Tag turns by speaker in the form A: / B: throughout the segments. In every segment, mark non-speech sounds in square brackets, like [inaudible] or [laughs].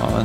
A: Ja,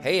B: Hey,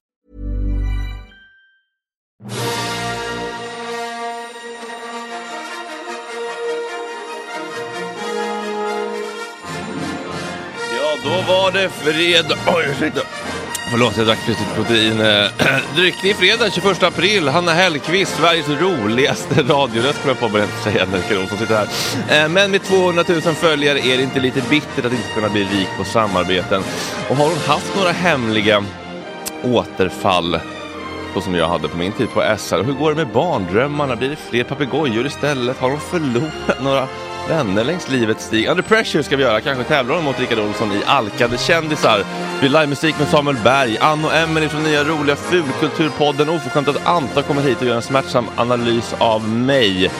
C: [laughs]
A: Ja, då var det fredag. Oj, ursäkta. Förlåt, jag drack precis lite protein. [clears throat] Eh, Dryck i fredag 21 april. Hanna Hellquist, Sveriges roligaste radioröst, kommer jag på att börja säga när Karin Olsson sitter här. Eh, Men med 200 000 följare är det inte lite bittert att inte kunna bli rik på samarbeten. Och har hon haft några hemliga återfall? Så som jag hade på min tid på SR. Och hur går det med barndrömmarna? Blir det fler papegojor istället? Har de förlorat några Vänner längs livets stig. Under pressure ska vi göra. Kanske tävlar hon mot Rickard Olsson i Alkade kändisar. Vi livemusik med Samuel Berg. Ann och Emelie från nya roliga Fulkulturpodden. Oförskämtat Anta kommer hit och gör en smärtsam analys av mig.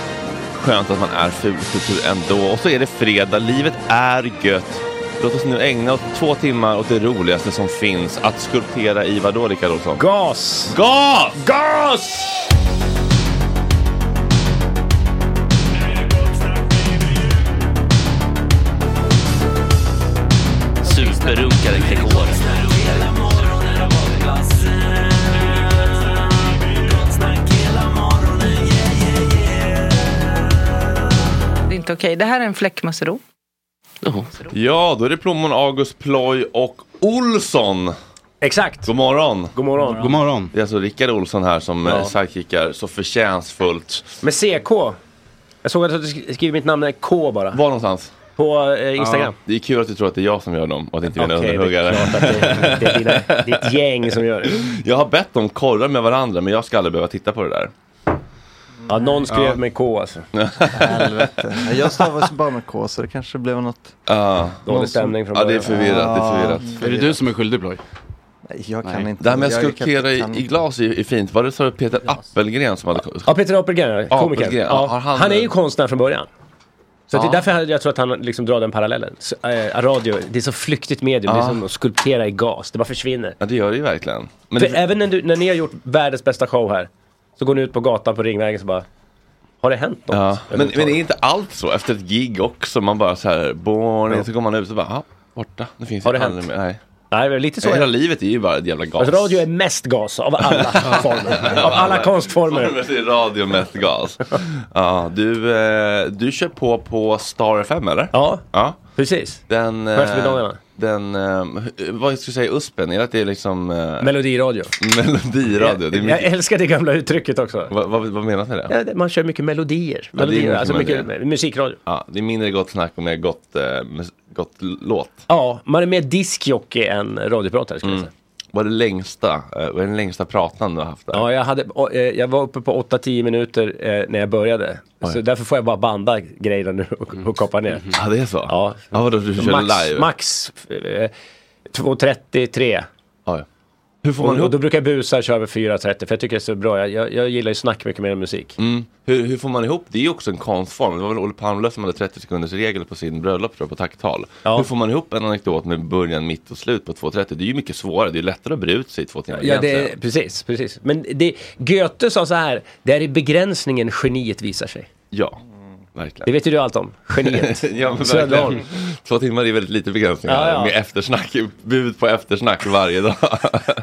A: Skönt att man är fulkultur ändå. Och så är det fredag. Livet är gött. Låt oss nu ägna oss två timmar åt det roligaste som finns. Att skulptera i vadå, Rickard Olsson?
C: Gas!
A: Gas!
C: Gas!
D: Superrunkaren Gregor.
E: Det är inte okej. Det här är en fläckmussero.
A: Ja, då är det plommon August Ploy och Olsson.
C: Exakt!
A: God morgon!
C: God morgon.
D: God morgon.
A: Det är alltså Rickard Olsson här som ja. sidekickar så förtjänstfullt.
C: Med CK. Jag såg att du sk- skriver mitt namn är K bara.
A: Var någonstans?
C: På eh, Instagram.
A: Det är kul att du tror att det är jag som gör dem och att inte vi är en
C: det är
A: underhuggare.
C: klart att det, det är dina,
A: [laughs]
C: ditt gäng som gör det.
A: Jag har bett dem korra med varandra men jag ska aldrig behöva titta på det där.
C: Ja, någon skrev med
A: [laughs]
C: K alltså.
F: Jag stavas bara med K så det kanske blev något.
A: Ja,
C: Dålig stämning från
A: ja det är
C: början.
A: förvirrat. Det är förvirrat.
D: Är det du som är skyldig Ploy?
F: Nej, jag kan
D: Nej.
F: inte.
A: Det här med att
F: jag
A: skulptera
F: kan-
A: i,
F: kan-
A: i glas är, är fint. Var det så Peter Appelgren som hade
C: Ja, Peter Apelgren, komikern.
A: Apelgren,
C: Ja,
A: har han-
C: han, är ju konstnär från början. Så att det
A: Ja.
C: är därför jag- jag tror att han liksom drar den parallellen. Så, eh, radio, det är så flyktigt medium, det är
A: Ja.
C: som att skulptera i gas, det bara försvinner.
A: Ja det gör det ju verkligen. Men
C: För
A: det-
C: även när, du, när ni har gjort världens bästa show här, så går ni ut på gatan på Ringvägen så bara, har det hänt något?
A: Ja, men, men det är
C: överhuvudtaget?
A: inte allt så efter ett gig också. Man bara så här, born, in, så går man ut och bara, ah, borta. Det finns
C: Har
A: ju
C: det
A: aldrig
C: hänt?
A: mer. Nej.
C: Nej, det är lite så.
A: Hela livet är ju bara ett jävla gas. [laughs]
C: Alltså, radio är mest gas av alla former, av alla konstformer.
A: Former är radio mest gas. ja, du, eh, du kör på på Star FM eller?
C: Ja,
A: ja.
C: precis.
A: Den, eh,
C: Världsmedaljerna.
A: den, eh, hu- vad ska jag säga, USPen, är det att det är liksom eh,
C: Melodiradio.
A: [laughs] melodiradio? Det är
C: Jag
A: mycket,
C: älskar det gamla uttrycket också.
A: vad, vad, vad menas med det?
C: Ja, det- Man kör mycket melodier. melodier
A: mycket
C: alltså mycket
A: melodier.
C: musikradio.
A: Ja, det är mindre gott snack och mer gott, eh, mus- gott låt. Mm.
C: Ja, man är mer diskjockey än radiopratare skulle jag säga.
A: Vad är det längsta, eh, vad är den längsta pratan du har haft där?
C: Ja, jag, hade, å- eh, jag var uppe på 8-10 minuter eh, när jag började. Så därför får jag bara banda grejerna nu och, och koppa ner.
A: Mm. Ja det är så?
C: Ja.
A: ja vadå du kör
C: Max,
A: live?
C: max eh, 2.33.
A: Ja, ja. Hur får man
C: Och, och
A: ihop,
C: då brukar jag busa köra över 4.30 för jag tycker det är så bra. Jag, jag, jag gillar ju snack mycket mer än musik.
A: Mm. hur, hur får man ihop, det är ju också en konstform. Det var väl Olle Palmlöf som hade 30 sekunders regel på sin bröllop tror jag, på tacktal.
C: Ja.
A: Hur får man ihop en anekdot med början, mitt och slut på 2.30? Det är ju mycket svårare, det är ju lättare att bre ut sig i två timmar
C: Ja, det,
A: egentligen.
C: precis, precis. Men det, Goethe sa så här, det är i begränsningen geniet visar sig.
A: Ja,
C: Det
A: verkligen.
C: vet ju du allt om, geniet.
A: [laughs] Ja, men
C: Söderholm.
A: verkligen. Två timmar är väldigt lite begränsningar
C: Ja, ja.
A: med eftersnack, bud på eftersnack varje dag.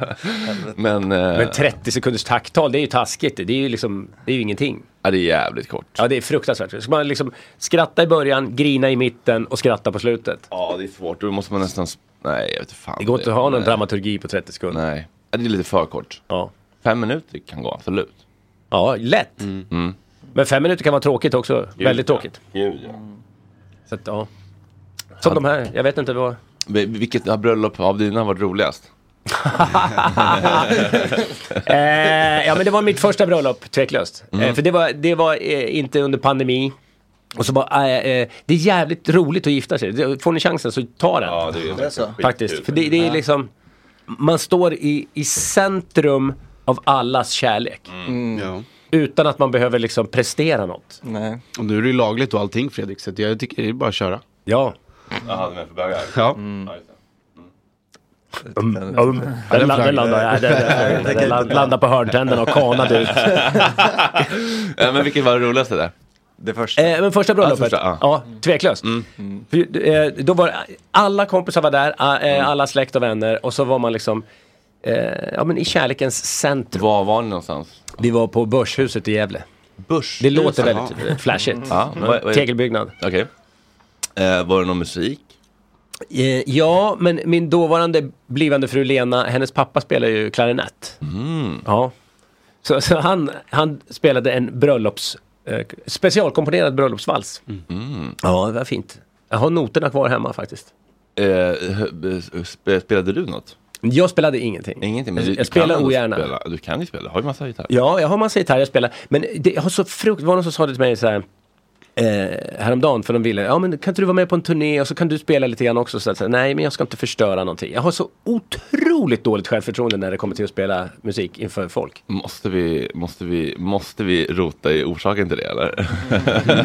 A: [laughs] men eh,
C: Men 30 sekunders takttal, det är ju taskigt. Det är ju liksom, det är ju ingenting.
A: ja, det är jävligt kort.
C: Ja, det är fruktansvärt. Ska man liksom skratta i början, grina i mitten och skratta på slutet?
A: Ja, det är svårt. Då måste man nästan... sp- Nej, jag vet fan.
C: Det går inte att ha någon
A: Nej.
C: dramaturgi på 30 sekunder.
A: Nej, Ja, det är lite för kort.
C: Ja.
A: Fem minuter kan gå, absolut.
C: ja, lätt. Men fem minuter kan vara tråkigt också. Väldigt tråkigt.
A: Gud, ja.
C: Så att, ja. Som de här, jag vet inte vad.
A: Vi- Vilket har bröllop av dina varit roligast?
C: [laughs] Eh, ja men det var mitt första bröllop, tveklöst.
A: Mm.
C: Eh, för det var, det var eh, inte under pandemi. Och så bara, eh, eh, det är jävligt roligt att gifta sig. Det- Får ni chansen så ta den.
A: det är,
F: så.
C: faktiskt. För det, det är liksom, man står i, i centrum av allas kärlek.
A: Mm.
D: Ja.
C: Utan att man behöver liksom prestera något.
F: Nej.
D: Och nu är det ju lagligt och allting Fredrik, så att jag tycker det är bara att köra.
C: Ja.
A: Jaha, du är för bögar?
D: Ja.
C: [laughs]
A: um,
C: Den,
D: den
C: la- den
D: flagg-
C: landar, nej, den, den, den, den land- landar på hörntänderna och typ. kanade ut.
A: [laughs] Ja, men vilket var det roligaste där?
F: Det första.
C: Eh, men första bröllopet,
A: Ja,
C: ja,
A: första, ja. Mm.
C: tveklöst. För, eh, då var alla kompisar var där, a- eh, alla släkt och vänner och så var man liksom eh, ja, men i kärlekens centrum.
A: Var var ni någonstans?
C: Vi var på Börshuset i Gävle.
A: Börs.
C: Det låter väldigt eh, flashigt.
A: Ja, vad- vad-
C: Tegelbyggnad.
A: Okej. Eh, var det någon musik?
C: Eh, Ja, men min dåvarande blivande fru Lena, hennes pappa spelar ju klarinett. Ja. Så, så han, han spelade en bröllops, eh, specialkomponerad bröllopsvals. Ja, det var fint. Jag har noterna kvar hemma faktiskt.
A: Eh, sp- spelade du något?
C: Jag spelade ingenting.
A: Ingenting?
C: Jag-
A: du- du
C: jag
A: kan
C: spelar
A: ändå
C: ogärna.
A: spela. Du kan ju spela, du har ju massa gitarr.
C: Ja, jag har massa gitarr jag spelar. Men det, jag har så frukt, det var någon som sa det till mig så här. eh, häromdagen för de ville, ja men kan inte du vara med på en turné och så kan du spela lite grann också. Så att, säga, nej men jag ska inte förstöra någonting. Jag har så otroligt dåligt självförtroende när det kommer till att spela musik inför folk.
A: Måste vi, måste vi, måste vi rota i orsaken till det eller?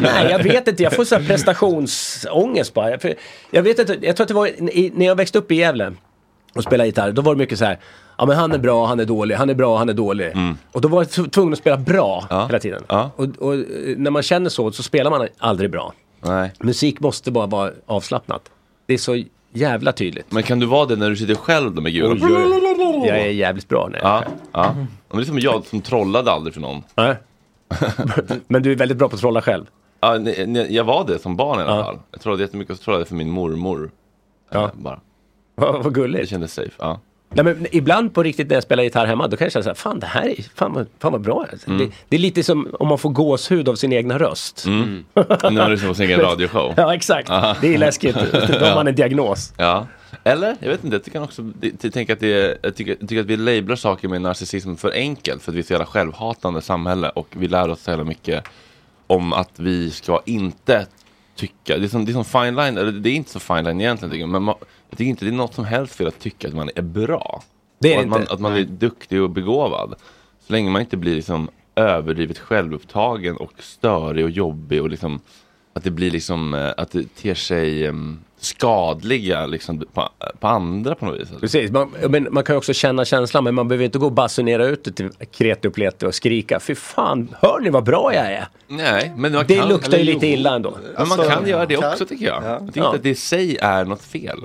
C: [laughs] Nej, jag vet inte. Jag får så här prestationsångest bara. Jag, för- jag vet inte, jag tror att det var i, när jag växte upp i Gävle och spelade gitarr, då var det mycket så här. Ja men han är bra, han är dålig, han är bra, han är dålig. Och då var jag tv- tvungen att spela bra hela tiden. Och, och eh, när man känner så, så spelar man aldrig bra. Musik måste bara vara avslappnat. Det är så jävla tydligt.
A: Men kan du vara det när du sitter själv då med gulan?
C: Oj, oj. Jag är jävligt bra när jag
A: ja, ja. Men Det är som jag som trollade aldrig för någon. [laughs]
C: Nej. [laughs] Men du är väldigt bra på att trolla själv.
A: Ja, ne- ne- jag var det som barn i alla fall. Jag trollade jättemycket och så trollade jag för min mormor. Ja. Bara.
C: Vad, vad gulligt.
A: Det kändes safe. Ja.
C: Nej, men ibland på riktigt när jag spelar gitarr hemma, då kan jag känna så här, fan det här är, fan vad, fan vad bra. Alltså,
A: Mm.
C: Det, det är lite som om man får gåshud av sin egna röst. [laughs]
A: Mm. Nu har du lyssnat på sin egen radioshow.
C: Ja, exakt.
A: Ja.
C: Det
A: [laughs]
C: är läskigt. Då har man en diagnos.
A: Ja. Eller, jag vet inte, jag tycker också, det- jag tänker att det är, jag tycker, jag tycker att vi lablar saker med narcissism för enkelt för att vi är ett så jävla självhatande samhälle och vi lär oss så jävla mycket om att vi ska inte tycka, det är som, det är som fine line, eller det är inte så fine line egentligen tycker jag, men man, jag tycker inte det är något som helst fel att tycka att man är bra.
C: Det är
A: och
C: det
A: att man,
C: inte.
A: att man är duktig och begåvad. Så länge man inte blir liksom överdrivet självupptagen och störig och jobbig och liksom att det blir liksom, eh, att det ter sig em, skadliga liksom på, på andra på något vis. alltså.
C: Precis, man, men man kan ju också känna känslan, men man behöver inte gå och basunera ut det till kreti och pleti och skrika, fy fan, hör ni vad bra jag är?
A: Nej, men man
C: det
A: kan-
C: luktar ju
A: eller
C: lite
A: jo. Alltså,
C: illa ändå.
A: Men man kan göra det också tycker jag.
D: Ja.
A: Jag tycker
D: Ja.
A: inte att det i sig är något fel.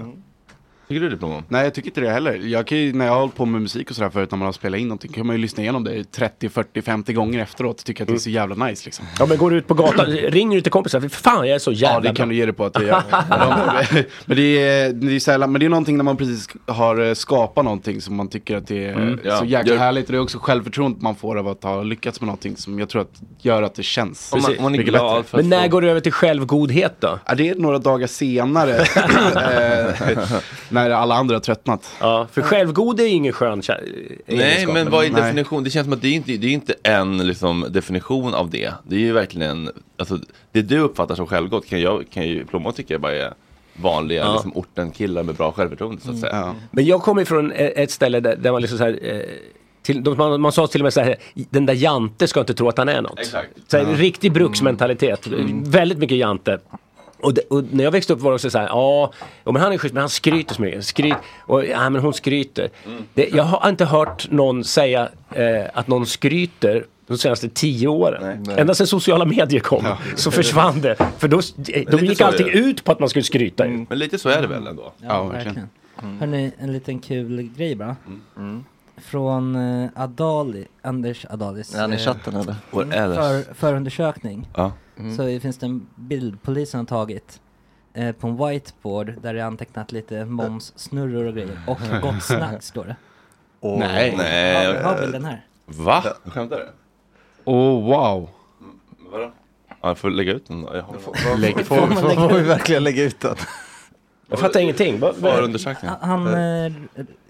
A: Tycker du det Plommon?
D: Nej jag tycker inte det heller. Jag kan ju, när jag har hållit på med musik och sådär förut när man har spelat in någonting kan man ju lyssna igenom det 30, 40, 50 gånger efteråt och tycka att det är så jävla nice liksom.
C: Mm. Ja men går du ut på gatan, ringer du till kompisar, för fan jag är så jävla
D: Ja det
C: bra.
D: kan du ge det på att det gör. Ja,
C: [laughs]
D: men- men det är, det är sällan, men det är någonting när man precis har eh, skapat någonting som man tycker att det är
C: Mm.
D: så
C: Ja.
D: jäkla
C: Jag-
D: härligt. Och det är också självförtroendet man får av att ha lyckats med någonting som jag tror att gör att det känns.
C: Om man- om man är
D: mycket
C: glad
D: bättre.
C: för att Men när få- går du över till självgodhet då?
D: Ja, det är några dagar senare.
C: [laughs]
D: eh, när alla andra har tröttnat.
C: Ja, för självgod är ju ingen skön kä-
A: Nej,
C: egenskap,
A: men vad är
C: Nej.
A: definition? Det känns som att det är inte det är inte en liksom, definition av det. Det är ju verkligen, alltså, det du uppfattar som självgott kan, jag, kan ju Plommon tycka bara är vanliga
C: Ja.
A: liksom, orten-killar med bra självförtroende
G: Mm.
A: så att säga.
C: Mm. Men jag kommer ifrån e- ett ställe där, där man liksom så här, eh, till, de- man, man sa till och med så här, den där Jante ska inte tro att han är något.
A: Exakt.
C: Så här, Riktig bruksmentalitet, väldigt mycket Jante. Och, det, och när jag växte upp var det också så här, ja, ja, men han är schysst men han skryter så mycket. Skryt, och, ja, men hon skryter.
A: Mm.
C: Det, jag har inte hört någon säga eh, att någon skryter de senaste tio åren. Ända sedan sociala medier kom så försvann det. För då, då
A: lite
C: gick
A: så är
C: allting
A: det.
C: ut på att man skulle skryta. ju.
A: Men lite så är det väl ändå? Mm.
G: Hörni, en liten kul grej bara. Från eh, Adali, Anders Adalis.
A: Är han i
G: eh,
A: chatten, eller? Mm. Or
G: mm,
A: else.
G: För, förundersökning.
A: Ja.
G: Så finns det en bild polisen har tagit eh, på en whiteboard där det är antecknat lite moms, snurror och grejer. Och gott snack står det.
A: Nej. Mm. Nej.
G: Ja, ha bilden här.
A: Va? Skämtar du?
D: [laughs] Oh wow.
A: Vadå? Ja, jag får lägga ut
C: Mm,
A: den då. Jag har...
F: Får-
G: [laughs]
F: Lägg- får- får- får- får vi verkligen lägga ut den?
C: Jag fattar ingenting. Vad- vad-
A: Förundersökning.
G: Han, eh,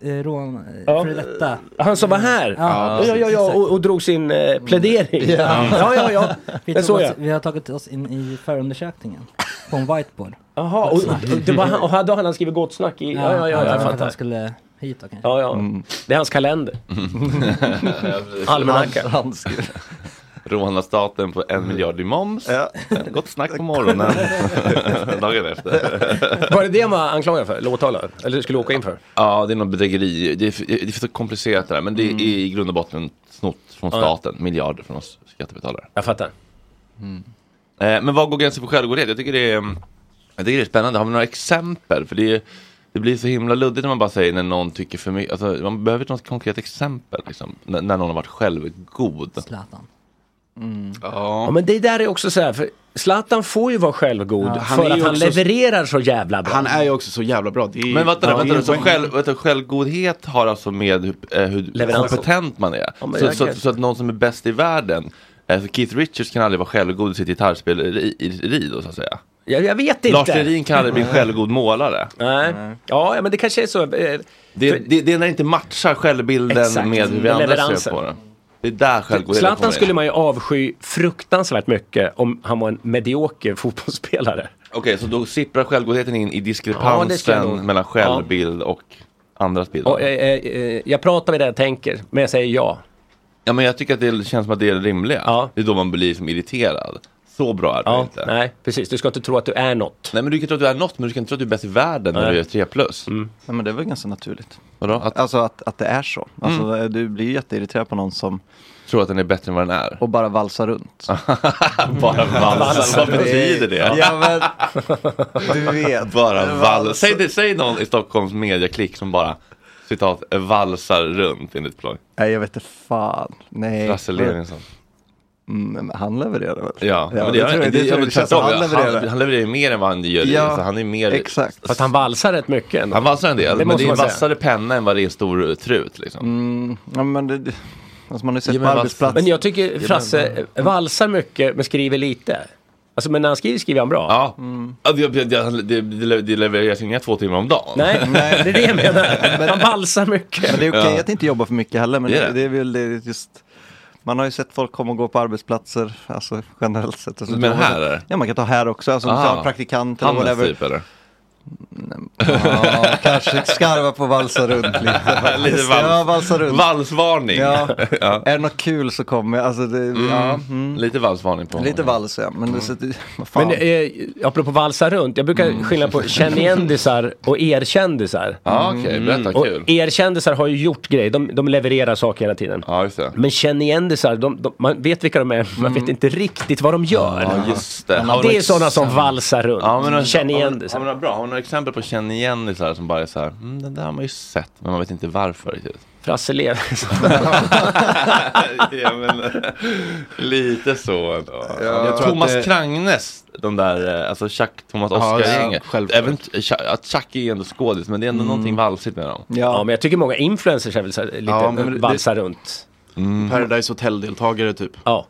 G: eh, rån, eh,
C: Ja.
G: före detta.
C: Han som var här?
G: Ja,
C: Ja, ja, ja, och, och drog sin
D: Mm.
C: eh, plädering.
G: Ja.
C: Ja, ja, ja.
G: [laughs] Vi,
C: Det
G: tog
C: såg
G: oss,
C: jag.
G: vi har tagit oss in i förundersökningen på en whiteboard.
C: Jaha, och, och, det var han, och då hade han skrivit gott snack i... Ja, ja, ja,
G: han
C: jag
G: tänkte att han
C: fattar.
G: skulle hit då kanske.
C: Ja, ja. Det är
A: [laughs]
C: hans kalender. Almanacka.
A: Råna staten på en miljard i moms. Gott snack på morgonen. [laughs] Dagen efter.
C: Var det det han var anklagad för? Eller åtalad? Eller skulle åka in för?
A: Ja, det är något bedrägeri. Det är, det är så komplicerat det där. Men det är i grund och botten snott från
C: Mm. Ja.
A: staten. Miljarder från oss skattebetalare.
C: Jag fattar.
A: Eh, men vad går gränsen för självgodhet? Jag tycker det är, jag tycker det är spännande. Har vi några exempel? För det, är, det blir så himla luddigt när man bara säger när någon tycker för mycket. Alltså, man behöver något konkret exempel. Liksom, när, när någon har varit självgod.
G: Zlatan.
C: Ja. men det där är också så här, för Zlatan får ju vara självgod
D: Ja, han
C: för
D: är
C: att
D: ju
C: han
D: också-
C: levererar så jävla bra.
D: Han är ju också så jävla bra. Det är,
A: Men vänta,
D: ja,
A: nu,
D: det är
A: vänta, nu, så
D: poäng.
A: själv, vänta, självgodhet har alltså med hur, eh, hur
C: Leverans.
A: kompetent man är.
C: Ja, men
A: så,
C: jag
A: så,
C: kan-
A: så att någon som är bäst i världen, eh, så Keith Richards kan aldrig vara självgod i sitt gitarrspelleri då så att säga.
C: Jag, jag vet inte.
A: Lars Lerin kan aldrig bli självgod målare.
C: Nej. Ja, men det kanske är så. eh,
A: Det,
C: För-
A: det, det är när det inte matchar självbilden
C: Exakt.
A: med hur vi
C: Med
A: andra ser
C: leveransen.
A: på det. Det är där självgodheten
C: Zlatan
A: kommer in.
C: skulle man ju avsky fruktansvärt mycket om han var en medioker [laughs] fotbollsspelare.
A: Okej, så då sipprar självgodheten in i
C: Ja, det ska jag
A: diskrepansen
C: nog-
A: mellan självbild och andras bild?
C: Och, eh, eh, eh, jag pratar med det jag tänker, men jag säger ja.
A: Ja, men jag tycker att det känns som att det är det rimliga. Det är då man blir som irriterad. Så bra är det
C: Ja,
A: inte.
C: Nej, precis. Du ska inte tro att du är något.
A: Nej, men du kan tro att du är något, men du kan inte tro att du är bäst i världen när
F: Nej.
A: du gör 3 plus.
C: Mm.
F: Nej, men det var ganska naturligt.
A: Vadå? Att...
F: Alltså att, att det är så. Alltså,
D: Mm.
F: Du blir ju jätteirriterad på någon som
A: tror att den är bättre än vad den är.
F: Och bara valsar runt.
A: [laughs]
F: [laughs]
A: Bara valsa, vad betyder det?
F: Ja, men, du vet.
A: [laughs] Bara vals. Säg, det, säg någon i Stockholms mediaklick som bara, citat, valsar runt enligt plan.
F: Nej, jag vet inte fan. Nej.
A: Frasse Levinson.
F: Mm, men han levererar väl?
A: Ja, men det,
F: det,
A: gör
F: tror
A: han-
F: jag,
A: det,
F: det,
A: ja,
F: tror
A: men
F: jag, det känns som
A: tvärtom.
F: han levererar.
A: han, han levererar ju mer än vad han gör. i
F: Ja,
A: så han är mer...
F: exakt.
C: Fast han valsar rätt mycket ändå.
A: Han valsar en del,
C: Det
A: men det
C: måste
A: är en
C: man säga.
A: vassare penna än vad det är stor trut. Liksom.
F: Mm, ja, men det, det- alltså man har ju sett
C: Ja,
F: på
C: men vad-
F: arbetsplats.
C: Men jag tycker Frasse eh, valsar mycket men skriver lite. Alltså men när han skriver skriver han bra.
A: Ja. Ja, Det, det, det, det, det levereras inga två timmar om dagen.
C: Nej, nej, det är det
A: [laughs]
C: jag menar. Han valsar mycket.
F: Men det är okej
A: Ja.
F: att inte jobba för mycket heller. Men
A: Det
F: det
A: är
F: är,
A: det.
F: det, är väl det är just... Man har ju sett folk komma och gå på arbetsplatser, alltså generellt sett. Alltså,
A: Men
F: det-
A: här Ah. är det?
F: Ja, man kan ta här också. Alltså, om du
A: Aha.
F: tar praktikant eller
A: Hamnes
F: whatever.
A: typ, eller?
F: Ja, kanske skarva på valsa runt
A: [laughs]
F: lite.
A: Lite vals.
F: Ja, valsa runt.
A: Valsvarning.
F: Ja.
A: [laughs] Ja.
F: Är det något kul så kommer jag. Alltså, det, ja, mm.
A: Lite valsvarning på Mm.
F: Lite vals ja, men det, så, det, vad fan.
C: Men eh, apropå valsa runt, jag brukar skilja på känn-igen-disar och erkändisar. Mm.
A: Ja, okej, berätta,
C: Och
A: kul.
C: erkändisar har ju gjort grejer, de, de levererar saker hela tiden.
A: Ja, just det. Mm.
C: Men känn-igen-disar, de, de, man vet vilka de är, men man vet inte riktigt vad de gör.
A: Ja, liksom- just det. Har du
C: Det är
A: något-
C: sådana som valsar runt,
A: Ja, men har-
C: känn-igen-disar.
A: Har man bra, har man några exempel på känn igen det så här som bara är så här, mm, den där har man ju sett, men man vet inte varför
C: [laughs]
A: riktigt.
C: Frasse Levinson.
A: [laughs] ja, men, eh, lite så ändå.
D: jag tror
A: Thomas
D: att det-
A: Krangnes, de där, eh, alltså Chuck, Thomas
D: Eh, Ja,
A: Oscar-gänget.
D: ja, självklart.
A: Även Chuck, att Chuck är ju ändå skådis, men det är ändå någonting valsigt med dem.
C: Mm. Ja. men jag tycker många influencers är väl så här, lite
D: Ja, men det- Mm.
C: valsar runt.
F: Mm.
D: Paradise Hotel-deltagare typ.
C: Ja.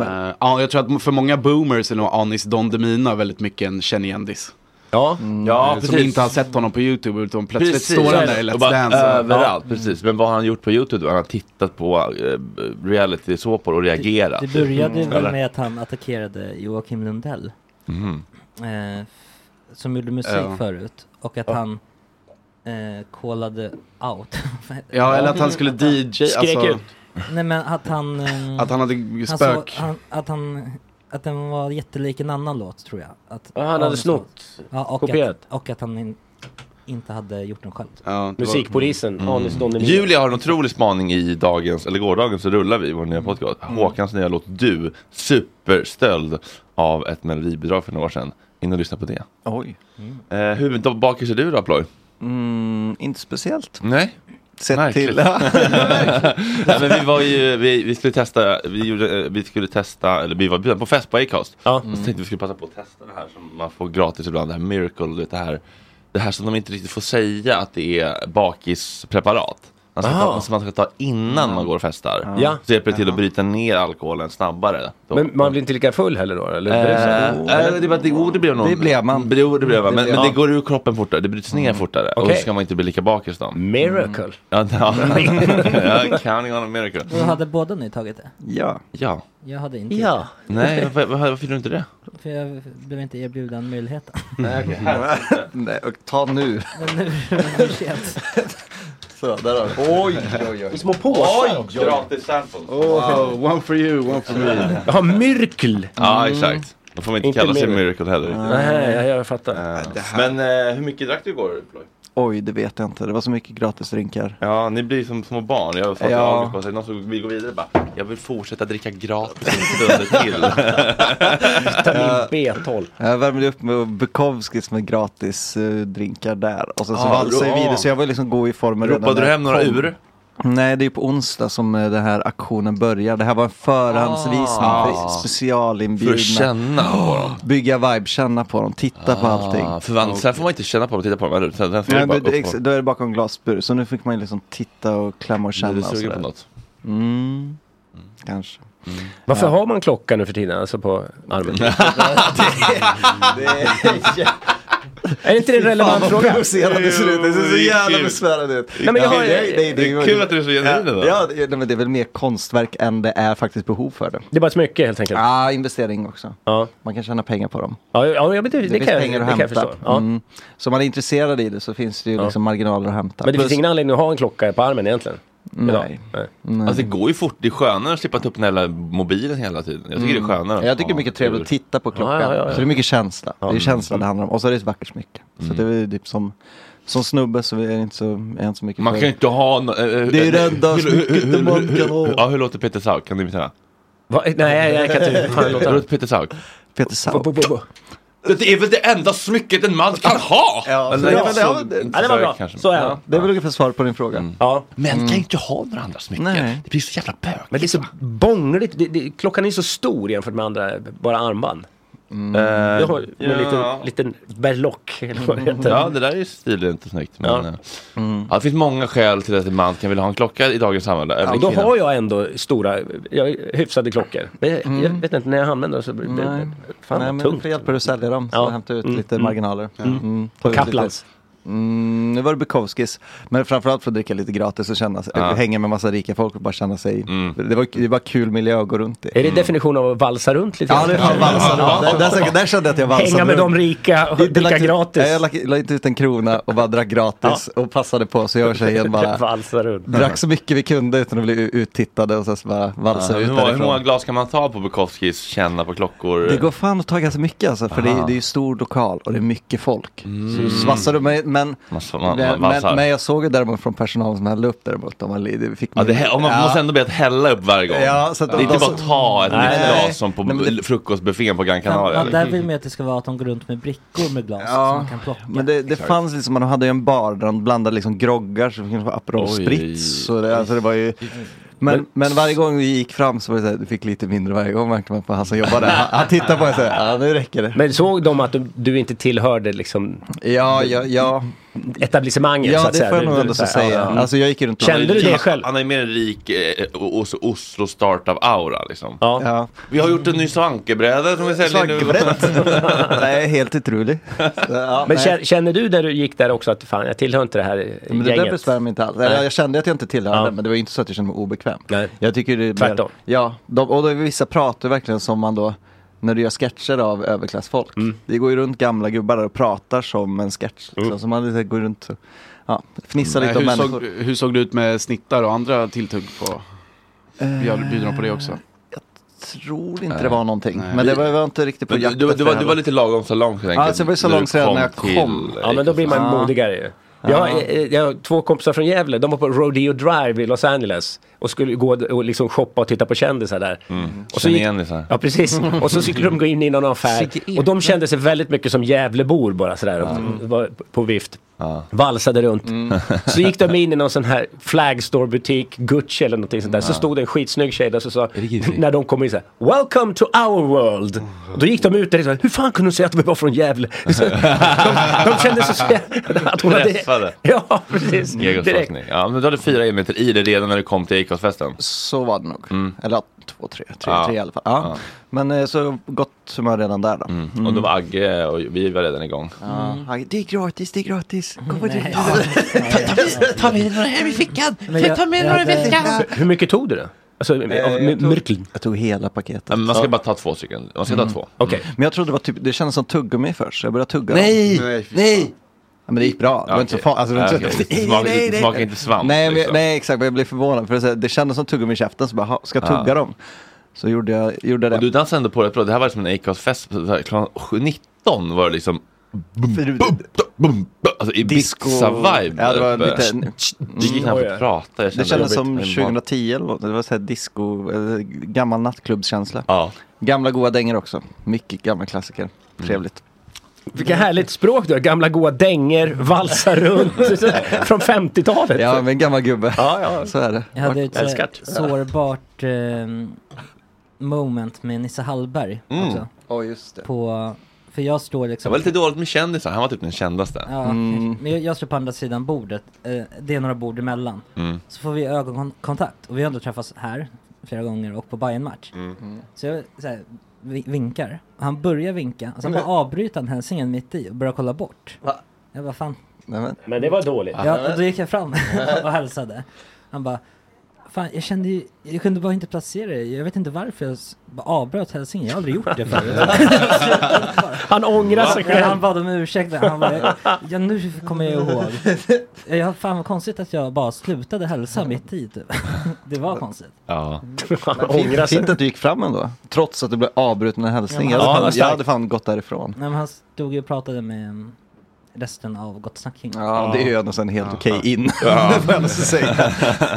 D: Eh, ja, jag tror att för många boomers är nog Anis Don Demina väldigt mycket en kännigendis.
C: Ja.
A: Ja,
D: Som inte har sett honom på YouTube utan plötsligt
A: Precis.
D: står han där i
A: Och
D: Let's
A: bara
D: Dance.
A: Överallt, precis. Men vad har han gjort på YouTube då? Han har tittat på eh, reality-såpor och reagerat.
G: Det började
A: Mm.
G: väl
A: Eller?
G: med att han attackerade Joakim Lundell. Eh, som gjorde musik
D: Mm. Ja.
G: förut. Och att han eh, callade out. [laughs]
D: Ja, eller att han skulle DJ.
C: Skrek
D: Alltså,
C: ut.
G: Nej men att han... eh,
D: att han hade spök.
G: sa- han, att han... Att den var jättelik en annan låt tror jag. Att,
C: Ja, han hade snott,
G: Ja, och,
C: kopierat.
G: att, och att han in, inte hade gjort den själv.
D: Ja, det var- Mm.
C: Musikpolisen, Anis Don Demina.
A: Mm. Julia har en otrolig spaning i dagens, eller gårdagens, så rullar vi i vår nya podcast.
D: Mm.
A: Håkans nya låt Du, superstöld av ett melodibidrag för några år sedan. In och lyssna på det.
F: Oj.
A: Eh, Huvudbakis är du då Ploy?
F: Mm, inte speciellt.
A: Nej.
F: Sett
A: Märkligt. [laughs]
F: till. [laughs] Ja.
A: Nej, men vi var ju, vi, vi skulle testa, vi, gjorde, eh, vi skulle testa, eller vi var bjudna på fest på Acast.
C: Ja.
A: Och så tänkte vi skulle passa på att testa det här som man får gratis ibland, det här miracle, du vet, det här, det här som de inte riktigt får säga att det är bakispreparat. Alltså, Man ska,
C: Aha.
A: ta, som man ska ta innan man går och festar.
C: Ja.
A: Så hjälper det till att bryta ner alkoholen snabbare. Då.
C: Men man blir inte lika full heller då? Eller?
A: Eh,
C: Det är så här,
A: eh, det, var- det, oh, det blev någon.
F: Det blev man.
A: Det, oh, det blev man. Men,
F: blev
A: men det
F: man. Mm.
A: går ur kroppen fortare. Det bryts ner fortare. Och
C: Okej.
A: så ska man inte bli lika bakis då.
C: Miracle.
A: Mm. Ja, [laughs] ja.
G: [laughs]
A: ja, counting on a miracle.
G: Då hade båda ni tagit det?
F: ja.
A: Ja.
G: Jag hade inte gjort
C: Ja.
A: Nej, varför, varför, varför gjorde du inte det?
G: det, [laughs] För jag blev inte
A: [laughs]
G: erbjuden möjligheten.
A: Mm.
F: Nej, och ta [laughs] nu.
G: Men nu är det för sent.
F: Så, där har du. Oj, oj, oj.
C: Små påsar också.
A: Gratis samples.
D: Wow, one for you, one for
F: Mm.
D: me.
C: Jaha, myrkel.
A: Mm. Ja, exakt. Då får man inte,
C: Inte
A: kalla sig
C: miracle.
A: miracle heller. riktigt.
C: Nej, jag, jag fattar.
A: Men eh, hur mycket drack du igår? Ploy?
F: Oj, det vet jag inte. Det var så mycket gratisdrinkar.
A: Ja, ni blir som små barn. Jag sa till
F: Ja.
A: August, bara så här, någon som vill gå vidare bara, jag vill fortsätta dricka gratis en stund [laughs] till.
C: Vitamin B12.
F: Jag värmde upp med Bukowskis med gratis eh, drinkar där. Och sen så
A: Ah,
F: valsade jag
A: ja.
F: vidare, så jag var liksom god i formen redan
A: Ropade
F: när
A: du
F: jag
A: hem några
F: kom.
A: ur?
F: Nej, det är ju på onsdag som eh, den här aktionen börjar. Det här var en förhandsvisning
A: Ah.
F: för
A: För att
F: specialinbjudna.
A: känna på dem.
F: [gasps] Bygga vibe, känna på dem, titta på allting.
A: Ah, för man, sen får man inte känna på dem, titta på dem, eller hur? Sen, sen får
F: Nej,
A: du bara
F: men, det-
A: upp
F: ex,
A: på dem.
F: då är det bakom glasbur, så nu fick man ju liksom titta och klämma och
A: Blir
F: känna
A: du
F: och
A: sugen på
F: sådär.
A: något?
F: Mm, kanske.
C: Mm. Varför har
F: [laughs]
C: man klocka nu för tiden? Alltså på armen? [laughs] Är inte det en relevant
F: Fan, vad
C: fråga?
F: provocerande det ser ut. Det ser så jävla besvärande ut.
C: Nej, men jag har,
A: du är så
F: genuin
A: idag.
F: Ja, det- nej, men det är väl mer konstverk än det är faktiskt behov för det.
C: Det är bara ett smycke helt enkelt.
F: Ja, investering också.
C: Ja.
F: Man kan tjäna pengar på dem.
C: Ja, ja, men det, det,
F: Det, finns
C: kan, jag-
F: pengar
C: det
F: att
C: kan jag
F: hämta.
C: förstå. Ja.
F: Mm. Så om man är intresserad i det så finns det ju liksom marginaler att hämta.
C: Men det
F: Plus-
C: finns ingen anledning att ha en klocka på armen egentligen.
F: Nej.
A: Alltså det går ju fort, det är skönare att slippa ta upp den här mobilen hela tiden. Jag tycker
F: Mm.
A: det är skönare.
F: Jag tycker det är mycket trevligt att titta på klockan.
A: Ja, ja, ja, ja.
F: Så det är mycket känsla. Det är
A: Ja.
F: känsla det handlar om. Och så är det ett vackert smycke.
A: Mm.
F: Så det är ju typ som, som snubbe så är det inte så, är jag inte så mycket
A: Man kan ju inte ha... eh, No
F: Det är det enda smycket man kan ha.
A: Ja, hur låter Peter Sauk? Kan du imitera?
C: Nej, jag kan inte. Fan, låt
A: Hur
C: han.
A: låter Peter Sauk?
F: Peter Sauk.
A: Det är väl det enda smycket en man kan ha!
F: Ja,
A: Eller,
F: så- ja, men
A: så-
F: Alltså, det-
A: inte
C: Ja, det var bra.
A: kanske.
C: Så är han.
F: Ja, Mm. det är väl ungefär svar på din fråga.
C: Ja. Mm.
A: Män kan ju inte ha några andra smycken.
F: Nej.
A: Det blir så jävla bög.
C: Men det är så bångligt. Det, det, klockan är ju så stor jämfört med andra, bara armband.
F: Mm.
C: Eh, Jag har med en
A: Eh, ja.
C: liten, liten berlock, eller vad det heter.
A: Ja, det där är stilen inte snyggt. Men,
C: Ja. Mm.
A: eh, ja, det finns många skäl till att en man kan vilja ha en klocka i dagens samhälle.
C: Ja,
A: även
C: då
A: kvinnan.
C: har jag ändå stora, jag, hyfsade klockor. Men jag, jag vet inte, Mm. när jag använder dem så blir
F: Mm. Nej.
C: det
F: Nej,
C: fan vad
F: men du
C: tungt.
F: får hjälpa dig att sälja dem. Så
C: Ja.
F: hämta ut
C: Mm,
F: lite
C: mm.
F: marginaler.
C: Mm.
F: Mm, ta
C: På
F: ut lite-
C: Kaplans.
F: Mm, nu var det Bukowskis. Men framförallt för att dricka lite gratis och känna,
A: Ja.
F: hänga med massa rika folk och bara känna sig... Det, var, det var kul miljö att gå runt i.
C: Mm. Är det definitionen av att valsa runt lite
F: Mm. Ja, det var valsade. Där, där, där kände jag att jag valsade
C: Hänga med
F: runt.
C: de rika och
F: Det- det
C: dricka
F: lagt ut-
C: gratis.
F: Nej, Jag lagt- la inte ut en krona och bara drack gratis och passade på så jag och
C: [laughs]
F: tjejen bara
C: Valsa runt.
F: drack så mycket vi kunde utan att bli u- uttittade och sen så bara valsade vi
A: hur,
F: ut
A: många, hur många
F: därifrån.
A: glas kan man ta på Bukowskis känna på klockor?
F: Det går fan att ta ganska mycket alltså, för det är, det är ju stor lokal och det är mycket folk. Så du svassar du med, men,
A: Mm. Man- man- man
F: men,
A: valsar.
F: men, men jag såg ju däremot från personalen som hällde upp däremot. De var, li- det fick
A: Ja, det, hä- och man
F: Ja.
A: måste ändå be att hälla upp varje gång.
F: Ja, så att
A: det är
F: de-
A: inte
F: de-
A: bara ta ett
F: Nej.
A: nytt glas som på
F: Nej, men det-
A: frukostbuffén på Gran Canaria.
G: Ja,
A: liksom.
G: där vill man ju att det ska vara att de går runt med brickor med glas som man kan plocka.
F: Men det, det fanns liksom, man hade ju en bar där de blandade liksom groggar, så det kunde vara Aperol
A: Oj.
F: Spritz. Och det, alltså det var ju, men, men varje gång vi gick fram så var det så här, du fick lite mindre varje gång märkte man på han som jobbade. Han, han tittade på en så här, ja nu räcker det.
C: Men såg de att du, du inte tillhörde liksom
F: Ja, ja, ja.
C: etablissemanget så
F: ja
C: att
F: det
C: säga?
F: får jag
C: Du-
F: nog
C: du-
F: ändå
C: så
F: så
C: här,
F: säga.
C: ja, ja.
F: Alltså jag gick ju runt och-
C: Kände du det
A: Han-
C: själv?
A: Han är mer en rik eh, o- o- Oslo startup-aura liksom.
C: Ja.
F: Ja.
A: Vi har gjort en ny svankebräda som vi säljer nu. [laughs]
F: Svankbrett? [laughs] nej, helt
C: [laughs]
F: otrolig. Så, ja,
C: Men
F: nej.
C: kä- känner du där du gick där också att fan, jag tillhör inte det här
F: Men det där
C: gänget?
F: besvär mig inte alls. Eller,
C: Nej.
F: jag kände att jag inte tillhörde,
C: Ja.
F: men det var ju inte så att jag kände mig obekväm.
C: Nej.
F: Jag tycker det är
C: Tvärtom.
F: Mer, ja, de, och då är vissa pratar verkligen som man då, när du gör sketcher av överklassfolk.
A: Mm.
F: Det går ju runt gamla gubbar där och pratar som en sketch. Liksom, Så man lite går runt och ja, fnissar lite om
D: Eh, hur,
F: människor.
D: såg, hur såg det ut med snittar och andra tilltugg på? Bjöd bjuder de på det också?
F: Tror inte det var någonting.
D: Nej.
F: Men det var, jag var inte riktigt på
A: Du,
F: jakt
A: du, du,
F: efter
A: var,
F: det
A: du var
F: heller.
A: lite lagom salongs helt enkelt.
F: alltså, jag var ju salongsredan när jag kom. liksom.
A: liksom.
C: Ja men då blir man
F: Ja.
C: modigare ju. Jag, har, eh, jag har två kompisar från Gävle, de var på Rodeo Drive i Los Angeles och skulle gå och liksom shoppa och titta på kändisar där.
A: Mm.
C: Och så
A: Känner
C: gick-
A: igen liksom. dig så här. [laughs]
C: Ja precis, och så skulle de gå in i någon affär och de kände sig väldigt mycket som Gävlebor bara sådär och var på vift. Valsade runt.
F: Mm.
C: [laughs] Så gick de in i någon sån här flagstore butik, Gucci eller någonting sånt där. Så stod det en skitsnygg tjej där och sa, när de kom in såhär, Welcome to our world. Och då gick de ut där och sa, hur fan kunde du säga att vi var från Gävle? Så, de, de kände sig
A: [laughs]
C: så att hon
A: Pressade.
C: hade... Ja, precis. Direkt.
A: Egosforskning. Ja, men du hade fyra enheter i dig redan när du kom till Acast-festen. Mm.
F: Så var det nog. Eller ja, två, tre, tre,
A: Ja.
F: tre i alla fall. Ja.
A: Ja. Mm.
F: Men eh, så gott humör redan där då. Mm.
A: Och då var Agge och vi var redan igång.
F: Ja.
G: Mm.
F: Han, Det är gratis, det är gratis. Kom och drick.
G: Ta med några hem i fickan! Ta med några i fickan!
C: Hur mycket tog du då? Alltså, av
F: Eh, jag tror-
C: myrkeln?
F: Jag tog hela paketet.
A: Ja, men Man ska bara ta två stycken. Man ska ta två. Mm.
C: Okej.
F: Mm. Men jag trodde det var typ, det kändes som tuggummi först, så jag började tugga dem.
D: Nej,
F: Nej! Ja, men det gick bra, det var inte så
A: okej.
F: farligt. Alltså, det var inte så-
A: Ja, okej. Smak- smaka inte svamp,
F: Nej, men,
A: liksom.
F: nej exakt, men jag blev förvånad för det, är så här, det kändes som tuggummi i käften, så bara, "Ha, ska jag tugga dem? Så gjorde jag, gjorde jag
A: Och du
F: det.
A: dansade ändå på rätt bra. Det här var som en Acast-fest. Så här, Klockan 19 var det liksom
C: [laughs]
F: För du-
A: bum, da, bum, bum. Alltså Ibiza-vibe.
F: Ja, det var lite,
A: Mm. Det gick knappt att prata. Jag
F: det
A: kände
F: kändes som
A: jobbigt.
F: 2010 eller något, det var så här disco, eller gammal nattklubbskänsla.
A: Ja. Mm.
F: Gamla goa dängor också, mycket gamla klassiker. Trevligt.
C: Vilket härligt språk du har, gamla goa dänger, valsa runt,
F: [laughs]
C: sådär, från 50-talet.
F: Ja, men gammal gubbe.
C: Ja, ja.
F: Så är det.
G: Jag hade ett så här
C: Älskat.
G: sårbart ehm, moment med Nisse Hallberg också.
F: Oh, just det.
G: På, för jag står liksom...
A: Mm. Det var lite dåligt med kändisar. Han var typ den kändaste.
G: Ja, men jag, jag står på andra sidan bordet. Eh, det är några bord emellan. Så får vi ögonkontakt. Och vi har ändå träffats här flera gånger och på bayern match
A: Mm.
G: Så jag så här, vi- vinkar, han börjar vinka, och sen bara avbryter han hälsningen mitt i och börjar kolla bort Jag bara fan
F: men.
C: det var dåligt.
G: Ja, och då gick jag fram [laughs] och hälsade Han bara Fan, jag kände ju, jag kunde bara inte placera det. Jag vet inte varför jag s- bara avbröt hälsningen. Jag har aldrig gjort det förut. [laughs]
C: Han ångrar sig själv.
G: Han bad om ursäkt. Han bara, ja nu kommer jag ihåg. [laughs] Ja, fan vad konstigt att jag bara slutade hälsa mitt i typ. [laughs] Det var konstigt. [laughs]
A: Ja.
F: Men Fint, fint att du gick fram ändå. Trots att du blev avbruten med hälsning.
G: Ja,
F: jag, hade
G: men- Ja,
F: fan, jag
G: starkt.
F: hade fan gått därifrån.
G: Nej, men han stod ju och pratade med mm, resten av Gott snack King.
F: Ja, det är ju ändå sen helt okej in.
G: Ja.
F: [laughs] det får jag måste
G: [laughs]
F: säga.
A: [laughs]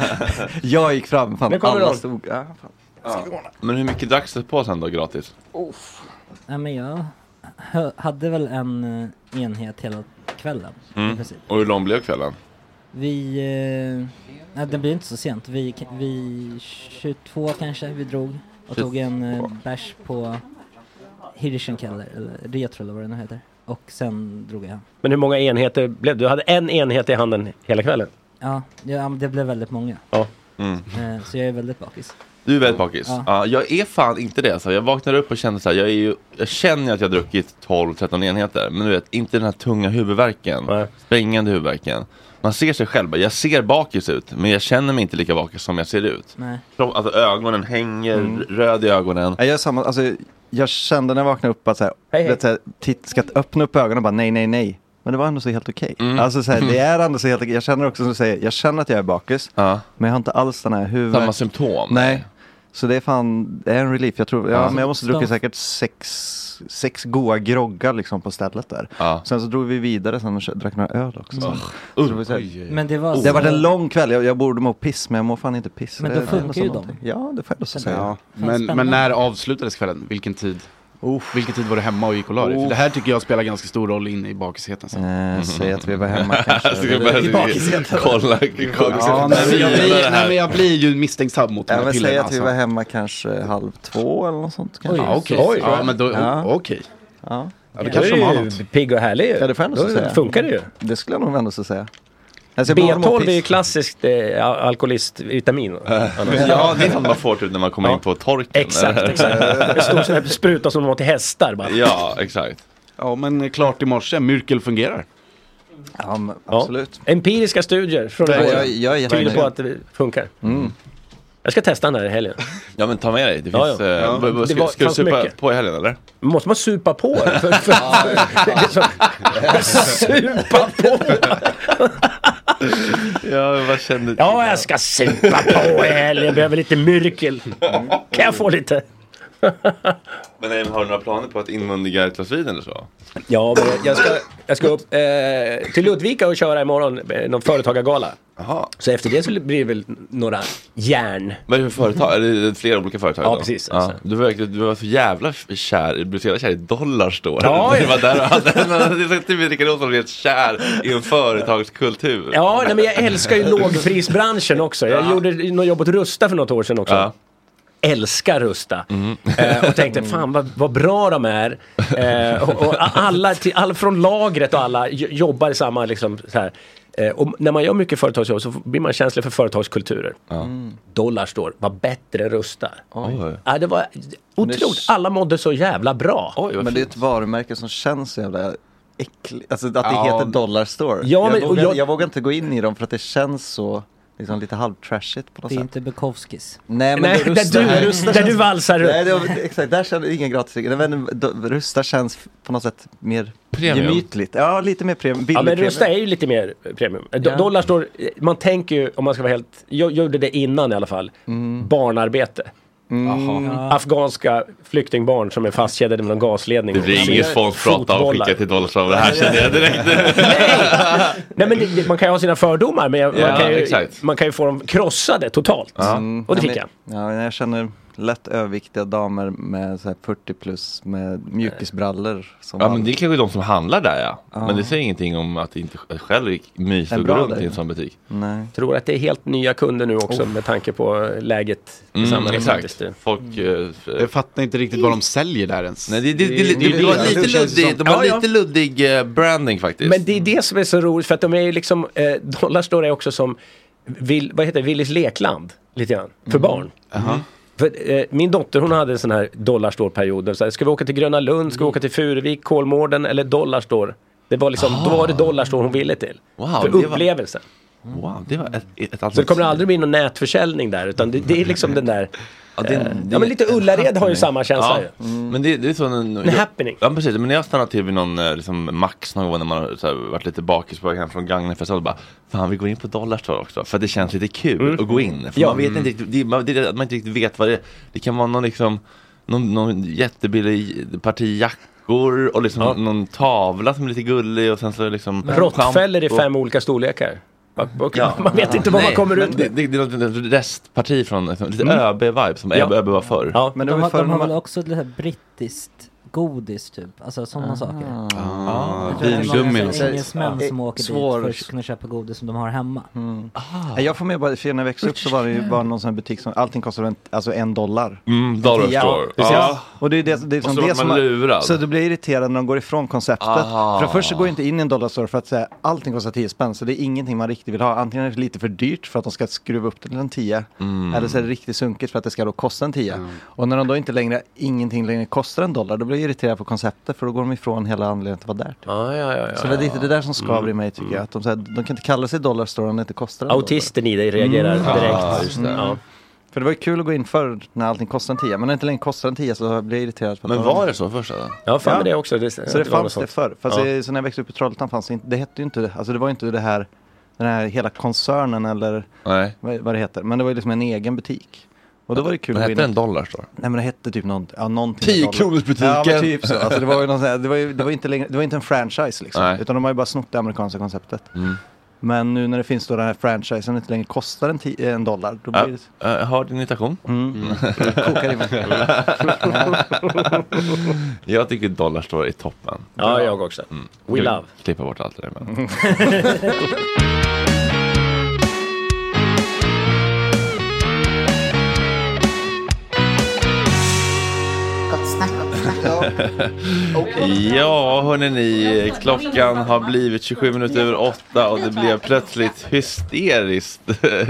F: Jag gick fram, fan
G: Men kommer
F: alla
G: de?
F: stod. Ja, fan.
A: Men hur mycket dracks du på sen då gratis?
G: Nej, men jag hö- hade väl en eh, enhet hela kvällen. i
A: Mm.
G: princip.
A: Och hur lång blev kvällen?
G: Vi... Eh, nej, det blir inte så sent. Vi, vi 22 kanske, vi drog och tog en eh, bärs på Hirschenkeller, eller Retro eller vad det nu heter. Och sen drog jag hem.
C: Men hur många enheter blev det? Du hade en enhet i handen hela kvällen.
G: Ja, ja, men det blev väldigt många.
C: Ja.
G: Eh, så jag är väldigt bakis.
A: Du är väldigt bakis. Ja.
G: Ja.
A: jag är fan inte det. Så jag vaknar upp och känner så här, jag, är ju, jag känner att jag har druckit 12-13 enheter. Men du vet, inte den här tunga huvudvärken. Sprängande huvudvärken. Man ser sig själv, bara, jag ser bakis ut. Men jag känner mig inte lika bakis som jag ser ut.
G: Nej.
A: Kropp- Alltså ögonen hänger,
C: Mm.
A: röd i ögonen.
F: Jag gör samma, alltså, jag kände när jag vaknade upp att så här,
A: Hej, hej.
F: Vet, så här, titt, ska öppna upp ögonen och bara nej, nej, nej. Men det var ändå så helt okej. Alltså så här, det är ändå så helt okej. Jag känner också som du säger, jag känner att jag är bakis. Men jag har inte alls den här huvudet.
A: Samma symptom.
F: Nej. Så det är fan, det är en relief. Jag tror, ja,
A: Ja.
F: men jag måste dricka
A: De-
F: säkert sex, sex goa groggar liksom på stället där. Sen så drog vi vidare sen och kö- drack några öl också.
G: Mm.
F: Så det var så här-
G: Oj, oj, oj. Men det var-
F: har varit en lång kväll, jag, jag borde må piss men jag mår fan inte piss.
G: Men
F: Det
G: då
F: är- det är
G: funkar ju
F: som
G: de.
F: Ja, det får jag också säga.
D: Ja. Men, men när avslutades kvällen? Vilken tid? Vilken tid var du hemma och gick och la dig? För
F: Uff.
D: det här tycker jag spelar ganska stor roll inne i bakisheten. sen.
F: Eh, säg att vi var
D: [laughs]
F: hemma kanske.
D: Ska jag börja-
F: I bakisheten.
A: kolla- kolla-
D: Ja, nej, men jag, blir,
A: här.
D: nej, men jag blir ju misstänksam mot de
F: Ja,
D: här
F: men säg
D: pillerna.
F: att vi
D: Alltså.
F: var hemma kanske halv två eller något sånt. Kanske.
D: Ja, okej.
F: Så-
D: Ja, men då,
F: Ja.
D: okej.
F: Ja.
D: Ja, då kanske de har något.
C: pigg och härlig ju.
F: Ja, det får jag ändå
C: Då
F: så säga.
C: funkar det ju.
F: Det skulle jag nog ändå så säga. Alltså, jag borde må
C: B12 är ju
F: piss.
C: klassiskt eh, al- alkoholistvitamin.
A: ja, det är sånt man får typ när man kommer in på torken. [laughs]
C: Exakt, exakt. Det står sån här spruta som de har till hästar bara.
A: Ja, exakt.
D: Ja, men klart i morse. Myrkel fungerar.
F: Ja, men absolut.
C: Empiriska studier från
D: Nej,
C: våren
D: jag- jag är
C: tyder på
D: jättenöjd.
C: att det funkar. Jag ska testa den här i helgen.
A: Ja men ta med dig. Det
C: Mm. Ja,
A: finns,
C: ja.
A: eh,
C: Ja.
A: b- b-
C: Det
A: Ska,
C: var-
A: ska du
C: fanns
A: supa
C: mycket.
A: på i helgen eller?
C: Måste man supa på? den? För, för, supa på!
A: Ja, vad kände
C: Ja, jag ska supa på i helgen. Jag behöver lite myrkel. Kan jag få lite?
A: Men nej, men har du några planer på att inmundiga ett glas vin eller så?
C: Ja, men jag- jag ska, jag ska upp eh, till Ludvika och köra imorgon eh, någon företagargala. Så efter det så blir det väl några järn.
A: Vad är det för företag? Är det flera olika företag?
C: Ja,
A: då?
C: precis,
A: Ja. Du, var, du var så jävla f- kär, du blev så jävla kär i dollar står
C: Ja,
A: det.
C: ja.
A: var där du hade, [laughs] det är så typiskt Rickard Olsson, helt kär i en företagskultur.
C: Ja, nej, men jag
A: [laughs]
C: älskar ju lågprisbranschen också. Jag gjorde något jobb åt Rusta för något år sedan också. Älskar Rusta. Eh, och tänkte, fan vad, vad bra de är. Eh, och, och alla, till, all, från lagret och alla j- jobbar i samma liksom så här. Eh, och när man gör mycket företagsjobb så blir man känslig för företagskulturer.
F: Mm.
C: Dollar står, var bättre än Rusta. Ja, det var otroligt, alla mådde så jävla bra.
F: men det är ett varumärke som känns så jävla äckligt. Alltså att det
C: Ja.
F: heter Dollar Store.
C: Ja, men-
F: jag,
C: och
F: vågar,
C: jag-
F: jag... vågar inte gå in i dem för att det känns så liksom, lite halvtrashigt på något
G: Det är
F: sätt.
G: inte Bukowskis.
F: Nej, men
C: Nej,
F: det Rusta,
C: där du-
F: här- Rusta
C: där du valsar runt.
F: Nej, det, var- exakt. Där känner jag ingen gratis. Nej, men då- Rusta känns på något sätt mer
C: Premium.
F: gemytligt. Ja, lite mer premium.
C: Ja men
F: billig
C: Rusta
F: premium.
C: är ju lite mer eh, premium. Eh, do- Dollar står, eh, man tänker ju om man ska vara helt, jag gjorde det innan i alla fall,
F: Mm.
C: barnarbete.
F: Jaha.
C: Afghanska flyktingbarn som är fastkedjade med någon gasledning.
A: Det blir
C: och-
A: ingen sponsrat av
C: fotbollar.
A: skicka till dollarstav, det här känner jag direkt.
F: [laughs]
C: Nej men det, det, man kan ju ha sina fördomar men jag-
A: Ja,
C: man, kan ju,
A: exakt.
C: man kan ju få dem krossade totalt.
F: Mm.
C: Och det
F: Ja,
C: fick jag.
F: men- Ja, jag känner lätt överviktiga damer med så här 40 plus med mjukisbrallor. Som
A: Ja
F: har-
A: men det är kanske de som handlar där ja.
F: Ja.
A: Men det säger ingenting om att det inte att själv gick mysigt
F: En
A: att gå
F: bra
A: runt
F: där.
A: i en sån butik.
F: Nej. Oh.
C: Tror att det är helt nya kunder nu också med tanke på läget i
A: Mm,
C: samhället.
A: exakt.
C: faktiskt. Det-
A: Folk, eh,
D: Jag fattar inte riktigt vad de säljer där ens.
A: Nej, det, det, det, det, det, var lite luddig, de har
C: Ja, ja.
A: lite luddig eh, branding faktiskt.
C: Men det är det som är så roligt för att de är ju liksom, eh,
A: Mm.
C: Dollarstore är också som, vill, vad heter det, Willys lekland lite grann, för barn. För, eh, min dotter hon hade en sån här dollarstårperioden. Så här, ska vi åka till Gröna Lund,
A: Mm.
C: ska vi åka till Furuvik, Kolmården eller dollarstår? Det var liksom, då var det dollarstår hon ville till.
A: Ah. Wow,
C: för
A: det var-
C: upplevelsen.
A: Wow, det var ett, ett
C: Så det
A: alternativ.
C: kommer aldrig bli någon nätförsäljning där utan det, det är liksom den där... Ja,
A: det- det-
C: ja men lite Ullared har ju samma känsla ju.
A: Mm. Men det, det är sån en...
C: En happening.
A: Ja precis, men när jag stannade till vid någon eh, liksom, Max någon gång när man har så här, varit lite bakis på väg hem från Gagnefest och bara Fan vi går in på Dollarstore också för att det känns lite kul att gå in. För
C: Mm. Ja.
A: man vet inte riktigt, det, man, det, att man inte riktigt vet vad det är. Det kan vara någon liksom Någon, någon jättebillig parti jackor och liksom
C: Ja.
A: någon tavla som är lite gullig och sen så är det liksom
C: Råttfällor i
A: schampo.
C: fem olika storlekar. Man vet inte vad man
A: Nej,
C: kommer
A: men
C: ut
A: det,
C: med.
A: det, det är något restparti från liksom, lite
C: Mm.
A: ÖB-vibe som
C: Ja.
A: ÖB var förr.
C: Ja.
G: Men de, har, de har väl också lite här brittiskt godis typ, alltså sådana saker.
A: Ah,
G: Jag tror att det är många
A: vingummin.
G: sådana Engelsmän som
F: Ja.
G: åker
F: Svår-
G: dit för att kunna köpa godis som de har hemma.
F: Mm. Nej, Jag får med bara, för när jag växte upp så var det ju bara någon sån här butik som allting kostade en, alltså en dollar. Alltså,
A: Mm, dollar store.
F: precis.
A: Ja.
F: Och det är det, det är
A: Och
F: liksom
A: så
F: det
A: vart
F: som
A: man lurad.
F: Så du blir irriterad när de går ifrån konceptet.
A: Ah.
F: För det första går jag inte in i en dollarstore för att säga allting kostar 10 spänn. Så det är ingenting man riktigt vill ha. Antingen är det lite för dyrt för att de ska skruva upp det till en 10.
A: Mm.
F: Eller så är det riktigt sunkigt för att det ska då kosta en 10. Och när de då inte längre, ingenting längre kostar en dollar, då blir jag irriterad på konceptet. För då går de ifrån hela anledningen till att vara där. typ.
C: Ja, ja, ja,
F: Så
C: ja.
F: det är lite det där som
A: Mm.
F: skaver i mig tycker jag. Att de, så här, de kan inte kalla sig dollarstore om det inte kostar en dollar.
C: Autisten i dig reagerar
A: Ah,
C: direkt. Mm.
A: just det.
C: Ja.
F: För det var ju kul att gå in förr när allting kostade en 10. Men när det inte längre kostar en 10 så blir jag irriterad. För att
A: Men
F: de-
A: var det så först? Då?
C: Ja, fan
F: Ja.
C: med det också. Det,
F: Så det
C: var något
F: fanns det
C: sånt.
F: förr. Fast
C: Ja.
F: det- så när jag växte upp i Trollhättan fanns det inte, det hette ju inte, alltså det var ju inte det här, den här hela koncernen eller
A: Nej.
F: vad vad det heter. Men det var ju liksom en egen butik. Och då var det kul
A: Men
F: att gå
A: hette
F: in.
A: den Dollarstore?
F: Nej men det hette typ någon, ja, någonting. med dollar.
A: Tiokronorsbutiken.
F: Ja men typ så. Alltså det var ju någon sån här, det var ju det var inte, längre, det var inte en franchise liksom.
A: Nej.
F: Utan de har ju bara snott det amerikanska konceptet.
A: Mm.
F: Men nu när det finns då den här franchisen inte längre kostar en, ti- en dollar. Då blir
A: Ja,
F: det,
A: jag hör din irritation.
F: mm, det [laughs] kokar i mig.
A: [laughs] Jag tycker Dollarstore är toppen.
C: Ja, jag också. We
A: Jag
C: love.
A: vill Klippa bort allt det där men. Ja, hörni ni, klockan har blivit 27 minuter över åtta och det blev plötsligt hysteriskt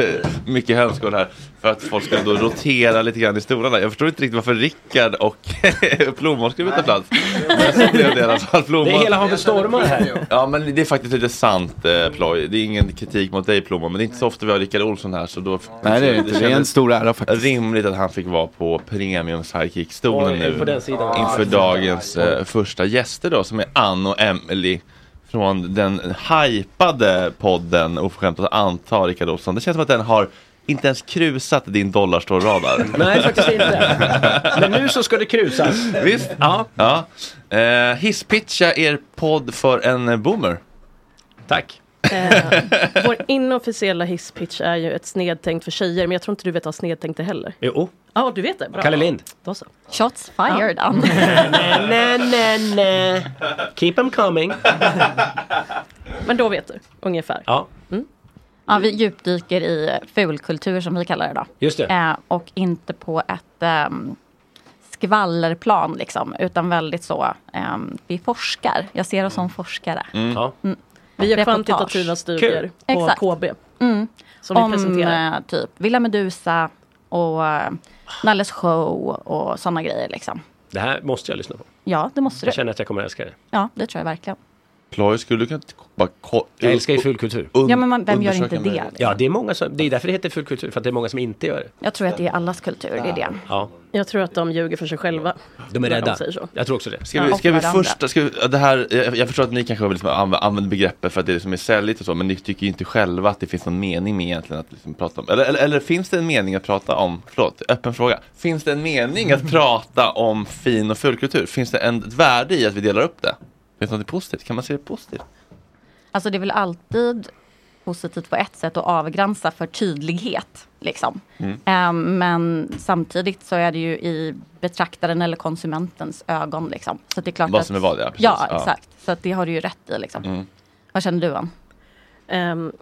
A: [laughs] mycket hönskål här för att folk skulle då rotera lite grann i stolarna. Jag förstår inte riktigt varför Rickard och [laughs] Plommon skulle byta plats. Men så blev det i alla fall.
C: Det är
A: Plommon.
C: hela havet stormar här.
A: Ja, men det är faktiskt lite sant eh, ploj. Det är ingen kritik mot dig Plommon, men det är inte så ofta vi har Rickard Olsson här så då
D: Nej det är det inte. Det är en
A: kändes
D: stor ära faktiskt.
A: rimligt att han fick vara på premium sidekick-stolen
C: Oj,
A: nu
C: på den sidan.
A: inför dagens eh, första gäster då som är Ann och Emily från den hypade podden Oförskämt att anta Rickard Olsson. Det känns som att den har inte ens krusat din dollarstore-radar.
C: [laughs] Nej, faktiskt inte. Men nu så ska det krusas.
A: Visst?
C: Ja,
A: Ja. Eh, hisspitcha er podd för en eh, boomer.
C: tack.
H: Vår inofficiella hisspitch är ju ett snedtänkt för tjejer, men jag tror inte du vet vad snedtänkt är heller.
C: Jo,
H: Ja, du vet det? Bra.
C: Kalle Lind.
H: Då så.
I: Shots
H: [laughs]
I: fired. Ann.
C: Nej, nej, nej. Keep them coming.
H: Men då vet du, ungefär.
C: Ja,
J: Ja, vi djupdyker i fulkultur som vi kallar det då.
C: just det.
J: Eh, och inte på ett ehm, skvallerplan liksom, utan väldigt så, ehm, vi forskar. Jag ser oss
C: Mm.
J: som forskare. [laughs]
C: Ja.
H: Mm. Vi gör
J: Reportage.
H: kvantitativa studier
C: Kul.
H: på
J: Exakt. Mm.
H: KB. Som vi
J: Om
H: presenterar.
J: eh, typ Villa Medusa och eh, Nalles show och sådana grejer liksom.
C: Det här måste jag lyssna på.
J: Ja, det måste
C: Jag
J: du.
C: känner att jag kommer älska det.
J: Ja, det tror jag verkligen.
A: Ploj, skulle du kunna t- bara ko-
C: Jag älskar ju fulkultur.
A: un-
J: Ja, men man, vem gör
A: undersöka
J: inte det?
A: möjlighet.
J: liksom?
C: Ja, det är många som, det är därför det heter fulkultur, för att det är många som inte gör det.
J: Jag tror att det är allas kultur, det är det.
C: Ja,
H: Jag tror att de ljuger för sig själva.
C: de är
H: när
C: rädda.
H: säger så.
C: Jag tror också det.
A: Ska vi,
J: Ja,
A: ska
J: och
A: vi
J: varandra.
A: först, ska vi, ja, det här, jag, jag förstår att ni kanske liksom anv- använder begreppet för att det är liksom är säljigt och så, men ni tycker ju inte själva att det finns någon mening med egentligen att liksom prata om, eller, eller, eller finns det en mening att prata om, förlåt, öppen fråga, finns det en mening att prata om fin och fulkultur? Finns det en, ett värde i att vi delar upp det? Finns det något positivt? Kan man se det positivt?
J: Alltså det är väl alltid positivt på ett sätt att avgränsa för tydlighet. Liksom.
A: Mm.
J: Eh, men samtidigt så är det ju i betraktaren eller konsumentens ögon. Liksom. Så det är klart
A: Vad
J: att,
A: som är vad, ja, precis.
J: Ja,
A: Ja.
J: exakt. Så att det har du ju rätt i. Liksom.
A: Mm.
J: Vad känner du Ann?
H: Ehm,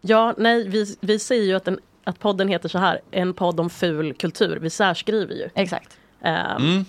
H: ja, nej, vi, vi säger ju att, den, att podden heter så här, en podd om ful kultur. Vi särskriver ju.
J: Exakt.
H: ehm,
A: Mm.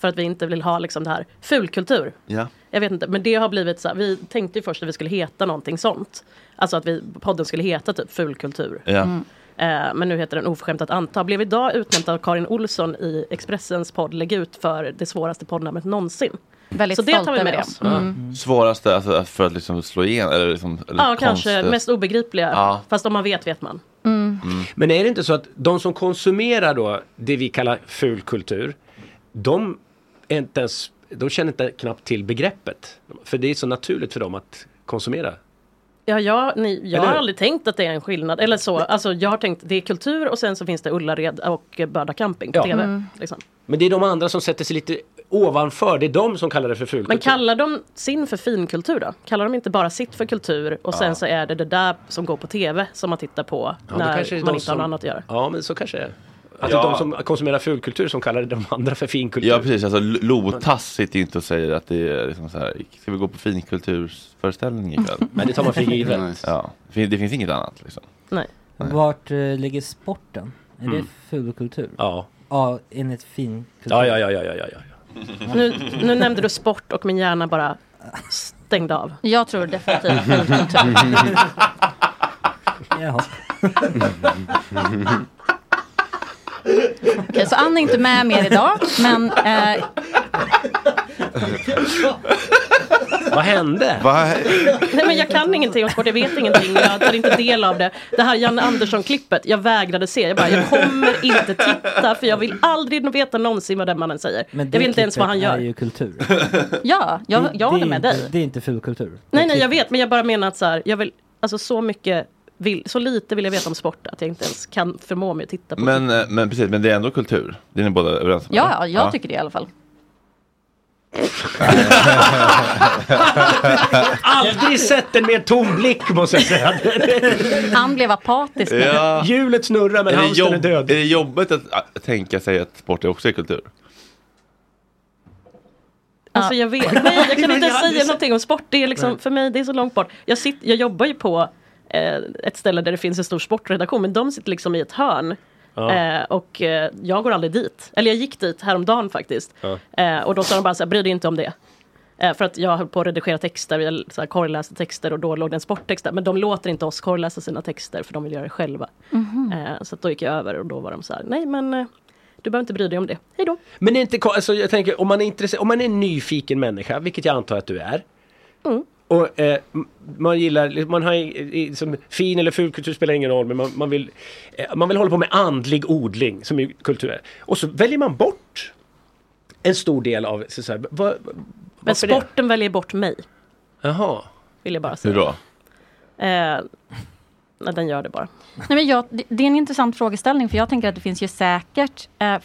H: För att vi inte vill ha liksom det här, fulkultur.
A: Ja.
H: Jag vet inte, men det har blivit så här, vi tänkte ju först att vi skulle heta någonting sånt. Alltså att vi, podden skulle heta typ fulkultur.
A: Ja. Mm.
H: Eh, men nu heter den Oförskämt att anta. Blev idag utnämnd av Karin Olsson i Expressens podd Lägg ut för det svåraste poddnamnet någonsin.
J: Väldigt
H: Så det tar
J: stolt
H: vi
J: över
H: med
J: det. Mm.
H: oss.
A: Svåraste alltså, för att liksom slå igen? Eller liksom, eller
H: Mm. Ja, kanske
A: konstigt.
H: mest obegripliga.
A: Ja.
H: Fast om man vet, vet man.
J: Mm.
A: Mm.
C: Men är det inte så att de som konsumerar då det vi kallar ful kultur, de, är inte ens, de känner inte knappt till begreppet. För det är så naturligt för dem att konsumera.
H: Ja, jag, ni, jag
C: Eller
H: har
C: hur?
H: aldrig tänkt att det är en skillnad. Eller så, alltså, jag har tänkt det är kultur och sen så finns det Ullared och eh, Böda camping på
C: Ja.
H: TV.
C: Mm.
H: Liksom.
C: Men det är de andra som sätter sig lite ovanför, det är de som kallar det för ful
H: Men
C: kultur.
H: kallar de sin för finkultur då? Kallar de inte bara sitt för kultur och sen
C: Ja.
H: så är det det där som går på TV som man tittar på
C: Ja, då kanske det är
H: när man
C: de
H: inte har något
C: som-
H: annat att göra?
C: Ja, men så kanske det är. Att
A: Ja.
C: det är de som konsumerar fulkultur som kallar de andra för finkultur.
A: Ja precis, alltså L- Lotas sitter ju inte och säger att det är liksom så här, ska vi gå på finkulturföreställning ikväll?
C: Nej, det tar man för givet.
A: Ja, det fin- det finns inget annat liksom.
H: Nej.
G: Vart eh, ligger sporten? Är det
A: Mm.
G: fulkultur?
C: Ja.
G: Ja, enligt finkultur.
C: Ja, ja, ja, ja, ja, ja, ja.
H: Nu, nu nämnde du sport och min hjärna bara stängde av.
J: Jag tror definitivt finkultur.
C: [laughs]
G: Jaha.
J: Okej, så Ann är inte med mer idag, men eh,
C: Vad hände?
H: Nej men jag kan ingenting om sport, jag vet ingenting, jag tar inte del av det. Det här Janne Andersson-klippet, jag vägrade se. Jag bara, jag kommer inte titta för jag vill aldrig veta någonsin vad den mannen säger.
G: Men
H: jag
G: det
H: vet inte ens vad han
G: klippet
H: gör.
G: är ju kultur.
J: ja, jag,
G: Det- det
J: jag
G: är
J: håller med
G: inte-
J: dig.
G: Det är inte fulkultur.
H: Nej nej jag vet, men jag bara menar att så här, jag vill, alltså så mycket, vill, så lite vill jag veta om sport att jag inte ens kan förmå mig att titta på
A: Men, eh, men precis, men det är ändå kultur. Det är ni båda överens om?
J: Ja,
A: eller?
J: ja, jag tycker det i alla fall.
A: [laughs]
C: Aldrig sett en mer tom blick måste jag säga.
J: Han blev apatisk nu.
A: Ja.
C: Hjulet snurrar men
A: Är det,
C: hamstern är
A: jobb, är,
C: död.
A: det jobbigt att ah, tänka sig att sport är också är kultur?
H: Alltså jag vet, [laughs] nej jag kan inte ens säga någonting om sport. Det är liksom,
C: Nej.
H: för mig det är så långt bort. Jag, sitter, jag jobbar ju på eh, ett ställe där det finns en stor sportredaktion men de sitter liksom i ett hörn.
K: Ja.
H: Eh, och eh, jag går aldrig dit. Eller jag gick dit häromdagen faktiskt.
K: Ja.
H: Eh, och då sa de bara så här, bry dig inte om det. Eh, för att jag höll på att redigera texter, jag så här, korrläste texter och då låg det en sporttext där. Men de låter inte oss korrläsa sina texter för de vill göra det själva. Eh, så att då gick jag över och då var de så här, nej men eh, du behöver inte bry dig om det. Hej då.
C: Men det är inte, ko- alltså, jag tänker, om man är intresserad, om man är en nyfiken människa, vilket jag antar att du är.
H: Mm.
C: Och eh, m- man gillar, man har i- i- som fin eller ful kultur spelar ingen roll men man, man, vill, eh, man vill hålla på med andlig odling som ju kultur är. Och så väljer man bort en stor del av, så, så här, vad,
H: Men
C: varför det?
H: sporten väljer bort mig,
C: Jaha.
H: vill jag bara säga.
A: Hur då?
H: Eh, nej, den gör det bara.
J: Nej, men jag, det- det är en intressant frågeställning för jag tänker att det finns ju säkert eh,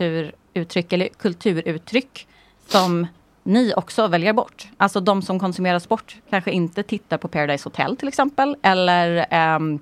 J: fulkulturuttryck eller kulturuttryck som ni också väljer bort. Alltså de som konsumerar sport kanske inte tittar på Paradise Hotel till exempel eller ehm,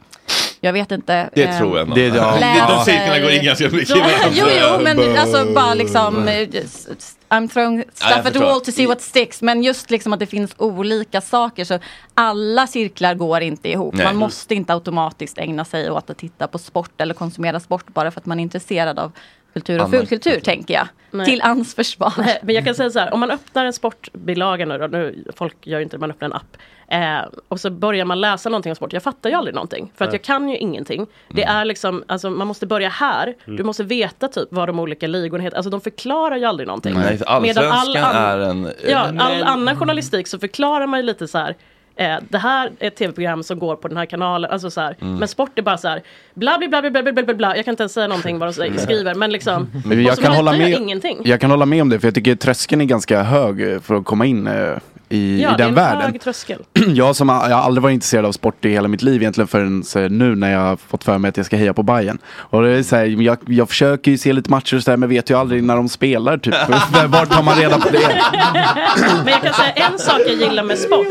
J: jag vet inte.
A: Det
J: ehm,
A: tror jag nog.
D: Det- ja.
A: Det-
J: läser-
A: De cirklarna går in ganska mycket. i
J: Ja,
A: varandra.
J: jo, jo, men alltså bara liksom eh, s- s- I'm throwing
A: Ja, jag
J: stuff at the
A: förstår.
J: wall to see what sticks. Men just liksom att det finns olika saker så alla cirklar går inte ihop.
A: Nej.
J: Man måste inte automatiskt ägna sig åt att titta på sport eller konsumera sport bara för att man är intresserad av kultur och
H: Annan
J: fulkultur tänker jag.
H: Nej.
J: Till ans försvar.
H: Nej, men jag kan säga så här, om man öppnar en sportbilaga nu då, nu, folk gör ju inte det, man öppnar en app. Eh, och så börjar man läsa någonting om sport, jag fattar ju aldrig någonting. För att
J: Nej.
H: jag kan ju ingenting. Det är liksom, alltså man måste börja här.
A: Mm.
H: Du måste veta typ vad de olika ligorna heter. Alltså de förklarar ju aldrig någonting.
A: Nej,
H: Medan all
A: allsvenskan
H: annan-
A: är en...
D: Eh,
H: Ja, all annan journalistik så förklarar man ju lite så här. Eh, det här är ett tv-program som går på den här kanalen. Alltså så här.
A: Mm.
H: Men sport är bara så här. Bla, bla, bla, bla, bla, bla, bla, bla. Jag kan inte ens säga någonting vad de säger- skriver. Men liksom.
D: Mm. [laughs] Men
H: och
D: jag,
H: så
D: kan hålla
H: litar jag
D: med,
H: ingenting.
D: jag kan hålla med om det, för jag tycker tröskeln är ganska hög eh, för att komma in eh, i,
H: ja,
D: i den
H: det är en
D: världen.
H: hög tröskel.
D: [clears throat] jag som har, jag har aldrig varit intresserad av sport i hela mitt liv egentligen förrän eh, nu när jag har fått för mig att jag ska heja på Bayern. Och det är så här, jag, jag försöker ju se lite matcher och sådär men vet ju aldrig när de
C: [laughs]
D: spelar typ. Var tar man reda på det?
H: [laughs] Men jag kan säga en sak jag gillar med sport.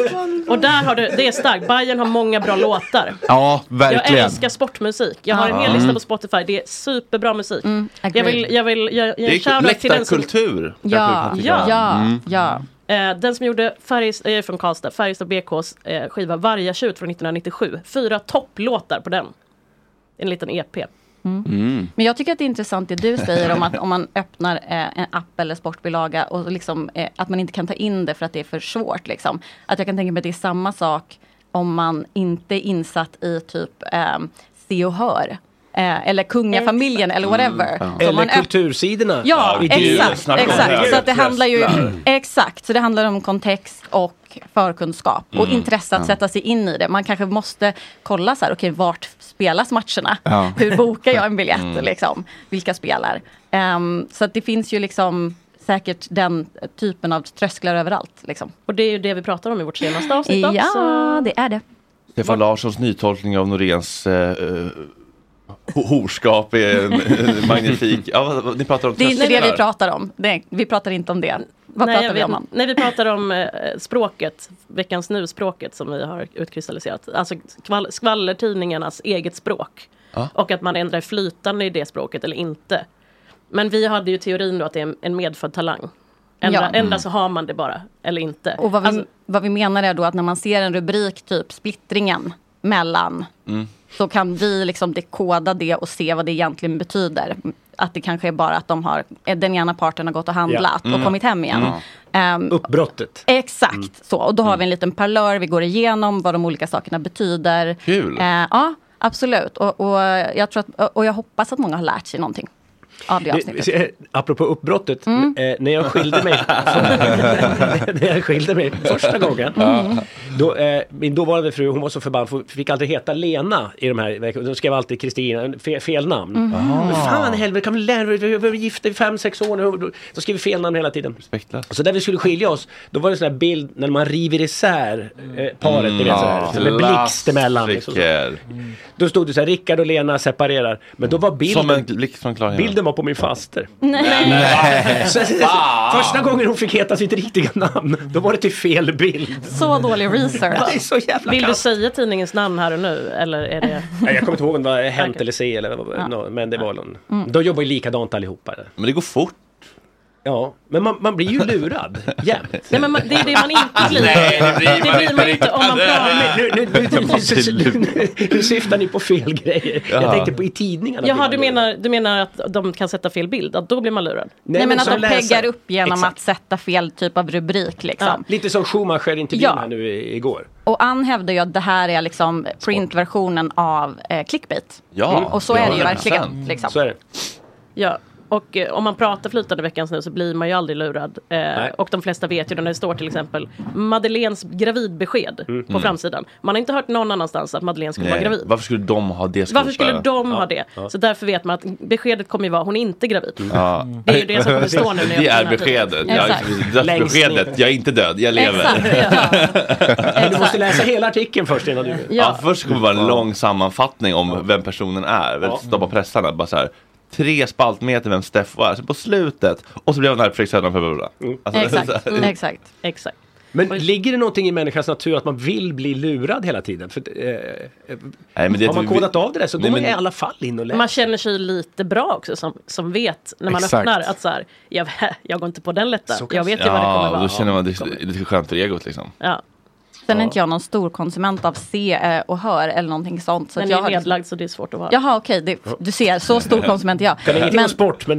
H: Och där har du, det är starkt. Bayern har många bra låtar.
D: Ja,
H: Jag
D: verkligen.
H: älskar sportmusik. Jag har en
D: Ja.
H: hel lista
D: Mm.
H: på Spotify. Det är superbra musik. jag vill, jag vill, jag,
A: Det
H: jag
A: är
H: shoutout till den som-
A: läktarkultur.
H: Ja, ja,
A: Mm.
J: ja.
H: Eh, den som gjorde Färjestad, jag är från Karlstad, Färjestad BKs eh, skiva Varga tjut från 1997. Fyra topplåtar på den. En liten E EP.
J: Men jag tycker att det är intressant det du säger om att om man öppnar eh, en app eller sportbilaga och liksom, eh, att man inte kan ta in det för att det är för svårt. Liksom. Att jag kan tänka mig att det är samma sak om man inte är insatt i typ eh, se och hör. eh, eller kungafamiljen eller
C: Mm,
J: whatever. Så om man
C: Eller
J: öppnar-
C: kultursidorna. [laughs]
J: Ja,
C: i det.
J: exakt.
C: Snacka om
J: exakt. Så
C: höga
J: att det handlar ju,
C: trösklar.
J: [clears throat] exakt, så det handlar om kontext och förkunskap och
C: Mm.
J: intresse att
C: Ja.
J: sätta sig in i det. Man kanske måste kolla så här, okej vart spelas matcherna?
C: Ja.
J: [laughs] Hur bokar jag en biljett?
C: Mm.
J: Liksom? Vilka spelar? Ehm, så att det finns ju liksom säkert den typen av trösklar överallt. Liksom.
H: Och det är ju det vi pratar om i vårt senaste avsnitt
J: ja,
H: också.
J: det är det.
A: Stefan Larssons nytolkning av Noréns eh, eh, ho- horskap är en,
H: [laughs]
A: en magnifik. Ja, vad- vad- ni pratar om
J: Det är inte det
A: trösklar.
J: vi pratar om. Det, vi pratar inte om det. Vad
H: Nej,
J: pratar
H: jag
J: vi om?
H: vet- Nej, vi pratar om eh, språket, veckans nu-språket som vi har utkristalliserat. Alltså skvall, skvallertidningarnas eget språk.
K: Ja.
H: Och att man ändrar flytande i det språket eller inte. Men vi hade ju teorin då att det är en- en medfödd talang. Ändra,
J: Ja.
H: ändra
J: Mm.
H: så har man det bara, eller inte.
J: Och vad vi,
H: Alltså-
J: vad vi menar är då att när man ser en rubrik, typ splittringen mellan, så kan vi liksom dekoda det och se vad det egentligen betyder. Att det kanske är bara att de har, eh, den ena parten har gått och handlat
C: Ja. Mm. Mm.
J: och kommit hem igen.
C: Ja.
J: Ehm,
C: Uppbrottet.
J: Exakt så, och då har vi en liten parlör, vi går igenom vad de olika sakerna betyder.
C: Kul.
J: Eh, ja, absolut. Och, och, jag tror att, och jag hoppas att många har lärt sig någonting av det avsnittet. Mm.
C: Det, apropå uppbrottet, eh, när jag skilde
J: [laughs]
C: mig när jag skilde mig första gången.
J: Mm.
C: Då, eh, min dåvarande fru hon var så förbannad för hon fick alltid heta Lena i de här veckorna. De skrev alltid Kristina, fe, fel namn.
J: Mm.
A: Mhm. Ah.
C: Men fan i helvete, kan vi lära vi vi har varit gifta i fem, sex år nu. Då skrev vi fel namn hela tiden.
A: Respektlöst.
C: Så där vi skulle skilja oss, då var det en sån här bild när man river isär eh, paret, ni vet, så
A: Mm.
C: här, med blixt emellan. Liksom.
A: Klassiker.
H: Mm.
C: Då stod det så här, Rickard och Lena separerar. Men då var bilden...
A: Som en blixt från klar himmel.
C: Bilden var på min faster.
A: Nej. Nej.
C: [laughs] Så, så, så,
A: Fan.
C: första gången hon fick heta sitt riktiga namn, då var det till fel bild.
J: Så dålig research.
C: Det är så jävla
H: Vill du
C: kass.
H: säga tidningens namn här och nu? Eller är det...
C: Nej, jag kommer inte ihåg om det var Hänt eller Se eller vad, nå- men det var någon.
H: Mm.
C: De jobbar ju likadant allihopa.
A: Men det går fort.
C: Ja, men man, man blir ju lurad jämt.
H: Nej, men man- det är det man inte blir.
C: Nej,
H: det blir man inte om man pratar-
C: Nu, nu, nu, nu, nu, nu, nu syftar ni på fel grejer.
A: Ja.
C: Jag tänkte på i tidningarna. blir
H: Jaha,
C: man
H: du menar, du menar att de kan sätta fel bild? Att då blir man lurad?
J: Nej, men att de peggar upp genom
C: Exakt.
J: att sätta fel typ av rubrik. Liksom.
C: Lite som Schumacher-intervjun
J: Ja.
C: här nu i- igår.
J: Och Ann hävdar ju att det här är liksom printversionen av eh, clickbait. Mm, och så är det ju verkligen. Liksom.
C: Så är det.
H: Ja, och eh, om man pratar flytande veckans nu så blir man ju aldrig lurad. Eh, och de flesta vet ju när det står till exempel Madeleines gravidbesked
A: Mm.
H: på
A: Mm.
H: framsidan. Man har inte hört någon annanstans att Madeleine skulle vara
A: Nej.
H: gravid.
A: Varför skulle de ha det?
H: Varför skulle de ha det?
A: Ja.
H: Så därför vet man att beskedet kommer ju vara hon är
A: [laughs]
H: inte gravid.
A: Ja.
H: Det är ju det som kommer stå nu när jag
A: Det är
H: öppnar den här
A: beskedet.
H: tidningen.
A: Jag,
H: Exakt.
A: dödsbeskedet. Jag är inte död, jag lever. [laughs]
C: Men du måste läsa hela artikeln först innan du...
A: Ja. först kommer det vara en lång sammanfattning om vem personen är. Väldigt Stoppa pressarna. Bara så här, tre spaltmeter vem Steff var. Så på slutet, och så blev han här Fredrik Söderholm. bla, bla, bla. Alltså, så här.
H: Mm.
J: Exakt.
H: Exakt.
C: Men ligger det någonting i människans natur att man vill bli lurad hela tiden? För, eh, eh,
A: Nej, men det-
C: har man kodat av det där så
A: Nej,
C: går man
A: men-
C: i alla fall in och läser.
H: Man känner sig lite bra också som, som vet när man
A: Exakt.
H: öppnar att så här, jag, [laughs] jag går inte på den lätta.
J: Så kan-
H: Jag vet ju vad det kommer
A: Ja,
H: vara.
A: då känner man det är lite skönt för egot liksom.
H: Ja.
J: Sen är inte jag någon stor konsument av se eh, och hör eller någonting sånt. Så
H: Den
J: att
H: är
J: jag
H: ju
J: har liksom-
H: nedlagd så det är svårt att vara.
J: Jaha okej, det- du ser, så stor konsument är jag.
C: Kan ingenting om sport
J: [laughs]
C: men...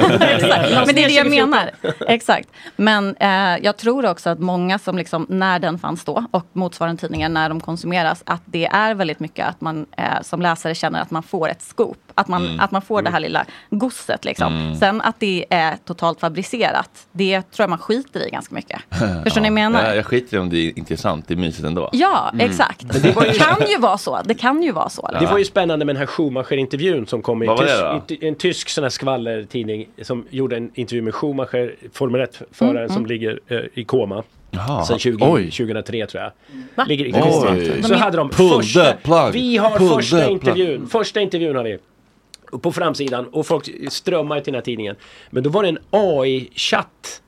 J: Men det är det jag menar. Exakt. Men eh, jag tror också att många som liksom, när den fanns då och motsvarande tidningar när de konsumeras, att det är väldigt mycket att man eh, som läsare känner att man får ett scoop. Att man,
C: Mm.
J: att man får det här lilla gosset. Liksom.
C: Mm.
J: Sen att det är totalt fabricerat, det tror jag man skiter i ganska mycket. Förstår ni vad jag menar?
A: Ja, jag skiter i om det är intressant, det är mysigt ändå.
J: Ja,
A: Mm.
J: exakt.
A: Men
J: Det, kan ju vara så. Det kan ju vara så. liksom.
C: Det var ju spännande med den här Schumacher-intervjun som kom i
A: Vad var det
C: en, tysk, i en tysk sån här skvallertidning som gjorde en intervju med Schumacher, Formel 1-föraren
J: Mm,
C: som
J: mm.
C: ligger eh, i koma.
A: Jaha.
C: Sen 20,
A: Oj.
C: 2003 tror jag.
H: Va?
C: Ligger i
A: Oj.
C: koma. Så
A: De-
C: hade de
A: Pull
C: första,
A: the plug.
C: vi har
A: Pull the
C: första
A: plug.
C: intervjun, första intervjun har vi. Och På framsidan och folk strömmar till den här tidningen. Men då var det en AI-chatt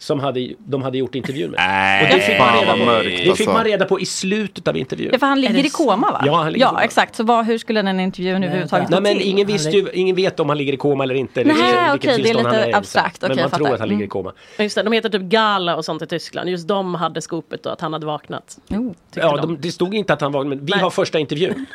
C: som hade, de hade gjort intervjun med. och det fick, man
A: fan
C: reda
A: vad
C: på,
A: mörkt,
C: det fick
A: alltså.
C: man reda på i slutet av intervjun.
J: Ja, för han ligger i koma va?
C: Ja, han ligger i koma.
J: exakt. Så vad, hur skulle den intervjun överhuvudtaget
C: Nej
J: gå
C: men
J: till?
C: ingen, visste ju, ingen vet om han ligger i koma eller inte. eller
J: Nej,
C: vilket
J: okej, det är
C: tillstånd
J: lite
C: han i, så.
J: abstrakt. Okej,
C: men man
J: jag
C: tror
J: fattar.
C: att han ligger i
J: Mm.
C: koma.
H: Ja, Just det, de heter typ Gala och sånt i Tyskland. Just de hade skopet då att han hade vaknat.
C: Ja, de, det stod inte att han vaknade, men vi har första
J: [laughs]
C: intervjun.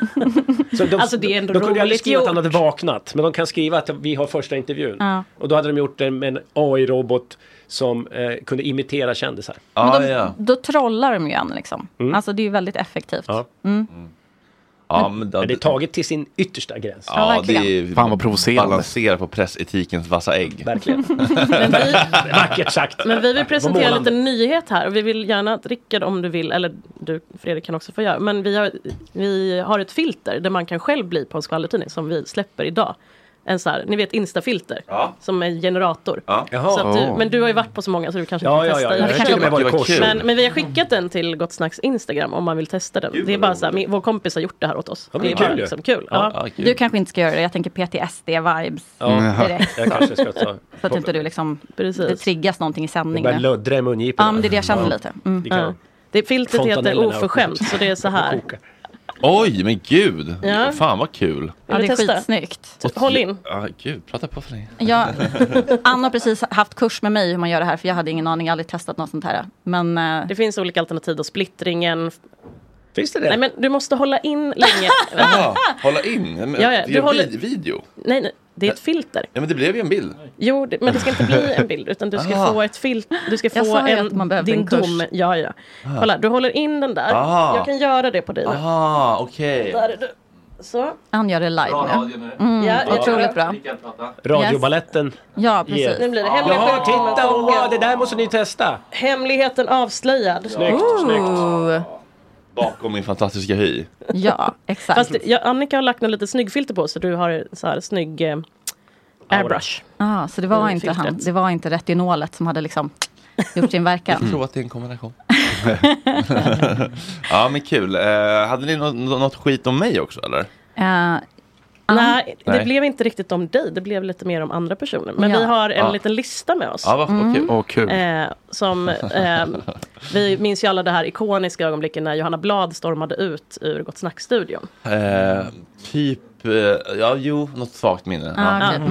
C: Så de,
H: Alltså, det är ändå
C: de kunde ju aldrig
H: roligt
C: skriva att han
H: gjort.
C: hade vaknat, men de kan skriva att vi har första intervjun.
J: Ja.
C: Och då hade de gjort det med en AI-robot som eh, kunde imitera kändisar.
J: Men de, Då trollar de ju en liksom.
C: Mm.
J: Alltså det är ju väldigt effektivt.
C: Ja.
J: Mm.
A: Ja, men
C: Men det är taget till sin yttersta gräns.
A: Ja, det är
D: Fan vad provocerande.
A: Balanserar på pressetikens vassa ägg.
C: Verkligen. Vackert sagt.
H: Men vi vill presentera
A: Vad
H: en
A: målande.
H: liten nyhet här och vi vill gärna att Rickard om du vill, eller du Fredrik kan också få göra, men vi har, vi har ett filter där man kan själv bli på en skvallertidning som vi släpper idag. En så här, ni vet instafilter som är en generator.
A: Ja.
C: Jaha.
H: Så att du,
C: Oh.
H: men du har ju varit på så många så du kanske
C: Ja,
H: kan
C: ja,
H: testa.
C: ja,
H: i-
C: jag har till och med varit Gud, vad kurs. kul.
H: men, men vi har skickat den till Gott Snacks Instagram om man vill testa den. det är bara så här, min, vår kompis har gjort det här åt oss.
J: Ja, men
H: det är
J: kul
H: bara
J: ju.
H: liksom kul.
J: Ja,
H: Ja.
J: ja, kul. Du kanske inte ska göra det. Jag tänker PTSD-vibes
C: Ja,
J: direkt.
C: jag kanske ska
J: [laughs]
C: ta-
J: Så att inte du liksom, det triggas någonting i
C: Det
J: sändning.
C: börjar
J: nu.
C: luddra i mungiporna.
J: Ja, men det är det jag känner lite. Mm.
C: Det kan-
H: Ja. Det, filtret heter
C: Fontanellerna.
H: oförskämt så det är så här.
A: Oj, men gud!
H: Ja.
A: Fan vad kul.
J: Ja, det är
H: testa? Typ,
J: skitsnyggt.
H: Håll in.
A: Ja, gud, prata på för länge.
J: Ja, Anna har precis haft kurs med mig hur man gör det här för jag hade ingen aning, jag har aldrig testat något sånt här. Men, eh,
H: det finns olika alternativ och splittringen.
C: Finns det
H: Nej men du måste hålla in länge.
A: [laughs] [laughs] Jaha, hålla in. Men,
H: Ja, ja,
A: det
H: du
A: är
H: håller-
A: håller... video.
H: nej, nej, det är ett filter.
A: Ja, men det blev ju en bild.
H: Jo, det, men det ska
A: [laughs]
H: inte bli en bild utan du ska
A: Ah.
H: få ett filter. Du ska
J: Jag
H: få
J: sa ju
H: en,
J: att man behövde
H: din
J: en kurs.
H: dom. Ja, ja.
A: Ah.
H: Kolla, du håller in den där.
A: Ah.
H: Jag kan göra det på dig. nu.
A: Aha, okej.
H: Där är du. Så.
J: Han gör det live
H: Bra
J: nu.
H: radio nu.
J: Mm,
H: Ja,
J: ja, otroligt bra.
C: Radiobaletten.
J: Ja,
H: precis. Nu blir det hemlig
C: Jaha,
H: effekt.
C: titta! Wow, det där måste ni testa.
H: Hemligheten avslöjad.
C: Snyggt,
J: snyggt.
A: Bakom min fantastiska hy. [laughs]
J: Ja, exakt.
H: Fast det- ja, Annika har lagt något lite snyggfilter på så du har så här snygg eh, airbrush.
J: Ah, så det var
H: Det är
J: inte han,
H: filtret.
J: det var inte retinolet som hade liksom gjort sin verkan.
H: Mm.
A: Jag tror att det är en kombination. ja, men kul. Eh, hade ni något, något skit om mig också, eller?
H: Eh, Nej, det
A: Nej.
H: blev inte riktigt om dig. Det blev lite mer om andra personer. Men
A: Ja.
H: vi har en
A: Ja.
H: liten lista med oss.
A: Ja, vad vad kul. Åh, kul.
H: Eh, som, eh, vi minns ju alla det här ikoniska ögonblicket när Johanna Blad stormade ut ur Gott Snack-studion.
A: Eh, typ, eh, ja, jo, något svagt minne. ja.
H: Ja.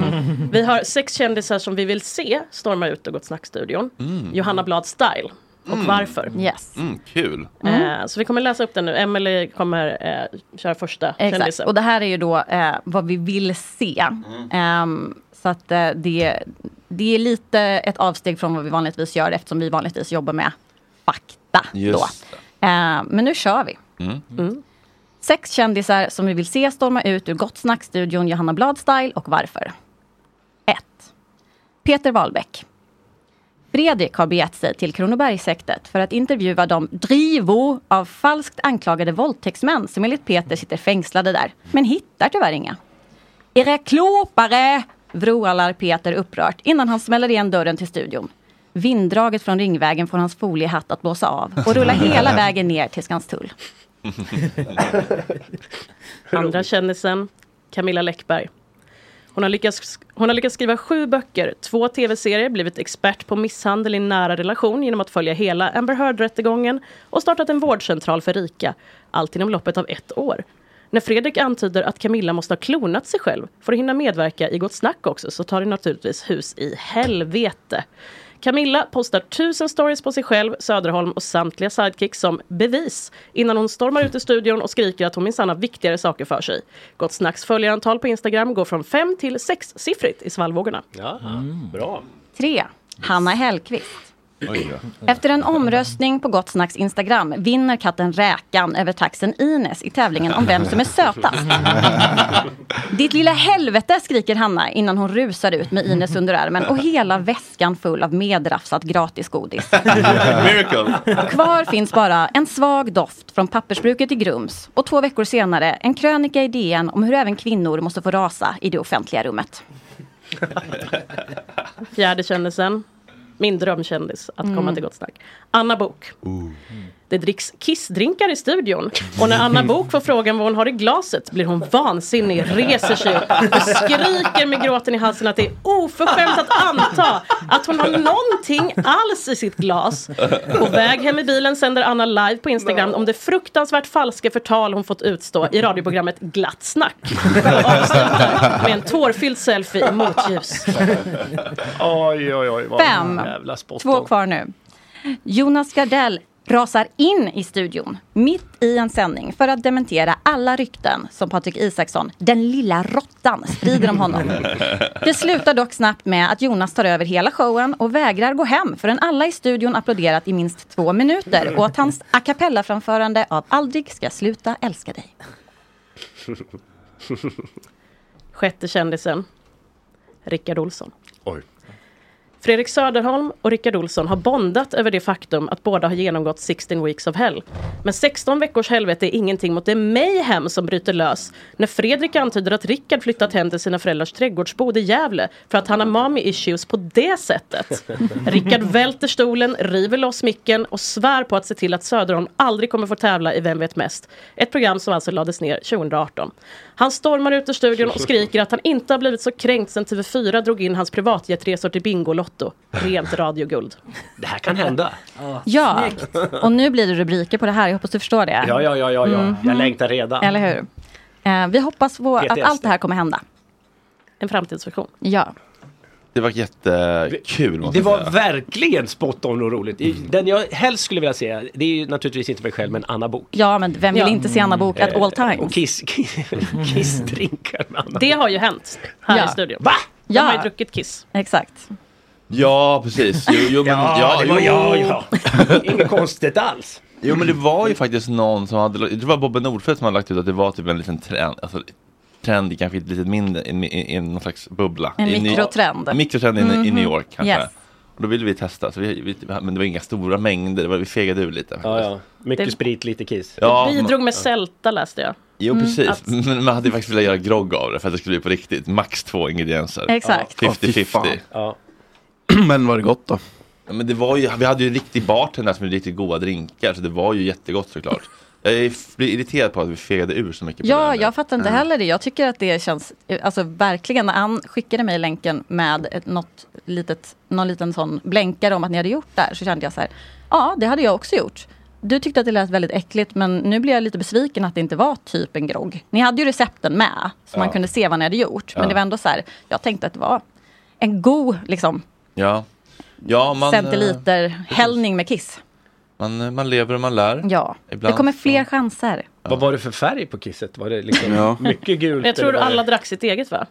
H: Vi har sex kändisar som vi vill se storma ut ur Gott Snack-studion.
A: Mm.
H: Johanna Blad Style. Och
A: Mm.
H: varför.
A: Mm, kul.
H: Eh, så vi kommer läsa upp den nu. Emelie kommer eh, köra första
J: Exakt.
H: kändisen. Mm.
J: Och det här är ju då eh, vad vi vill se. Ehm, så att eh, det, det är lite ett avsteg från vad vi vanligtvis gör eftersom vi vanligtvis jobbar med fakta. Då.
A: Just.
J: Eh, men nu kör vi.
A: Mm.
J: Sex kändisar som vi vill se storma ut ur Gott Snack-studion Johanna Blad-style och varför. 1. Peter Wahlbeck. Fredrik har begett sig till Kronobergshäktet för att intervjua de drivor av falskt anklagade våldtäktsmän som enligt Peter sitter fängslade där, men hittar tyvärr inga. Era klåpare! vrålar Peter upprört innan han smäller igen dörren till studion. Vinddraget från Ringvägen får hans foliehatt att blåsa av och rulla hela vägen ner till Skanstull.
H: Andra kändisen, Camilla Läckberg. Hon har, lyckats, hon har lyckats skriva sju böcker, två tv-serier, blivit expert på misshandel i nära relation genom att följa hela Amber Heard-rättegången och startat en vårdcentral för rika. Allt inom loppet av ett år. När Fredrik antyder att Camilla måste ha klonat sig själv för att hinna medverka i Gott Snack också så tar det naturligtvis hus i helvete. Camilla postar tusen stories på sig själv, Söderholm och samtliga sidekicks som bevis innan hon stormar ut i studion och skriker att hon minsann har viktigare saker för sig. Gott Snacks följarantal på Instagram går från fem till sexsiffrigt i svallvågorna.
C: Ja, bra.
J: 3. Hanna Hellqvist.
A: Oj, ja.
J: Efter en omröstning på Gott Snacks Instagram vinner katten Räkan över taxen Ines i tävlingen om vem som är [laughs] sötast. Ditt lilla helvete skriker Hanna innan hon rusar ut med Ines under armen och hela väskan full av medrafsat
A: [laughs]
J: gratisgodis.
A: Miracle.
J: Kvar finns bara en svag doft från pappersbruket i Grums och två veckor senare en krönika i DN om hur även kvinnor måste få rasa i det offentliga rummet.
H: Fjärde kändisen, min drömkändis att komma
J: Mm.
H: till Gott Snack. Anna Bok. Det dricks kissdrinkar i studion. Och när Anna Bok får frågan vad hon har i glaset blir hon vansinnig, reser sig upp och skriker med gråten i halsen att det är oförskämt att anta att hon har någonting alls i sitt glas. På väg hem i bilen sänder Anna live på Instagram om det fruktansvärt falska förtal hon fått utstå i radioprogrammet Glatt Snack. Och avslutar med en tårfylld selfie i motljus.
C: Oj, oj, oj. vad
J: Fem.
C: Jävla spot
J: Två
C: on.
J: kvar nu. Jonas Gardell rasar in i studion mitt i en sändning för att dementera alla rykten som Patrik Isaksson, den lilla råttan, sprider om honom. Det slutar dock snabbt med att Jonas tar över hela showen och vägrar gå hem förrän alla i studion applåderat i minst två minuter åt hans a cappella-framförande av Aldrig ska sluta älska dig.
H: Sjätte kändisen, Rickard Olsson.
A: Oj.
H: Fredrik Söderholm och Rickard Olsson har bondat över det faktum att båda har genomgått 16 weeks of hell. Men 16 veckors helvete är ingenting mot det mayhem som bryter lös när Fredrik antyder att Rickard flyttat hem till sina föräldrars trädgårdsbod i Gävle för att han har mommy issues på det sättet. Rickard välter stolen, river loss micken och svär på att se till att Söderholm aldrig kommer få tävla i Vem vet mest? Ett program som alltså lades ner 2018. Han stormar ut ur studion och skriker att han inte har blivit så kränkt sen TV4 drog in hans privatjetresor till Bingolotto. Rent radioguld.
C: Det här kan hända.
J: Ja, och nu blir det rubriker på det här. Jag hoppas du förstår det.
C: Ja, ja, ja, ja. ja.
J: Mhm.
C: Jag längtar redan.
J: Eller hur? Eh, vi hoppas på att
C: PTSD.
J: allt det här kommer hända.
H: En framtidsvision.
J: Ja.
A: Det var jättekul måste jag
C: Det var
A: säga. Mm.
C: verkligen spot on och roligt. I- Den jag helst skulle vilja se, det är ju naturligtvis inte mig själv, men Anna Bok.
J: Ja, men vem vill
C: Ja.
J: inte se Anna Bok at
C: Eh,
J: all times?
C: Och kiss, kiss, kissdrinkar med Anna
H: Det har ju hänt här
J: Ja.
H: i studion.
C: Va?
H: De har ju druckit Kiss.
J: Exakt.
A: Ja, precis. Jo, jo, men,
C: [laughs] Ja, det var- ja, ja. [laughs] Inget konstigt alls.
A: Jo, men det var ju faktiskt någon som hade, jag tror det var Bobbe Nordfeldt som hade lagt ut att det var typ en liten trend, alltså trend i kanske ett litet mindre, i, i, i någon slags bubbla.
J: En
A: I Ny-
J: mikrotrend.
A: Mikrotrend i, i
J: Mhm.
A: New York kanske.
J: Yes.
A: Och då ville vi testa, så vi, vi, men det var inga stora mängder, det var, vi fegade ur lite.
C: Ja, ja. Mycket
H: Det-
C: sprit, lite kiss.
A: Ja,
H: Bidrog
A: men-
H: med sälta läste jag.
A: Jo
H: Mm.
A: precis,
H: Att-
A: men man hade ju faktiskt velat göra grogg av det för att det skulle bli på riktigt. Max två ingredienser.
H: Exakt.
D: Ja. Åh, fy
A: 50-50.
D: fan. [clears throat] Men var det gott då?
A: Ja, men det var ju, vi hade ju en riktig bartender som gjorde riktigt goda drinkar så det var ju jättegott såklart. Jag är f- blir irriterad på att vi fegade ur så mycket. på
J: Ja,
A: den.
J: jag fattar inte
A: Mm.
J: heller det. Jag tycker att det känns, alltså verkligen, när Ann skickade mig länken med ett, något litet, någon liten sån blänkare om att ni hade gjort där, så kände jag så här, ja, det hade jag också gjort. Du tyckte att det lät väldigt äckligt, men nu blir jag lite besviken att det inte var typ en grogg. Ni hade ju recepten med, så man
A: Ja.
J: kunde se vad ni hade gjort. Men
A: Ja.
J: det var ändå så här, jag tänkte att det var en god liksom,
A: Ja, ja man, eh,
J: centiliter hällning med kiss.
A: man, eh, man lever och man lär.
J: Ja,
A: Ibland.
J: det kommer fler chanser.
C: Vad var det för färg på kisset? Var det liksom
A: Ja.
C: mycket gult?
H: Jag tror
C: eller var
H: alla
C: det-
H: drack sitt eget va?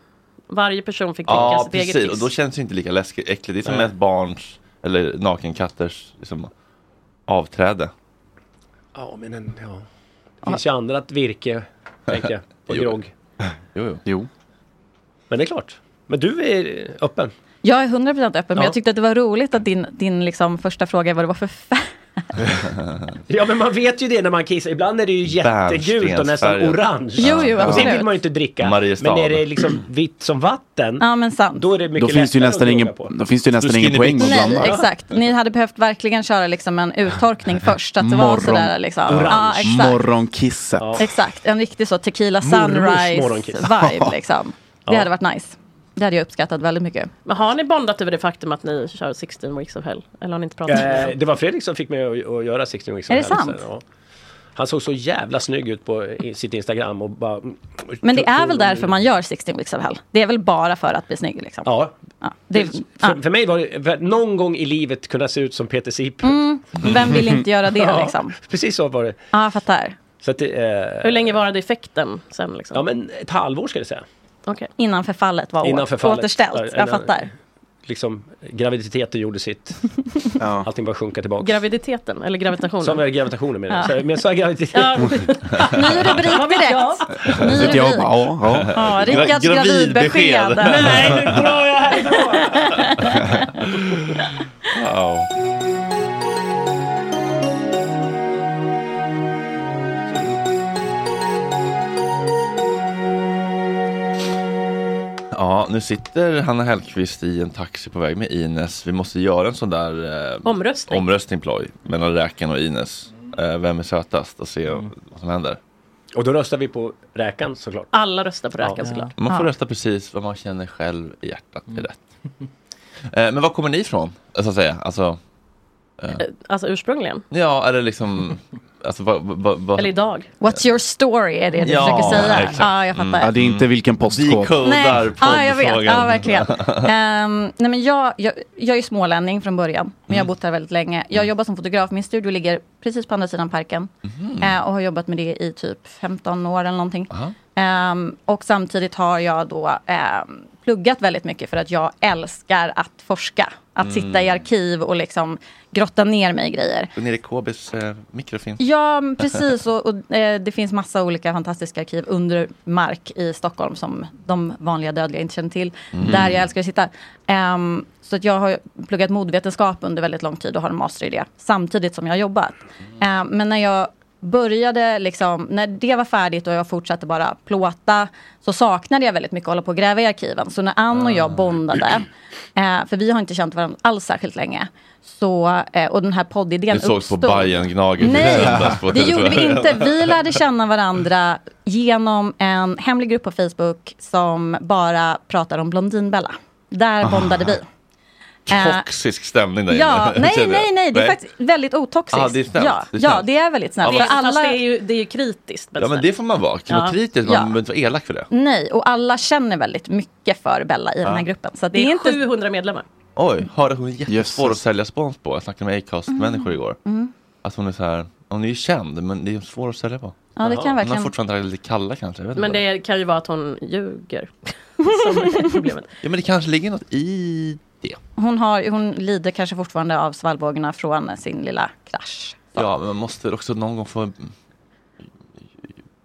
H: Varje person fick dricka
A: Ja,
H: sitt eget
A: precis. Och
H: kiss.
A: då känns det ju inte lika läskigt, äckligt. Det är som
C: Nej.
A: ett barns eller nakenkatters liksom, avträde.
C: Ja, men en, ja. Det finns ju annat virke, tänker jag,
A: [laughs]
C: på
A: Jo.
C: grogg.
A: Jo, jo.
C: Men det är klart. Men du är öppen.
J: Jag är 100% öppen, men
C: Ja.
J: jag tyckte att det var roligt att din, din liksom första fråga var vad det var för färg.
C: Ja men man vet ju det när man kissar, ibland är det ju jättegult och nästan
A: Bärnstensfärgat.
C: orange.
J: Jo, jo,
C: och det
J: absolut.
C: vill man ju inte dricka.
A: Mariestad.
C: Men är det liksom vitt som vatten,
J: Ja men sant.
C: då är det mycket
D: Då finns det ju
C: lättare
D: nästan
C: att
D: ingen,
C: jogga på.
D: då finns det ju nästan ingen
A: skinny
D: poäng med att
J: Nej,
D: blanda.
J: exakt. Ni hade behövt verkligen köra liksom
C: [laughs]
J: en uttorkning först. Att det var sådär liksom. Ja, exakt.
D: Morgonkisset.
J: exakt. En riktig så tequila
D: Mormors
J: sunrise
D: morgonkiss.
J: vibe
C: [laughs]
J: liksom. Det
D: Ja.
J: hade varit nice. Det hade jag uppskattat väldigt mycket.
H: Men har ni bondat över det faktum att ni kör 16 weeks of hell? Eller har ni inte pratat om
C: Eh,
H: det?
C: Det var Fredrik som fick mig att, att göra 16 weeks
J: Är
C: of
J: det
C: Hell
J: sant?
C: sen, ja. Han såg så jävla snygg ut på i- sitt Instagram och bara...
J: Men det är väl därför man gör 16 weeks of hell. Det är väl bara för att bli snygg liksom.
C: Ja.
J: det-
C: för, för mig var det, för att någon gång i livet kunna se ut som Peter Sipe.
J: Mm, vem vill inte göra
C: [laughs]
J: det
C: Ja,
J: liksom?
C: Precis så var det.
J: Ja, jag fattar.
C: Så att det eh,
H: Hur länge varade effekten sen liksom?
C: Ja men ett halvår ska jag säga.
J: Innan förfallet var
C: Innan
J: å-
C: förfallet. Ja,
J: återställt.
C: innan-
J: Jag fattar.
C: Liksom, graviditeten gjorde sitt. Allting bara sjunka tillbaka.
H: Graviditeten eller gravitationen?
C: Som är gravitationen menar jag.
H: Ja.
C: Så- Men jag
H: [laughs]
C: sa graviditet.
H: Ja.
J: Ny rubrik direkt. Ny
C: Sitter jag och
J: rubrik.
C: bara, ja, ja.
J: Ja,
C: [laughs]
J: Rickards
C: Gra-
J: gravidbesked.
C: gravidbesked. Nej, nu drar jag
A: Ja. Ja, nu sitter Hanna Hellquist i en taxi på väg med Ines. Vi måste göra en sån där eh,
H: Omröstning.
A: omröstning ploj mellan Räkan och Ines. Eh, vem är sötast? Och se
C: Mm.
A: vad som händer.
C: Och då röstar vi på räkan såklart.
H: Alla röstar på räkan
C: Ja. [laughs]
H: såklart.
A: Man får rösta precis vad man känner själv i hjärtat är rätt. Eh, men var kommer ni ifrån? Så att säga. Alltså, eh,
H: Eh, Alltså ursprungligen.
A: ja, eller liksom... Alltså, vad, vad, vad,
H: Eller idag.
J: What's your story är det du
A: Ja,
J: försöker säga.
A: exakt.
J: Ja, jag
A: Mm.
J: fattar.
D: Ja, det är inte vilken postkod.
J: Nej, ja, jag vet. Ja, verkligen. Ehm, nej, men jag, jag, jag är ju smålänning från början, men jag har bott här väldigt länge. Jag jobbar som fotograf, min studio ligger precis på andra sidan parken. Eh, och har jobbat med det i typ 15 år eller någonting. Ehm, och samtidigt har jag då ehm, pluggat väldigt mycket för att jag älskar att forska. Att
A: Mm.
J: sitta i arkiv och liksom grotta ner mig i grejer.
A: Nere i KBs eh, mikrofilm.
J: Ja, men
A: [laughs]
J: precis. Och, och, eh, det finns massa olika fantastiska arkiv under mark i Stockholm som de vanliga dödliga inte känner till.
K: Mm.
J: Där jag älskar att sitta. Ehm, så att jag har pluggat modvetenskap under väldigt lång tid och har en master i det. Samtidigt som jag har jobbat. Ehm, men när jag började, liksom, när det var färdigt och jag fortsatte bara plåta så saknade jag väldigt mycket att hålla på och gräva i arkiven. Så när Ann och jag bondade, eh, för vi har inte känt varandra alls särskilt länge, så, eh, och den här poddidén
A: Vi sågs på
J: uppstod.
A: Bajen-gnaget.
J: Nej,
A: Söndags på-
J: det gjorde vi inte.
A: [laughs]
J: Vi lärde känna varandra genom en hemlig grupp på Facebook som bara pratar om Blondinbella. Där
A: Ah.
J: bondade vi. Eh,
A: Toxisk stämning där [laughs]
J: ja,
A: inne.
J: nej,
A: Känner jag.
J: nej, nej, det är faktiskt väldigt otoxiskt.
A: Ah, det är snällt,
J: Ja,
A: det är
J: ja,
A: snällt.
J: det är väldigt snällt.
A: Ja,
J: För
A: fast-
J: alla...
H: Fast det är ju, det är ju kritiskt.
A: Ja men det får man vara. Kan man vara
J: Ja.
A: kritisk,
J: Ja. Mm.
A: man behöver inte vara elak för det.
J: Nej, och alla känner väldigt mycket för Bella i
A: Ja.
J: den här gruppen. Så att det,
H: Det
J: är
H: är
J: inte...
H: 700 medlemmar.
A: Oj, hörde hon är jättesvår att sälja spons på. Jag snackade med Acast-människor igår.
J: Mm.
A: Att hon är så här, hon är ju känd men det är svår att sälja på.
H: Ja, det kan jag
A: Hon har
H: verkligen-
A: fortfarande varit lite kalla kanske. Jag vet
H: Men
A: inte.
H: det kan ju vara att hon ljuger.
A: [laughs] Ja men det kanske ligger något i det.
J: Hon, har, hon lider kanske fortfarande av svallvågorna från sin lilla krasch.
A: Ja men man måste väl också någon gång få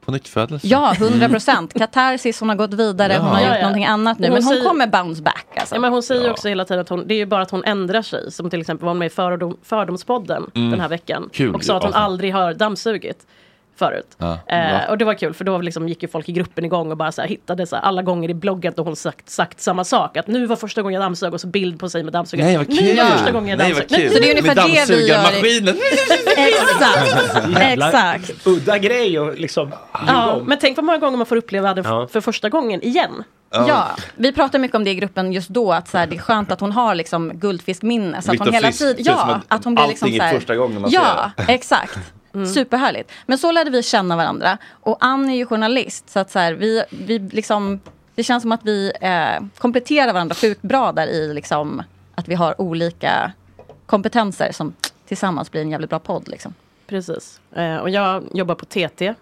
A: på nytt födelse.
J: Ja, 100 procent. Katarsis, hon har gått vidare, hon
A: Ja.
J: har gjort
A: Ja, ja.
J: någonting annat nu.
H: Hon
J: men hon
H: säger-
J: kommer bounce back. Alltså.
H: Ja, men hon säger ju också hela tiden att hon, det är ju bara att hon ändrar sig. Som till exempel var hon med i fördom, Fördomspodden
J: Mm.
H: den här veckan.
J: Kul,
H: och sa att hon
J: avsnitt.
H: aldrig har dammsugit förut.
A: Ja.
H: Eh, och det var kul för då liksom gick ju folk i gruppen igång och bara så här, hittade så här, alla gånger i bloggen då hon sagt, sagt samma sak. Att nu var första gången jag dammsög och så bild på sig med dammsugaren.
A: Nej vad kul!
H: Nu var första gången jag
A: Nej vad
H: dammsög.
A: kul!
J: så det är ungefär det vi gör i-
A: Dammsugarmaskinen!
J: Exakt,
H: Jävlar.
J: exakt.
H: Udda grej och liksom... Ja, men tänk vad många gånger man får uppleva det
A: Ja.
H: för första gången igen.
J: Ja, vi pratar mycket om det i gruppen just då, att så här, det är skönt att hon har liksom guldfiskminne. Så att
A: Viktor
J: hon hela
A: Frisk,
J: tiden,
A: det ser ut som
J: ja,
A: att
J: att hon blir liksom
A: allting
J: så
A: är
J: här,
A: första gången man
J: Ja,
A: ser det. [laughs]
J: exakt.
H: Mm.
J: Superhärligt. Men så lärde vi känna varandra. Och Ann är ju journalist, så att så här, vi, vi liksom, det känns som att vi eh, kompletterar varandra sjukt bra där i liksom, att vi har olika kompetenser som tillsammans blir en jävligt bra podd. Liksom.
H: Precis. Eh, och jag jobbar på TT.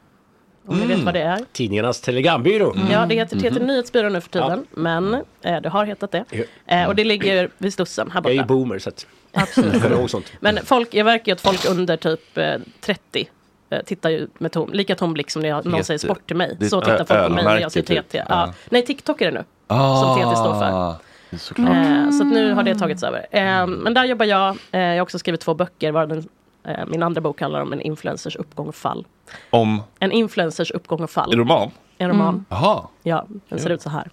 H: Om ni
A: Mm.
H: vet vad det är.
C: Tidningarnas telegrambyrå.
H: Ja, det heter
A: Mm-hmm.
H: TT Nyhetsbyrån nu för tiden. Men eh, det har hetat det. Eh, och det ligger vid Slussen här
C: Jag är ju
H: borta.
C: boomer så att... Absolut. Jag kommer ihåg sånt.
H: Men folk, jag verkar ju att folk under typ eh, 30 eh, tittar ju med tom, lika tom blick som när jag, någon
A: Jätte-
H: säger sport till mig.
A: det är
H: Så
A: ett
H: tittar folk på mig när
A: ölmärke
H: jag säger
A: typ.
H: TT.
A: Ja.
H: Ja. Nej, TikTok är det nu.
A: Ah,
H: Som TT står för.
A: det är Såklart.
H: Eh, så att nu har det tagits över. Eh, men där jobbar jag. Eh, jag har också skrivit två böcker. Varav den, eh, min andra bok handlar om en influencers uppgång och fall.
A: Om
H: En influencers uppgång och fall.
A: en roman? Mm.
H: En roman.
A: Jaha.
H: Ja, den ser
A: Kul.
H: ut så här.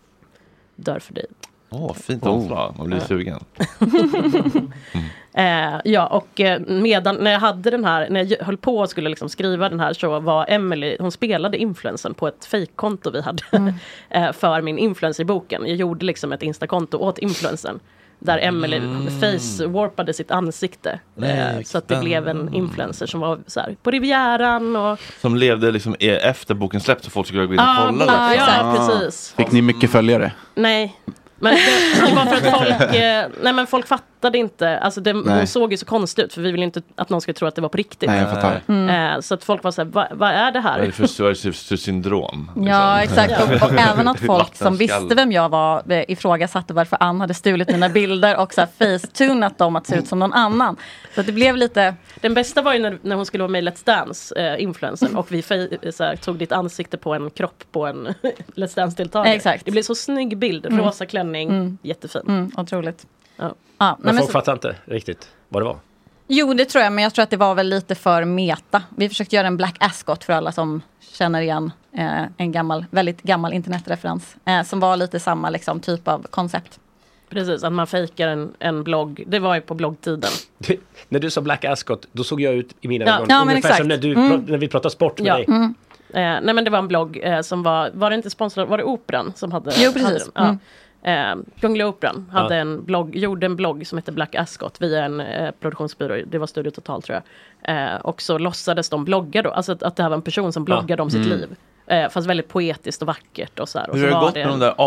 H: Dör för dig.
A: Åh, fint omslag. Man blir
H: Ja.
A: sugen.
H: Eh, ja, och eh, medan när jag hade den här, när jag höll på och skulle liksom skriva den här så var Emily, hon spelade influensen på ett fejkkonto vi hade [laughs] eh, för min influencer i boken. Jag gjorde liksom ett instakonto åt influensen där Emily face-warpade sitt ansikte.
A: Nej,
H: eh, så att det blev en influencer som var så här, på Rivieran och
A: Som levde liksom e- efter boken släpptes så folk skulle gå in och
H: Ah,
A: kolla. liksom.
H: ja,
A: det.
H: exakt, Ah. precis.
D: Fick ni mycket följare?
H: Nej. Men det, det var för att folk, eh, nej men folk fattade inte. Alltså det,
D: Nej.
H: hon såg ju så konstig ut för vi ville inte att någon skulle tro att det var på riktigt.
A: Nej, jag fattar.
J: mm.
H: Eh, så att folk var så här, "Va- vad är det här?
A: Vad är det för psoriasis syndrom? liksom.
J: Ja, exakt. Och,
A: [laughs]
J: [laughs] och även att folk som
A: Vattenskall.
J: visste vem jag var eh, ifrågasatte varför Ann hade stulit mina bilder och så här facetunat dem att se ut som någon annan. Så att det blev lite...
H: Den bästa var ju när, när hon skulle vara med i Let's Dance, eh, influensen och vi fej- så här, tog ditt ansikte på en kropp på en [laughs] Let's Dance-deltagare.
J: Exakt.
H: Det blev så snygg bild,
J: Mm.
H: rosa klänning,
J: Mm.
H: jättefin.
J: Mm, otroligt.
H: Ja.
J: Ja,
C: Men
J: nej, men
C: folk
J: så,
C: fattar inte riktigt vad det var. [laughs]
J: jo, det tror jag, men jag tror att det var väl lite för meta. Vi försökte göra en Black Ascot för alla som känner igen eh, en gammal, väldigt gammal internetreferens. Eh, som var lite samma liksom, typ av koncept.
H: Precis, att man fejkar en, en blogg. Det var ju på bloggtiden.
C: När du sa Black Ascot, då såg jag ut i mina
H: Ja.
C: ögon.
H: Ja, men
C: Ungefär
H: exakt.
C: som när, du,
H: Mm.
C: pra- när vi pratar sport med
H: Ja.
C: dig.
H: Mm. Eh, nej men det var en blogg eh, som var, var det inte sponsrad, var det Operan som hade?
J: Jo, precis. Mm.
H: Hade den? Ja. Eh, Kungliga Operan hade
J: Ja.
H: en blogg, gjorde en blogg som hette Black Ascot via en eh, produktionsbyrå, det var Studio Total tror jag. Eh, och så låtsades de blogga då, alltså att, att det här var en person som bloggade om sitt
A: Mm.
H: liv. Eh, fast väldigt poetiskt och vackert och så här. Och
A: Hur har
H: så
A: det
H: var
A: gått med de där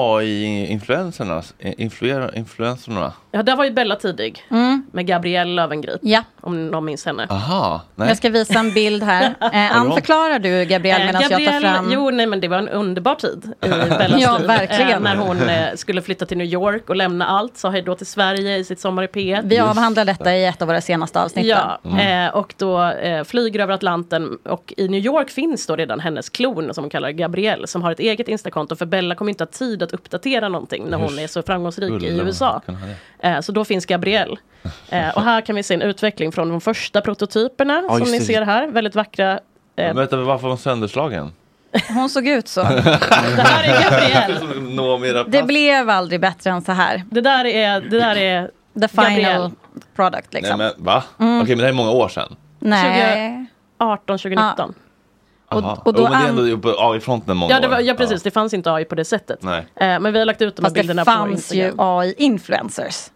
A: AI-influenserna? Influer- influenserna?
H: Ja, där var ju Bella tidig. Med Gabrielle Löwengrip.
J: Mm. Ja.
H: Om någon minns henne.
A: Aha, nej.
J: Jag ska visa en bild [laughs] här. Eh, Ann,
H: Vadå?
J: förklarar du Gabrielle
H: Eh,
J: medan jag tar
H: Gabrielle-
J: fram...
H: Jo, nej men det var en
A: [laughs]
H: underbar tid i Bellas
J: Ja,
H: liv.
J: verkligen.
H: Eh, När hon eh, skulle flytta till New York och lämna allt, sa hej då till Sverige i sitt Sommar i P1.
J: Vi avhandlade detta i ett av våra senaste avsnitt.
H: Ja,
J: Mm.
H: eh, och då eh, flyger över Atlanten och i New York finns då redan hennes klon som hon kallar Gabrielle som har ett eget instakonto för Bella kommer inte ha tid att uppdatera någonting när hon
A: Just.
H: är så framgångsrik i
A: Skulle man
H: USA.
A: kunna ha det?
H: Eh, Så då finns Gabrielle. Eh, Och här kan vi se en utveckling från de första prototyperna
A: Ja,
H: som
A: just
H: ni
A: det.
H: ser här, väldigt vackra. eh,
A: Vänta, varför var hon sönderslagen?
J: Hon såg ut så. [laughs]
A: [laughs] Noomi Rapace.
J: Det blev aldrig bättre än så här.
H: Det där är... Det där är
J: The final
H: Gabrielle.
J: product liksom.
A: Nej, men, va?
J: Mm.
A: Okej, men det här är många år sedan.
J: Nej.
H: 2018, 2019.
A: Aha.
H: och då
A: jo, men det är
H: an-
A: ändå på AI-fronten många
H: Ja, det var,
A: år.
H: ja precis, det fanns inte AI på det sättet.
A: Nej.
H: Eh, Men vi har lagt ut de här
J: Fast
H: bilderna
J: det
H: på
J: fanns ju
H: Instagram.
J: AI-influencers.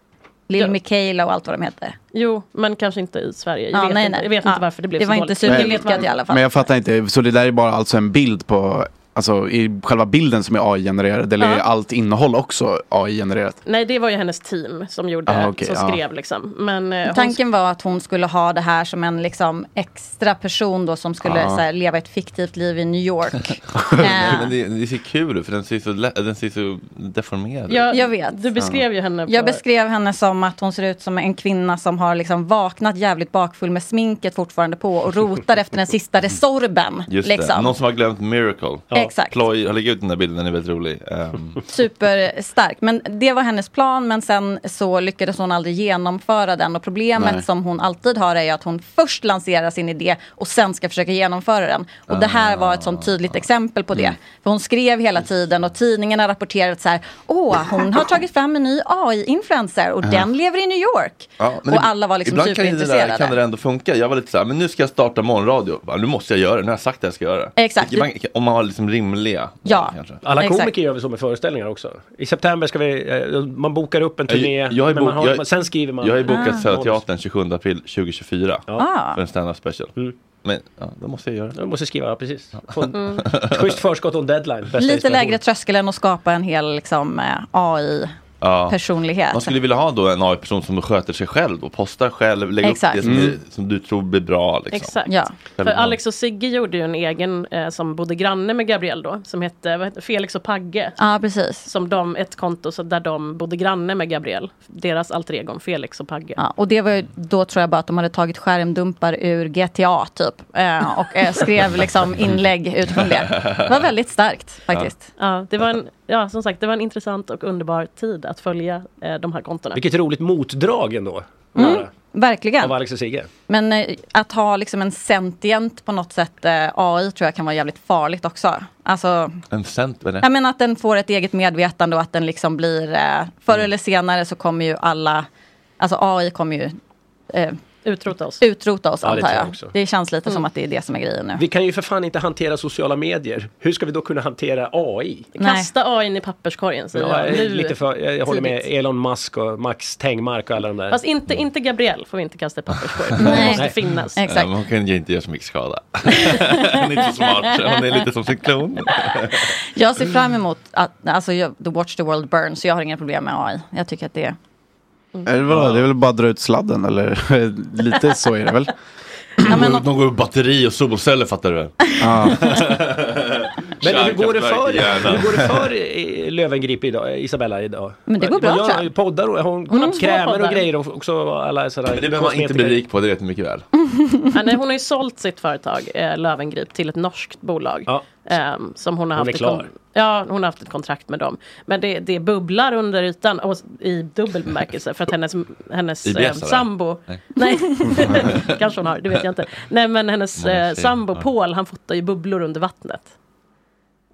J: Lil Mikaela och allt vad de hette.
H: Jo, men kanske inte i Sverige. Jag
J: Ja,
H: vet,
J: nej,
H: inte,
J: nej.
H: Jag vet
J: Ja,
H: inte varför det blev
J: det
H: så
J: var
H: dåligt.
J: inte superlyckat i alla fall.
D: Men jag fattar inte, så det där är bara alltså en bild på, alltså i själva bilden som är AI-genererad eller är
H: Ja.
D: allt innehåll också AI-genererat?
H: Nej, det var ju hennes team som gjorde,
D: Ah, okej,
H: som
D: ja.
H: skrev liksom. Men eh, hon
J: Tanken var att hon skulle ha det här som en liksom, extra person då som skulle
A: Ja.
J: så här, leva ett fiktivt liv i
A: [laughs]
J: New York.
A: Nej, men det, det ser kul ut för den ser så, lä- den ser så deformerad ut.
J: Jag, vet.
H: Du beskrev ju henne.
J: Jag
H: på-
J: beskrev henne som att hon ser ut som en kvinna som har liksom vaknat jävligt bakfull med sminket fortfarande på och rotar efter den sista Resorben.
A: Just det,
J: liksom.
A: någon som har glömt Miracle.
J: Ja. Exakt.
A: Ploy har lagt ut den där bilden, den är väldigt rolig. Ehm,
J: Superstark. Men det var hennes plan men sen så lyckades hon aldrig genomföra den. Och problemet
A: Nej.
J: som hon alltid har är ju att hon först lanserar sin idé och sen ska försöka genomföra den. Och det här var ett sånt tydligt exempel på det.
H: Mm.
J: För hon skrev hela tiden och tidningarna rapporterade så här. Åh, hon har tagit fram en ny AI-influencer och
A: Ja.
J: den lever i New York.
A: ja, men
J: och
A: ib-
J: alla var liksom
A: ibland kan ju det där-
J: superintresserade.
A: kan det där ändå funka. Jag var lite såhär, men nu ska jag starta morgonradio. Va, Nu måste jag göra det, nu har jag sagt att jag ska göra det.
J: Exakt.
A: Ibland- Om man har liksom rimliga.
J: Ja,
C: Alla
J: exakt.
C: komiker gör väl så med föreställningar också. I september ska vi, eh, man bokar upp en
A: Jag-
C: turné,
A: jag har ju
C: men man
A: bok-
C: har,
A: jag-
C: sen skriver man.
A: Jag har ju bokat
C: Ah.
A: Södra Teatern 27 april 2024
C: Ah.
A: för en stand-up special. Men ja, då måste jag göra det.
C: Du måste skriva, precis. Få en-
J: Mm.
C: ett Schysst förskott och en deadline. Bästa
J: Lite
C: inspiration.
J: lägre tröskel än att skapa en hel liksom, eh,
A: Ja.
J: AI-personlighet.
A: Man skulle vilja ha då en AI-person som sköter sig själv och postar själv, lägger
J: Exakt.
A: upp det som,
J: Mm.
A: är, som du tror blir bra. Liksom.
H: Exakt. För
A: Självmant.
H: Alex och Sigge gjorde ju en egen eh, som bodde granne med Gabrielle då, som hette vad hette- Felix och Pagge.
J: Ja, precis.
H: Som de, ett konto så där de bodde granne med Gabrielle. Deras alter egon Felix och Pagge.
J: Ja, och det var ju, då tror jag bara att de hade tagit skärmdumpar ur GTA typ. Eh, och eh,
C: [laughs]
J: skrev liksom inlägg utifrån det. Det var väldigt starkt faktiskt.
H: Ja, det var en, ja, som sagt, det var en intressant och underbar tid att följa eh, de här kontona.
C: Vilket roligt motdrag ändå.
J: Mm,
C: Av
J: verkligen.
C: Alex och Sigge.
J: Men eh, att ha liksom en sentient på något sätt eh, AI tror jag kan vara jävligt farligt också. Alltså,
A: En cent med det.
J: jag menar att den får ett eget medvetande och att den liksom blir, eh, förr eller senare så kommer ju alla, alltså AI kommer ju eh,
H: utrota oss,
J: utrota oss
C: Ja, det
J: antar
C: tror jag
J: jag.
C: också.
J: Det känns lite som
C: Mm.
J: att det är det som är grejen nu.
C: Vi kan ju för fan inte hantera sociala medier. Hur ska vi då kunna hantera AI?
H: Kasta AI i papperskorgen säger
C: Ja,
H: jag.
C: jag,
H: Nu.
C: är lite för, jag, jag håller med
H: Tidigt.
C: Elon Musk och Max Tengmark och alla de där.
H: Fast inte, inte Gabrielle får vi inte kasta i papperskorgen. Hon måste finnas.
A: Ja, men Hon kan ju inte göra så mycket skada. Hon är inte så smart, hon är lite som sin klon.
J: Jag ser fram emot att, alltså, jag, the Watch the World Burn, så jag har inga problem med AI. Jag tycker att det är...
D: Eller vadå, det är väl bara att dra ut sladden eller [laughs] lite så är det väl?
A: De går ur batteri och solceller fattar du väl?
C: [laughs] Men hur går, det för,
A: Kärnkraftverk i hjärnan.
C: hur går
A: [laughs]
C: det för eh, Löwengrip idag, Isabella idag?
J: Men det går bra,
C: Hon
J: tror
C: gör
J: jag.
C: ju poddar och hon,
J: Hon har
C: hon
J: två
C: krämer och
J: poddar.
C: grejer och också alla sådana
A: Men det behöver man inte bli rik på, det vet ni mycket väl.
H: Ja, nej, hon har ju sålt sitt företag eh, Lövengrip till ett norskt bolag. ehm, som hon
A: Hon
H: har haft
A: är
H: ett
A: klar.
H: kon- Ja, hon har haft ett kontrakt med dem. Men det, det bubblar under ytan och, s- i dubbel bemärkelse för att hennes, hennes
A: IBS,
H: eh,
A: eller?
H: sambo...
A: Nej.
H: Nej, [laughs] kanske hon har, det vet jag inte. Nej, men hennes
A: Många
H: eh,
A: tjejer
H: sambo
A: har.
H: Paul, han fotar ju bubblor under vattnet.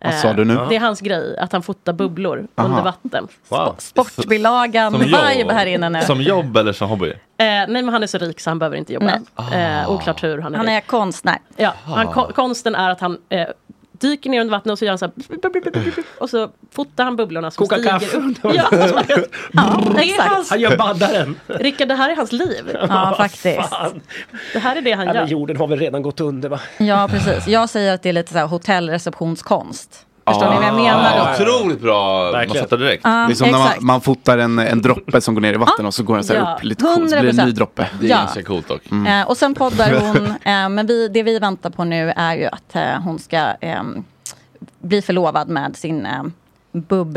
D: Vad
H: Eh,
D: sa du nu?
H: Det är hans grej, att han fotar bubblor
A: Aha.
H: under vatten.
A: Wow.
J: Sportbilagan
A: Som jobb.
J: vibe här inne nu.
A: Som jobb eller som hobby?
H: Eh, nej men han är så rik så han behöver inte jobba.
J: Nej.
H: Eh, oklart hur han är
J: Han
H: rik.
J: är konstnär.
H: Ja, han, ko- konsten är att han eh, dyker ner under vattnet och så gör han så här. Och så fotar han bubblorna som
C: Koka kaffe.
H: stiger upp. Ja, [laughs] ja, exakt.
C: Han gör baddaren.
H: Rickard, det här är hans liv. [laughs]
C: [laughs]
J: Ja, faktiskt.
C: Fan.
H: Det här är det han
C: Ja, men
H: gör.
C: jorden har väl redan gått under va?
J: Ja, precis. Jag säger att det är lite så här hotellreceptionskonst. Förstår ni vad jag menar då?
A: Otroligt bra. Man fattar direkt.
J: Ja,
D: det är som när man,
J: exakt.
D: man fotar en, en droppe som går ner i vatten och så går den så här
J: Ja.
D: upp lite coolt, så blir det en ny
J: 100%.
D: droppe. Mm.
J: Det är Ja. ganska
A: coolt dock.
J: Eh, och sen poddar hon, eh, men vi, det vi väntar på nu är ju att eh, hon ska ehm, bli förlovad med sin eh,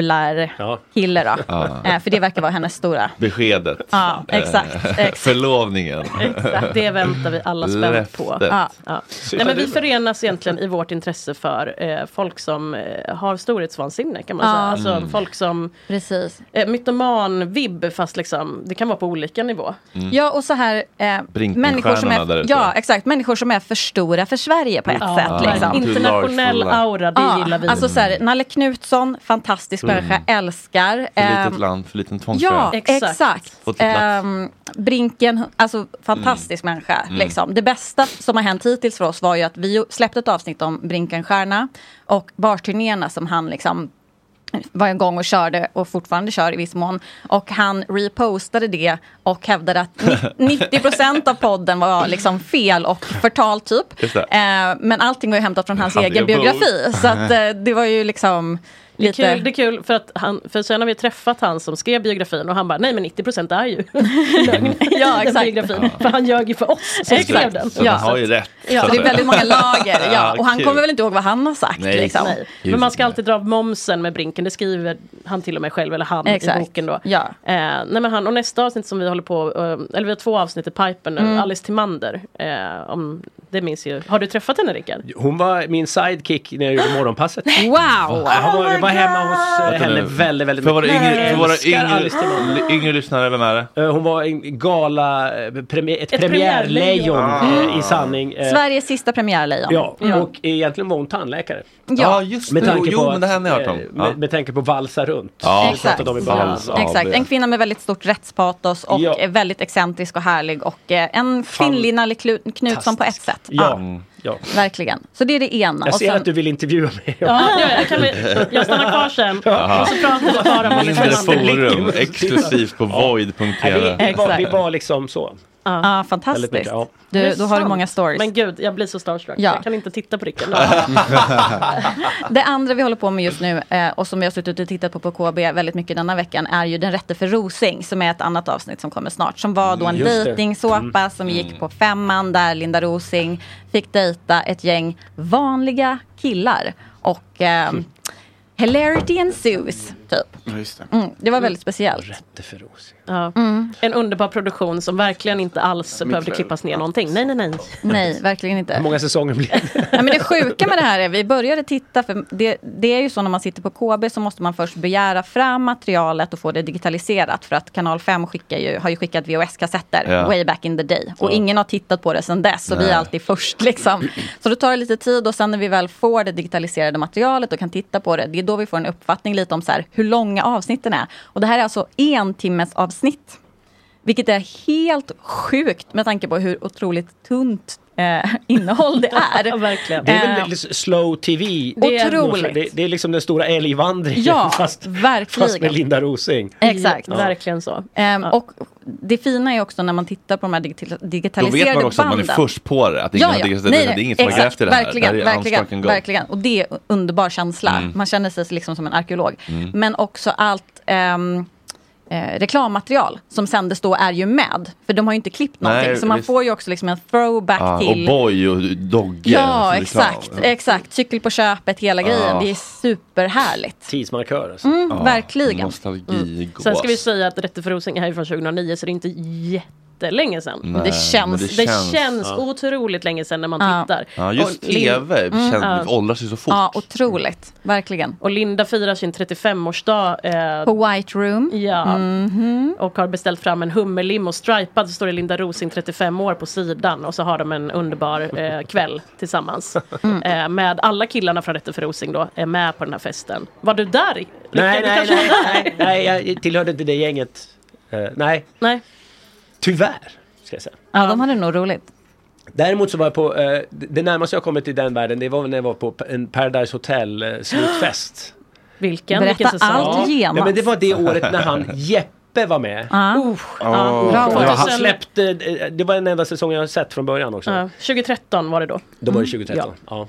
J: bubblar-kille då.
A: Ja.
J: Eh, för det verkar vara hennes stora.
A: Beskedet.
J: Ja, exakt,
A: Eh,
J: exakt.
A: Förlovningen.
H: Exakt, det väntar vi alla spänt på.
A: Löftet.
H: Ja. Ja. Nej, men vi förenas egentligen i vårt intresse för eh, folk som eh, har storhetsvansinne kan man
J: Ja.
H: säga. Alltså
J: Mm.
H: folk som
J: Precis.
H: eh, mytoman-vibb fast liksom, det kan vara på olika nivå.
A: Mm.
J: Ja, och så här... Eh,
H: Brinkenstjärnorna
J: människor som
H: där
J: är,
H: ute.
J: ja, exakt. Människor som är för stora för Sverige på ett
H: Ja,
J: sätt. Liksom.
H: verkligen. Internationell aura, det
J: Ja,
H: gillar vi.
J: Alltså så här, Nalle Knutsson, fantastisk
A: Mm.
J: människa, älskar.
A: [laughs] För litet
J: Ehm,
A: land, för liten tvångströja.
J: Ja, exakt.
A: Få till plats.
J: Ehm, Brinken, alltså fantastisk människa.
A: Mm.
J: Liksom. Det bästa som har hänt hittills för oss var ju att vi släppte ett avsnitt om Brinkenstjärna och barturnéerna som han liksom var en gång och körde och fortfarande kör i viss mån. Och han repostade det och hävdade att ni- 90 procent av podden var liksom fel och förtal typ.
K: Just det.
J: Eh, men allting var ju hämtat från hans
K: Han
J: egen
K: är bold.
J: biografi. Så att, eh, det var ju liksom
H: Det är,
J: lite...
H: kul, det är kul för att han, för sen har vi träffat han som skrev biografin och han bara nej men 90 procent är ju lögn
J: Ja,
H: i [laughs] den
J: exakt.
H: biografin. För han ljög ju för oss som skrev den.
A: Så den har ju rätt.
J: Ja,
A: så
J: så
A: att
J: det är
A: säga.
J: väldigt
A: [laughs]
J: många lager. Ja. Och han
A: kul.
J: kommer väl inte ihåg vad han har sagt.
A: Nej.
J: Liksom.
A: Nej.
H: Men man ska alltid dra av momsen med Brinken, det skriver han till och med själv, eller han
J: Exakt.
H: i boken då.
J: Ja.
H: Eh, nej men han, och nästa avsnitt som vi håller på, eh, eller vi har två avsnitt i pipen nu,
C: Mm.
H: Alice Timander. Eh, om, det minns ju, har du träffat henne Rickard?
C: Hon var min sidekick när jag gjorde morgonpasset.
J: Wow!
C: Jag var, jag var hemma hos eh,
A: Vänta
C: henne
A: nu.
C: väldigt, väldigt
A: För våra yngre, för våra
C: Älskar Alice Timell.
A: yngre, yngre lyssnare, vem är det?
C: Eh, Hon var en gala, eh, premiär, ett,
J: Ett
C: premiärlejon
A: premiärlejon.
C: eh, i sanning. eh,
J: Sveriges sista premiärlejon.
C: Ja, och egentligen var hon tandläkare.
J: Ja. Ja,
A: just
C: med
A: det.
C: tanke
A: Jo,
C: på
A: men det här har ni hört
C: eh,
A: om. Ja.
C: Med, med tanke på valsa runt.
A: Ja,
C: Vi pratade om i början.
J: Ja, Exakt. En kvinna med väldigt stort rättspatos och
C: Ja.
J: är väldigt excentrisk och härlig och eh, en kvinnlig Nalle Klu- Knutsson på ett sätt.
C: Ja, ja.
J: Verkligen. Så det är det ena.
C: Jag
J: Och
C: ser
J: sen-
C: att du vill intervjua mig. [laughs]
H: Ja, det gör jag. Kan vi, jag stannar kvar sen och
A: Jaha.
H: så pratar vi bara om Alice
A: Mindre
H: Timander.
A: forum, exklusivt på void.tv.
C: Vi var, vi var liksom så.
J: Ja,
C: Väldigt mycket,
J: fantastiskt.
C: ja.
H: Det
J: Du,
H: är
J: då har du
H: sant.
J: många stories.
H: Men gud, jag blir så starstruck.
J: Ja.
H: Jag kan inte
A: [laughs]
H: titta på Rickard.
J: [laughs] Det andra vi håller på med just nu eh, och som vi har suttit och tittat på på KB väldigt mycket denna veckan är ju Den rätte för Rosing som är ett annat avsnitt som kommer snart. Som var då en
H: Mm, just det. Mm.
J: dejtingsåpa som gick på femman där Linda Rosing fick dejta ett gäng vanliga killar. Och eh, hilarity ensues typ. Mm, det var väldigt speciellt. Mm,
H: Ja. [laughs] En underbar produktion som verkligen inte alls behövde klippas ner någonting. Nej, nej, nej.
J: Nej, verkligen inte.
C: Hur många säsonger blir det?
J: Ja, men det sjuka med det här är, vi började titta, för det, det är ju så när man sitter på KB så måste man först begära fram materialet och få det digitaliserat för att kanal 5 skickar ju, har ju skickat VHS-kassetter
K: Ja.
J: way back in the day. Och
K: Ja.
J: ingen har tittat på det sedan dess, så vi
K: Nej.
J: är alltid först liksom. Så det tar lite tid och sen när vi väl får det digitaliserade materialet och kan titta på det, det är då vi får en uppfattning lite om så här, hur långa avsnitten är. Och det här är alltså en timmes avsnitt. Vilket är helt sjukt med tanke på hur otroligt tunt eh, [laughs] innehåll det är. Eh,
H: Verkligen.
C: Det är väl lite slow tv?
J: Det är otroligt.
C: Det, det är liksom den stora älgvandringen
J: Ja,
C: [laughs] fast,
J: verkligen.
C: fast med Linda Rosing.
J: Exakt.
H: Verkligen så.
J: Ehm, Och det fina är också när man tittar på de här digitali-
A: Då
J: digitaliserade
A: vet man också att man
J: banden.
A: är först på det. Att ingen har digitaliserat det. Det är ingen som har
J: exakt,
A: grävt i det här.
J: Verkligen,
A: det här är
J: verkligen,
A: unspoken goal.
J: verkligen. Och det är en underbar känsla.
A: Mm.
J: Man känner sig liksom som en arkeolog.
A: Mm.
J: Men också allt ehm, eh, reklammaterial som sändes då är ju med. För de har ju inte klippt
A: Nej,
J: någonting. så man
A: visst.
J: får ju också liksom en throwback
A: Ja,
J: till...
A: Och boy och dogge. liksom-
J: ja,
A: som reklam.
J: exakt, exakt. Cykel på köpet, hela
A: Ja.
J: grejen. Det är superhärligt.
C: Tidsmarkör alltså.
J: Mm, verkligen. Mm.
A: Nostalgi
H: Sen ska vi säga att Rätte för Rosing är ju från 2009 så det är inte jättelänge sedan.
A: Nej,
H: det
A: men
H: känns,
A: det
H: det
A: känns,
H: känns,
A: ja.
H: otroligt länge sedan när man
J: Ja.
H: tittar.
A: Ja, just
H: Och Lin-
A: tv
J: Mm.
A: känns,
H: Ja.
A: åldras ju så fort.
J: Ja, otroligt. Verkligen.
H: Och Linda firar sin 35-årsdag. Eh,
J: På White Room.
H: Ja.
J: Mhm.
H: Mm. Och har beställt fram en hummerlim och stripad så står det Linda Rosing 35 år på sidan och så har de en
C: [laughs]
H: underbar eh, kväll tillsammans.
C: Mm.
H: Eh, med alla killarna från Rätte för Rosing då är med på den här festen. Var du där? Rickard?
C: Nej,
H: Du
C: nej,
H: kanske
C: nej,
H: var där?
C: nej, nej, jag tillhörde inte det gänget. Eh, nej.
H: nej.
C: Tyvärr, ska jag säga.
J: Ja, de hade nog roligt.
C: Däremot så var jag på, eh, det det närmaste jag kommit i den världen det var när jag var på en Paradise Hotel eh,
J: [gasps]
C: slutfest.
H: Vilken?
J: Berätta
H: Vilken säsong?
J: allt genast.
C: Nej, men det var det året när han Jeppe var med.
J: Ah.
H: Ah.
C: Och
H: Bra.
C: han
H: Sen-
C: släppte, eh, det var den enda säsong jag har sett från början också.
H: Ja, 2013 var det då.
C: Då var det
H: Mm.
C: 2013. Ja.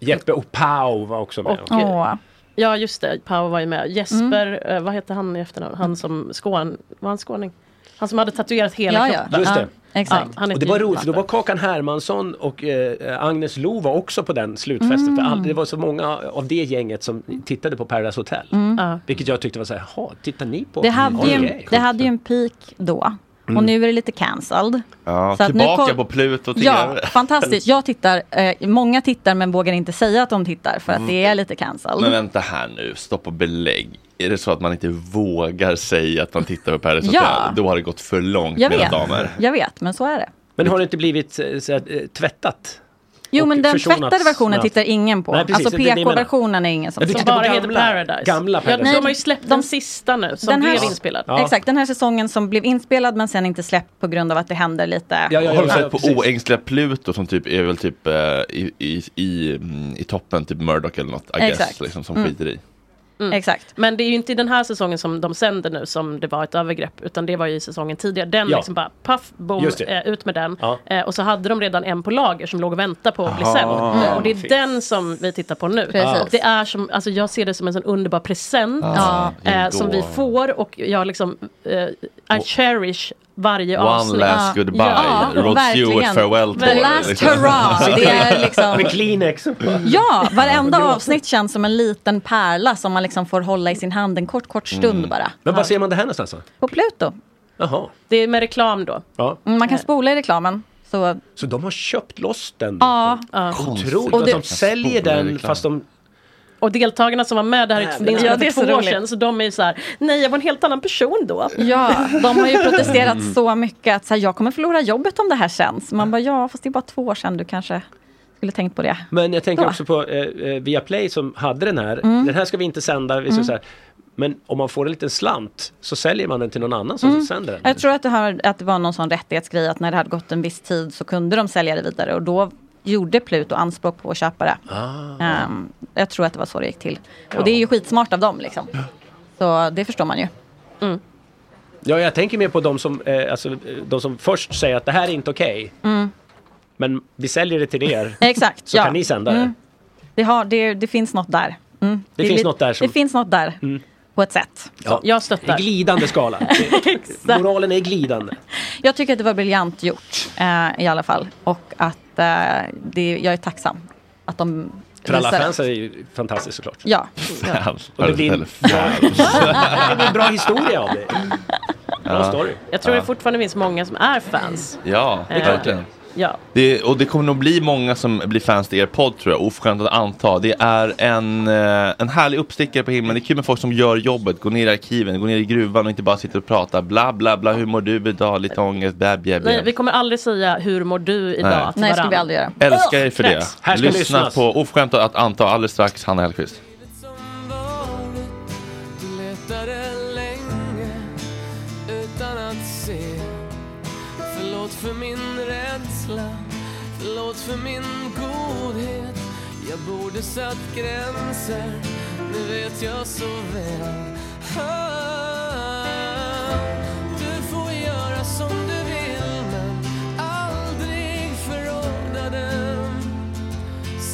C: Jeppe och Pau var också med.
H: Och, eh, Ja just det, Pau var ju med. Jesper,
J: Mm.
H: eh, vad heter han i efternamn? Han som skån, var han skåning? Han som hade tatuerat hela
J: Ja, ja.
H: kroppen.
C: Just det.
H: Ja, han
C: och
H: heter
C: det var
H: ju
C: roligt, för då
H: Pau.
C: var Kakan Hermansson och eh, Agnes Lo var också på den slutfesten.
H: Mm.
C: För all, det var så många av det gänget som tittade på Paradise Hotel.
J: Mm. Ja.
C: Vilket jag tyckte var så här, jaha, tittar ni på?
J: Det hade,
C: Okej.
J: ju, det hade ju en peak då.
C: Mm.
J: Och nu är det lite cancelled.
A: Ja,
J: Så att nu
A: tillbaka
J: kom-
A: på Pluto TV.
J: Ja, fantastiskt. Jag tittar, eh, många tittar men vågar inte säga att de tittar för att
A: Mm.
J: det är lite cancelled.
A: Men vänta här nu, stopp och belägg. Är det så att man inte vågar säga att man tittar på Paradise
J: Ja.
A: Hotel? Då har det gått för långt,
J: jag,
A: mina
J: vet,
A: damer.
J: jag vet, men så är det.
C: Men har det inte blivit eh, så här, eh, tvättat?
J: Jo,
C: Och
J: men den
C: försonats
J: tvättade versionen
C: med-
J: tittar ingen på.
C: Nej, precis,
J: alltså
C: det är det ni menar.
J: PK-versionen är ingen som
C: Jag
J: tittar
C: tyckte
J: på.
C: bara
H: heter Paradise.
C: Gamla
H: Ja,
C: Paradise.
H: de har ju släppt den sista nu som
J: Den här-
H: blev inspelad.
A: Ja.
J: Exakt, den här säsongen som blev inspelad men sen inte släppt på grund av att det händer lite.
A: har du sett på E? oängsliga Pluto som typ är väl typ eh, i, i, i, mm, i toppen, typ Murdoch eller något, I guess,
H: Exakt.
A: liksom, som
H: Mm.
A: skiter i.
J: Exakt.
H: Men det är ju inte i den här säsongen som de sänder nu som det var ett övergrepp utan det var ju i säsongen tidigare. Den
A: Ja.
H: liksom bara paff, boom,
A: Just det.
H: eh, ut med den.
A: Ja.
H: Eh, och så hade de redan en på lager som låg och väntade på att bli
A: Aha.
H: sänd.
A: Mm.
H: Och det är
A: Precis.
H: den som vi tittar på nu.
J: Precis.
H: Och det är som, alltså jag ser det som en sån underbar present
J: Ja.
H: eh,
A: Ändå.
H: som vi får och jag liksom, eh, I cherish varje
A: One
H: avsnitt.
A: last goodbye,
J: Ja,
A: Rod
J: verkligen.
A: Stewart farewell liksom.
J: The last hurrah, det
A: [laughs]
J: är liksom- Med
C: Kleenex.
J: Ja,
C: [laughs]
J: varenda avsnitt känns som en liten pärla som man liksom får hålla i sin hand en kort, kort stund
A: Mm.
J: bara.
C: Men var ser man det här någonstans? då?
J: På Pluto.
C: Jaha.
H: Det är med reklam då.
C: Ja.
J: Mm, Man kan spola i reklamen. Så,
C: Så de har köpt loss den?
J: ja.
C: Otroligt
H: Och
C: att
H: det-
C: de säljer den fast de...
H: Och deltagarna som var med, det här är
J: Nej,
H: ett- det är
J: men- Ja, det är
H: för
J: så
H: två år
J: roligt.
H: sedan, så de är ju så här, nej jag var en helt annan person då.
J: Ja, de [laughs] har ju protesterat
A: Mm.
J: så mycket att så här, jag kommer förlora jobbet om det här känns. Man bara, ja fast det är bara två år sedan du kanske skulle tänkt på det.
C: Men jag tänker
J: Då.
C: också på eh, eh, Viaplay som hade den här.
J: Mm.
C: Den här ska vi inte sända. Vi ska
J: Mm.
C: så här. Men om man får en liten slant så säljer man den till någon annan som
J: Mm.
C: sänder den.
J: Jag tror att det, har, att det var någon sån rättighetsgrej att när det hade gått en viss tid så kunde de sälja det vidare och då gjorde Pluto anspråk på att köpa det.
C: Ah.
J: Ehm, jag tror att det var så det gick till. Och det är ju skitsmart av dem liksom. Så det förstår man ju.
C: Ja, jag tänker mer på de som, eh, alltså, eh, de som först säger att det här är inte okej.
J: Mm.
C: Men vi säljer det till er.
J: Exakt,
C: Så
J: ja.
C: kan ni sända det.
J: Mm. Det, har, det, det finns något där. Mm.
C: Det finns
J: lite-
C: något där som- Mm.
J: Det finns något där. På ett sätt.
C: Ja.
H: Jag stöttar.
C: Glidande
L: [laughs]
C: skala. Moralen är glidande.
J: Jag tycker att det var briljant gjort eh, i alla fall. Och att eh, det, jag är tacksam att de
C: För alla
J: visar det.
C: fans är ju fantastiskt såklart.
A: [laughs]
J: Ja.
C: Och det blir en, [laughs] det blir en bra historia av det. Bra story.
H: Jag tror
A: Ja.
H: det fortfarande finns många som är fans.
A: Ja,
H: Eh,
A: verkligen.
H: Ja.
A: Det, och det kommer nog bli många som blir fans till er podd tror jag, oförskämt att anta. Det är en, eh, en härlig uppstickare på himlen. Det är kul med folk som gör jobbet, går ner i arkiven, går ner i gruvan och inte bara sitter och pratar bla bla bla, hur mår du idag, lite ångest, bä bä
H: Nej,
A: bä.
H: vi kommer aldrig säga hur mår du idag
A: Nej.
H: till
J: Nej, skulle
H: varann.
J: vi aldrig göra.
A: Älskar er för det.
H: Kräks. Här ska
A: Lyssna
H: lyssnas.
A: på oförskämt att anta alldeles strax, Hanna Hellquist.
M: Du letade länge utan att se Förlåt för min rädsla, förlåt för min godhet Jag borde satt gränser, nu vet jag så väl ah, Du får göra som du vill men aldrig förordna den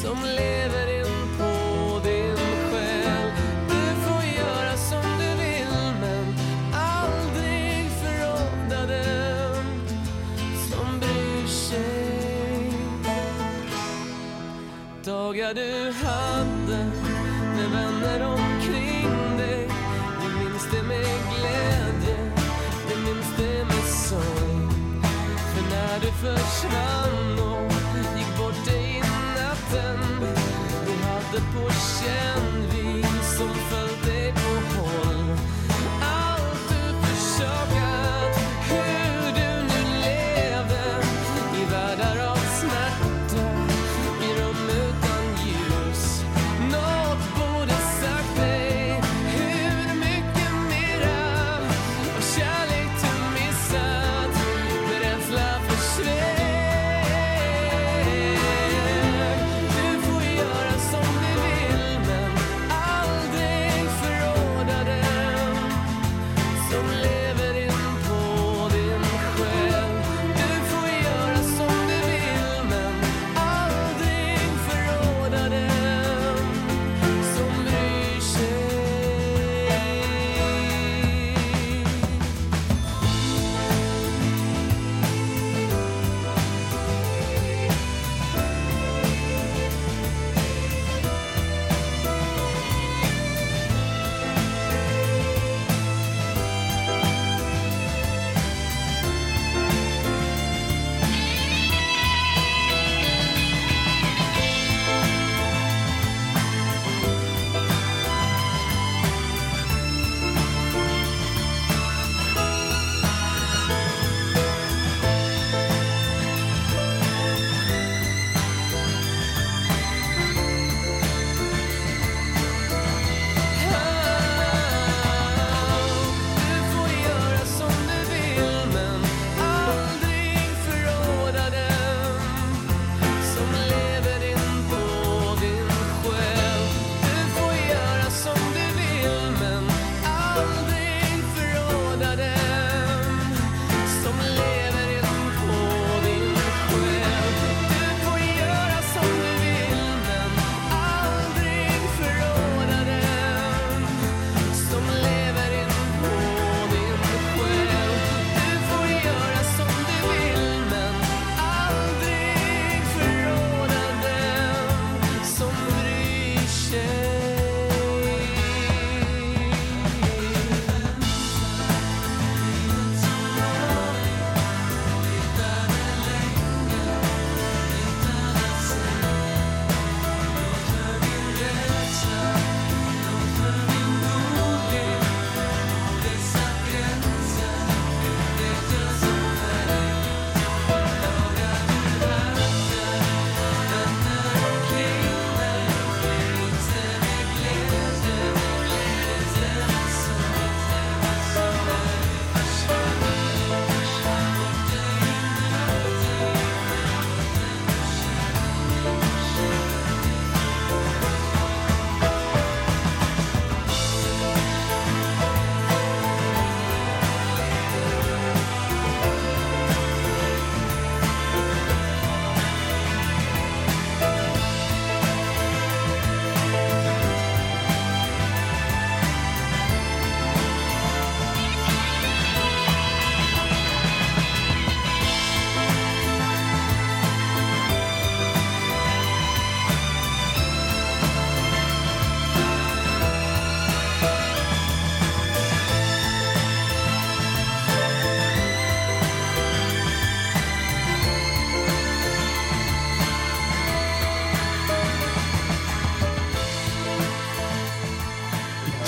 M: som lever in på din själ. Du får göra som du vill men aldrig förråda den som bryr sig. Dagar du hade med vänner omkring dig. Du minns det med glädje, du minns det med sorg. För när du försvann och gick bort dig i natten Du hade på känn vi som följt dig på håll Allt du försakat, hur du nu lever I världar av smärta, i rum utan ljus Något borde sagt dig hur mycket mera och kärlek du missat med rädsla för svek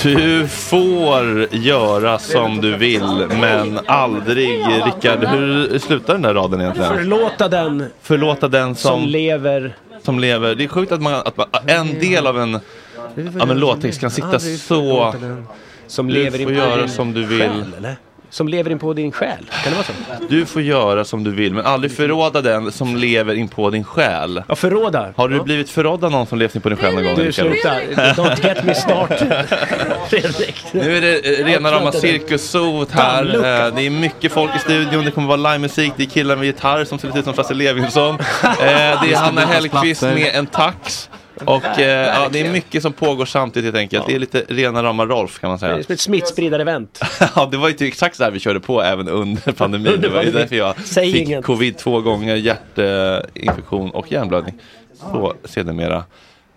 A: Du får göra som du vill, men aldrig... Rickard, hur slutar den där raden egentligen?
C: Förlåta den
A: Förlåta den som,
C: som lever.
A: som lever. Det är sjukt att, man, att man, en del av en, av en låttext kan sitta så...
C: Som
A: Du
C: lever
A: får
C: in på
A: göra
C: din
A: som du vill.
C: Själ, eller? Som lever in på din själ. Kan det vara så?
A: Du får göra som du vill, men aldrig förråda den som lever in på din själ.
C: Ja, förråda.
A: Har du blivit förrådd av någon som levt in på din själ någon gång?
C: Du
A: Rickard?
C: sluta. Don't get me started.
A: Nu är det eh, rena rama cirkussot här.
C: Dammlucka.
A: Eh, Det är mycket folk i studion. Det kommer vara livemusik. Det är killar med gitarr som ser lite ut som Frasse Levinson. Eh, Det är Hanna Hellquist
D: Plattor.
A: med en tax. Och eh, ja, det är mycket som pågår samtidigt helt enkelt. Det är lite rena rama Rolf kan man
C: Det är
A: säga.
C: som ett smittspridarevent.
A: [laughs] Ja, det var ju exakt så här vi körde på även under pandemin. Det var ju därför jag
C: Säg
A: fick
C: inget.
A: covid två gånger, hjärtinfektion och hjärnblödning. Så sedermera.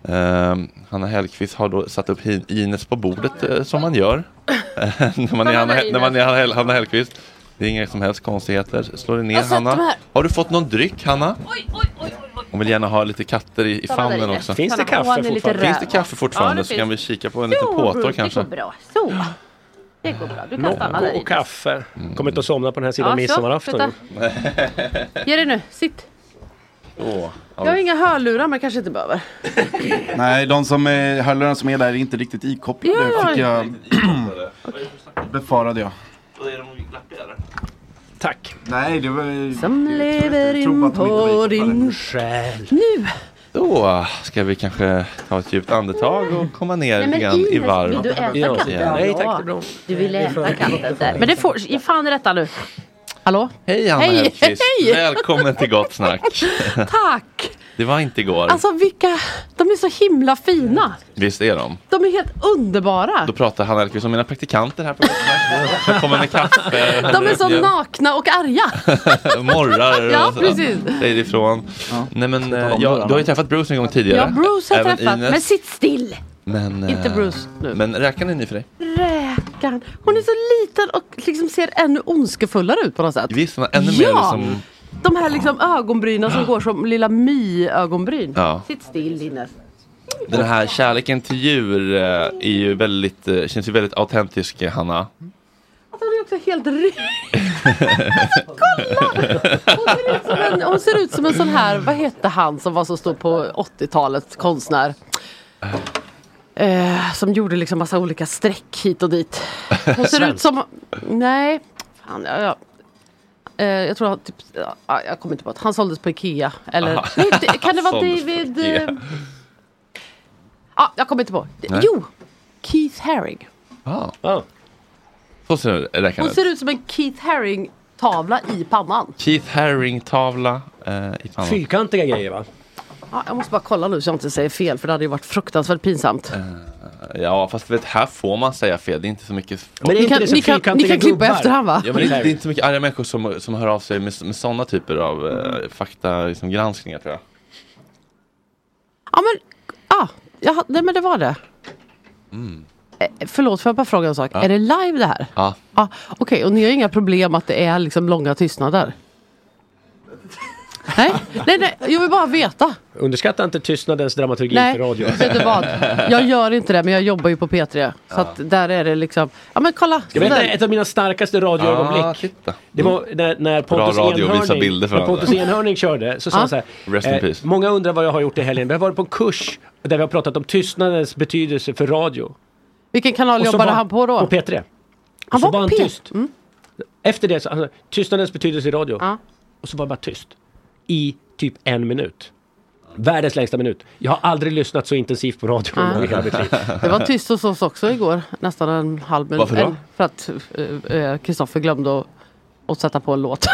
A: Um, Hanna Hellquist har då satt upp hin- Ines på bordet eh, som man gör. [laughs] Eh, när man är Hanna, när man är Hanna, Hell- Hanna Hellquist. Det är inga som helst konstigheter. Slå dig ner
L: Jag satte
A: Hanna.
L: mig Alltså, här.
A: Har du fått någon dryck Hanna?
L: Oj, oj, oj, oj.
A: Hon vill gärna ha lite katter i, i
L: Kolla där
A: famnen
L: inne.
A: också.
L: Finns det Kolla, kaffe åh, han är lite fortfarande?
A: Finns det
L: röd.
A: kaffe
L: Ja,
A: fortfarande
L: det
A: så kan vi
L: finns.
A: kika på en liten påtå kanske.
L: Det går bra. Så. Det går bra. Du kan stanna där
C: Nocco och
L: inne.
C: kaffe.
A: Mm.
C: Kommer inte att somna på den här sidan
L: Ja, så.
C: midsommarafton.
L: Ge dig nu. Sitt.
A: [laughs] Åh,
L: Jag har inga hörlurar men kanske inte behöver.
D: Nej, de som är, hörlurarna som är där är inte riktigt ikopplade.
L: Ja.
D: Fick jag, [clears throat] befarade jag.
C: Tack.
D: Nej, det var...
L: Som lever in på din själ. Nu!
A: Då ska vi kanske ta ett djupt andetag och komma ner
L: Nej,
A: lite
L: men
A: grann i
L: Ines,
A: varv.
L: vill du äta katten?
A: Ja.
C: Nej, tack, det är bra.
L: Du vill äta katten där. Men det får... Ge fan i detta nu. Hallå?
A: Hej Anna
L: Hej,
A: Hellquist,
L: hej.
A: välkommen till Gott
L: [laughs]
A: Snack.
L: Tack!
A: Det var inte igår,
L: Alltså vilka... De är så himla fina.
A: visst är de?
L: De är helt underbara.
A: Då pratar Hanna Hellquist om mina praktikanter här på Gott Snack. Som kommer med kaffe.
L: De är så nakna och
A: [laughs]
L: arga.
A: Morrar och
L: Ja,
A: så-
L: precis.
A: säger ifrån. Nej men eh,
L: om
A: jag,
L: det då,
A: du har ju träffat Bruce en gång tidigare.
L: Ja, Bruce har jag
A: Även
L: träffat.
A: Ines.
L: Men sitt still!
A: Men,
L: Inte
A: eh,
L: Bruce nu.
A: Men räkan är ny för dig.
L: Räkan. Hon är så liten och liksom ser ännu ondskefullare ut på något sätt.
A: Visst, hon har ännu mer
L: Ja.
A: liksom...
L: De här liksom ögonbrynen som går som lilla my-ögonbryn.
A: Ja.
L: Sitt still Ines.
A: Den här kärleken till djur eh, är ju väldigt, eh, känns ju väldigt autentisk eh, Hanna.
L: Alltså, hon är också helt ry... Hon ser ut som en- Hon ser ut som en sån här, vad hette han som var så stor på 80-talet, konstnär. Eh, som gjorde liksom massa olika streck hit och
K: [laughs]
L: dit. Hon ser ut
K: Svensk.
L: som, nej, fan, ja, ja. Eh, jag tror han typ, ja, jag kommer inte på att han såldes på Ikea. Eller,
K: Aha.
L: nej, det- kan det vara
K: Såldes på
L: David?
K: Ikea.
L: eh, Ja, jag kommer inte på.
A: Nej.
L: Jo, Keith Haring.
A: Ah. Så ser eh, räkan
L: Hon
A: ut.
L: ser ut som en Keith Haring tavla i pannan.
A: Keith Haring-tavla eh, i pannan.
C: Fyrkantiga grejer va?
L: Ja, jag måste bara kolla nu så jag inte säger fel för det hade ju varit fruktansvärt pinsamt.
A: Eh, Ja, fast vet, här får man säga fel. Det är inte så mycket...
L: Men det är Ni inte kan- det som ni kan- fyrkantiga ni kan klippa gubbar. efterhand, va?
A: Ja, men det, är- det är inte så mycket arga människor som, som hör av sig med, med sådana typer av eh, fakta, liksom, granskningar tror jag.
L: Ja men, ah, ja, nej men det var det.
A: Mm.
L: Eh, Förlåt, får jag bara fråga en sak?
A: Ja.
L: Är det live det här?
A: Ja.
L: Ah, Okej, och ni har inga problem att det är liksom långa tystnader? nej, nej, nej, jag vill bara veta.
C: Underskatta inte tystnadens dramaturgi
L: Nej,
C: för radio.
L: vet du vad? Jag gör inte det, men jag jobbar ju på P3. Så att där är det liksom, ja men kolla.
C: Ska jag berätta
L: sådär.
C: ett av mina starkaste radioögonblick?
A: Ah, titta.
C: Det var när, när Pontus
A: radio att visa
C: Enhörning,
A: bilder för
C: när Pontus
A: varandra.
C: Enhörning körde så sa
A: Ah.
C: han så här. eh,
A: Rest in peace.
C: Många undrar vad jag har gjort i helgen. Vi har varit på en kurs där vi har pratat om tystnadens betydelse för radio.
L: Vilken kanal
C: Och så
L: jobbade
C: var-
L: han på då?
C: På P3.
L: Han
C: så
L: var på Mm.
C: han
L: P3.
C: tyst. Efter det, så, han sa, tystnadens betydelse i radio.
L: Ah.
C: Och så var det bara tyst. I typ en minut. Världens längsta minut. Jag har aldrig lyssnat så intensivt på radio någon
L: Ah.
C: gång i hela mitt liv.
L: Det var tyst hos oss också igår, nästan en halv minut.
C: Varför då?
L: En- För att eh, eh, Kristoffer glömde att, att sätta på
C: [laughs]
L: en låt.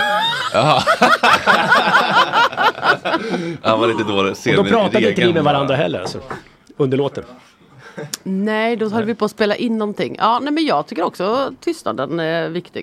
A: Jaha. Han var lite dålig.
C: Och då pratade inte ni
A: egen-
C: med varandra heller alltså. Under låten.
L: nej, då höll vi på att spela in någonting. Ja, nej, men jag tycker också tystnaden är viktig.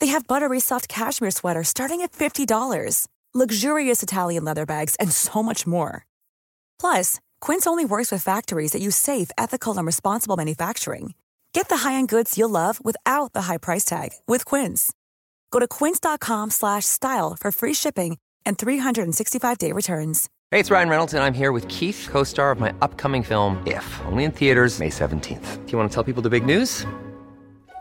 N: They have buttery soft cashmere sweaters starting at $50, luxurious Italian leather bags, and so much more. Plus, Quince only works with factories that use safe, ethical, and responsible manufacturing. Get the high-end goods you'll love without the high price tag with Quince. Go to quince.com/style slash style for free shipping and 365-day returns.
B: Hey, it's Ryan Reynolds, and I'm here with Keith, co star of my upcoming film, If, only in theaters, May 17th. Do you want to tell people the big news?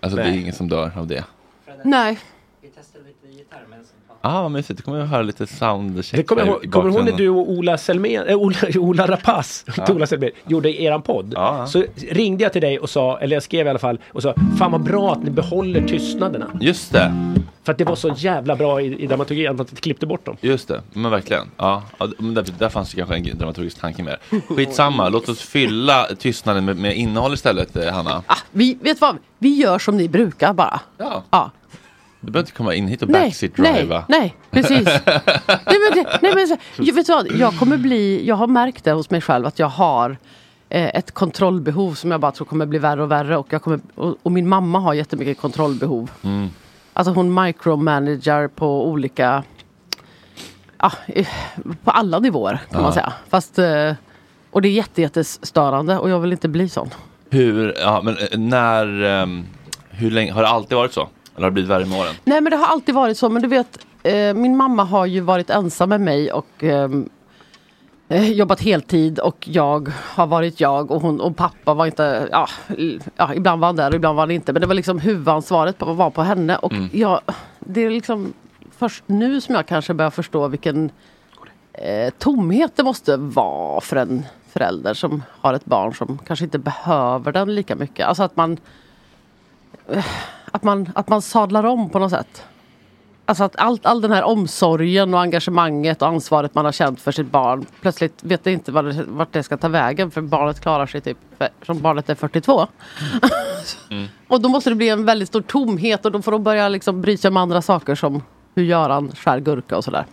A: Alltså det är
L: Nej.
A: ingen som dör av det.
L: Nej.
A: Ah, vad mysigt. Då kommer jag höra lite soundcheck.
C: Det kommer,
A: här
C: hon,
A: i
C: kommer hon när
A: bakgrunden.
C: du och Ola Selmer, äh, Ola, [laughs] Ola Rapace,
A: Ja.
C: inte Ola Selmer, gjorde eran podd. Så ringde jag till dig och sa, eller jag skrev i alla fall, och sa Fan vad bra att ni behåller tystnaderna.
A: Just det.
C: För att det var så jävla bra i, i dramaturgin att ni klippte bort dem.
A: Just det, men verkligen. Ja, ja, men där, där fanns det kanske en dramaturgisk tanke med det. Skitsamma, låt oss fylla tystnaden med, med innehåll istället, eh, Hanna.
L: Vi, vet vad? Vi gör som ni brukar bara.
A: Ja.
L: ja.
A: Du behöver inte komma in hit och
L: Nej,
A: backseat-driva.
L: nej, nej, precis. Nej men, det, nej, men så, jag vet vad, jag kommer bli, jag har märkt det hos mig själv att jag har eh, ett kontrollbehov som jag bara tror kommer bli värre och värre och, jag kommer, och, och min mamma har jättemycket kontrollbehov.
K: Mm.
L: Alltså hon micromanager på olika, ja, eh, på alla nivåer kan
A: Ja.
L: man säga. Fast, eh, och det är jätte, jättestörande och jag vill inte bli sån.
A: [laughs] Hur, ja, men eh, när, ehm, hur länge, har det alltid varit så? Eller har det blivit värre med åren?
L: Nej men det har alltid varit så. Men du vet, eh, min mamma har ju varit ensam med mig och ehm, eh, jobbat heltid och jag har varit jag och hon och pappa var inte, ja, l- ja ibland var han där och ibland var han inte. Men det var liksom huvudansvaret på- var på henne och
K: Mm.
L: jag, det är liksom först nu som jag kanske börjar förstå vilken eh, tomhet det måste vara för en förälder som har ett barn som kanske inte behöver den lika mycket. Alltså att man eh, att man, att man sadlar om på något sätt. Alltså att allt, all den här omsorgen och engagemanget och ansvaret man har känt för sitt barn plötsligt vet det inte vad det, vart det ska ta vägen för barnet klarar sig typ som barnet är 42. [laughs] Och då måste det bli en väldigt stor tomhet och då får de börja liksom bry sig om andra saker som hur Göran skär gurka och sådär.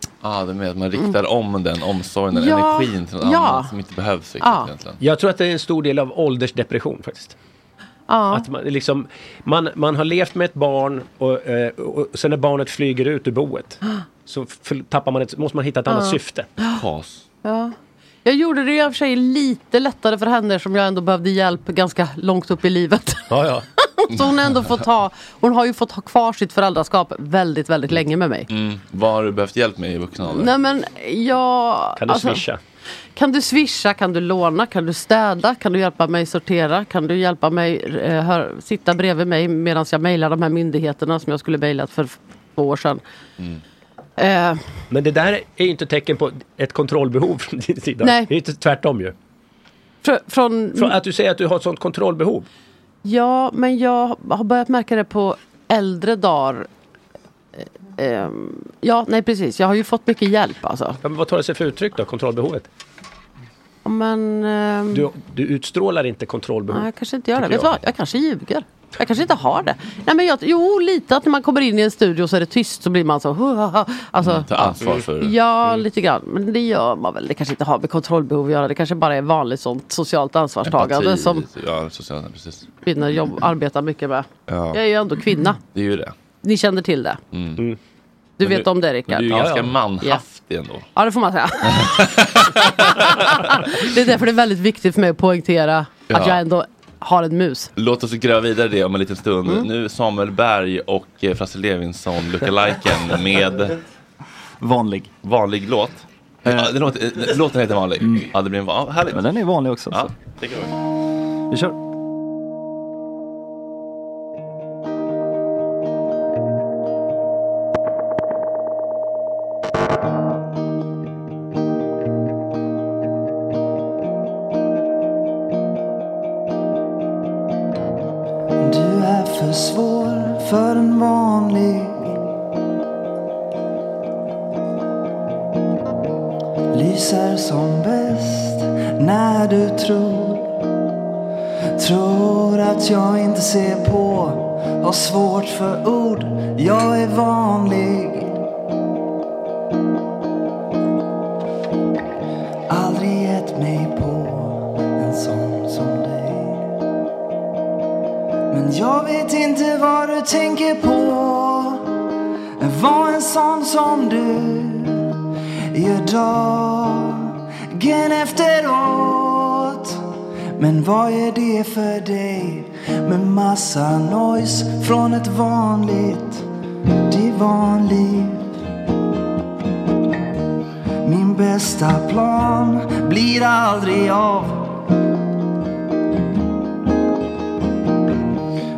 A: Ja, ah, det med att man riktar om den omsorgen, den
L: Mm. Ja,
A: energin till någon
L: ja.
A: annan som inte behövs riktigt
L: Ja.
A: egentligen.
C: Jag tror att det är en stor del av åldersdepression faktiskt.
L: Ja.
C: Att man, liksom, man, man har levt med ett barn och, eh, och och sen när barnet flyger ut ur boet så f- tappar man ett, måste man hitta ett annat
L: Ja.
C: syfte.
A: Kas.
L: [gasps] Ja. Jag gjorde det i och för sig lite lättare för henne som jag ändå behövde hjälp ganska långt upp i livet. [laughs]
C: Ja, ja.
L: Så hon, har ändå fått ha, hon har ju fått ha kvar sitt föräldraskap väldigt, väldigt länge med mig.
A: Mm. Vad har du behövt hjälp med i vuxen ålder?
L: Nej men jag...
A: Kan du
L: alltså,
A: swisha?
L: Kan du swisha, kan du låna, kan du städa, kan du hjälpa mig sortera, kan du hjälpa mig eh, hör, sitta bredvid mig medan jag mejlar de här myndigheterna som jag skulle mejlat för f- två år sedan. Eh,
C: Men det där är ju inte tecken på ett kontrollbehov från din sida.
L: Nej.
C: Det är ju inte tvärtom ju.
L: fr- från,
C: Från att du säger att du har ett sånt kontrollbehov.
L: Ja, men jag har börjat märka det på äldre dagar. Eh, ehm, ja, nej precis. Jag har ju fått mycket hjälp alltså.
C: Ja, men vad tar det sig för uttryck då, kontrollbehovet?
L: Ja, Men... ehm,
C: Du, du utstrålar inte kontrollbehov.
A: Mm.
L: Nej, jag kanske inte gör det.
C: tycker
L: Vet du vad? Jag kanske ljuger. Jag kanske inte har det. Nej, men jag, jo, lite att när man kommer in i en studio så är det tyst så blir man så... Alltså,
A: Ta ansvar för Mm.
L: Ja, lite grann. Men det gör man väl. Det kanske inte har med kontrollbehov att göra. Det kanske bara är vanligt sånt socialt ansvarstagande
A: empati.
L: som
A: Ja, sociala, precis.
L: kvinnor jobb, arbetar mycket med.
A: Ja.
L: Jag är ju ändå kvinna.
A: Det är ju det.
L: Ni känner till det.
A: Mm.
L: Du
A: Men
L: vet om det, Rickard.
A: men Du är ju
L: Ja,
A: ganska
L: ja.
A: manhaftig ändå.
L: Ja, det får
A: [laughs]
L: man säga. [laughs] det är därför det är väldigt viktigt för mig att poängtera
A: Ja.
L: att jag ändå har en mus.
A: Låt oss gräva vidare det om en liten stund. Nu Samuel Berg och eh, Frasse Levinson, lookaliken med
O: Vanlig.
A: Vanlig låt. Ja, det låter, eh, låten heter Vanlig. Ja, det blir en van... ja, härligt.
O: Mm. Men den är vanlig också.
A: Ja,
O: så.
A: det kan vara.
O: Vi kör.
K: Du är för svår för en vanlig Lyser som bäst när du tror Tror att jag inte ser på Har svårt för ord Jag är vanlig Aldrig gett mig på en sån som dig men jag vet inte vad du tänker på Var en sån som du gör dagen efteråt Men vad är det för dig med massa noise från ett vanligt divanliv? Min bästa plan blir aldrig av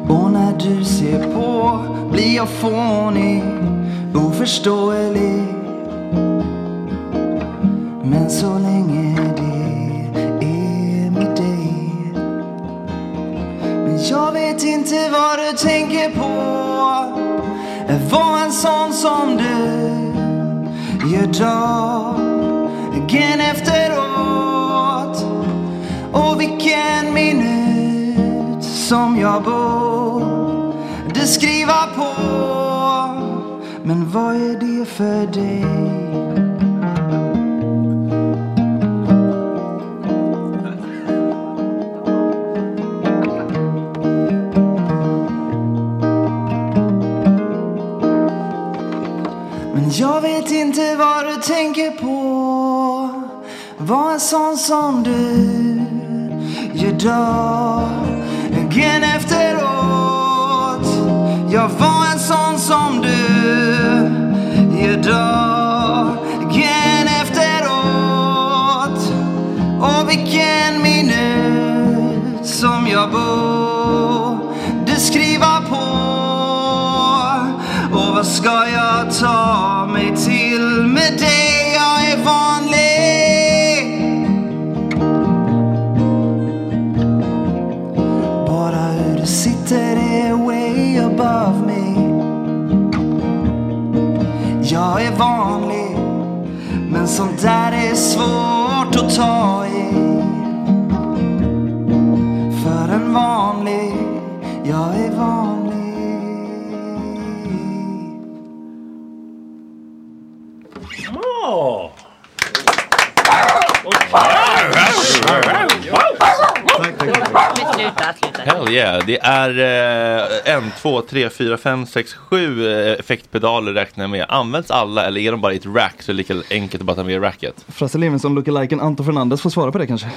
K: Och när du ser på blir jag fånig, oförståelig. Men så länge det är med dig. Men jag vet inte vad du tänker på. Var en sån som du gör dagen efteråt. Och vilken minut som jag borde skriva på. Men vad är det för dig? Men jag vet inte vad du tänker på. Var en sån som du gör dagen efteråt. Jag var en sån som du gör dagen efteråt. Och vilken minut som jag borde skriva på. Och vad ska jag ta mig till med dig? Jag är vanlig. Bara hur du sitter är way above me Jag är vanlig Men sånt där är svårt att ta i För en vanlig Jag är vanlig
C: Ja!
K: Sluta, sluta.
A: Hell yeah. Det är eh, en, två, tre, fyra, fem, sex, sju eh, effektpedaler räknar jag med. Används alla eller är de bara i ett rack så är det lika enkelt att bara ta med i racket?
O: Frasse Levinson, lookaliken Anton Fernandes får svara på det kanske.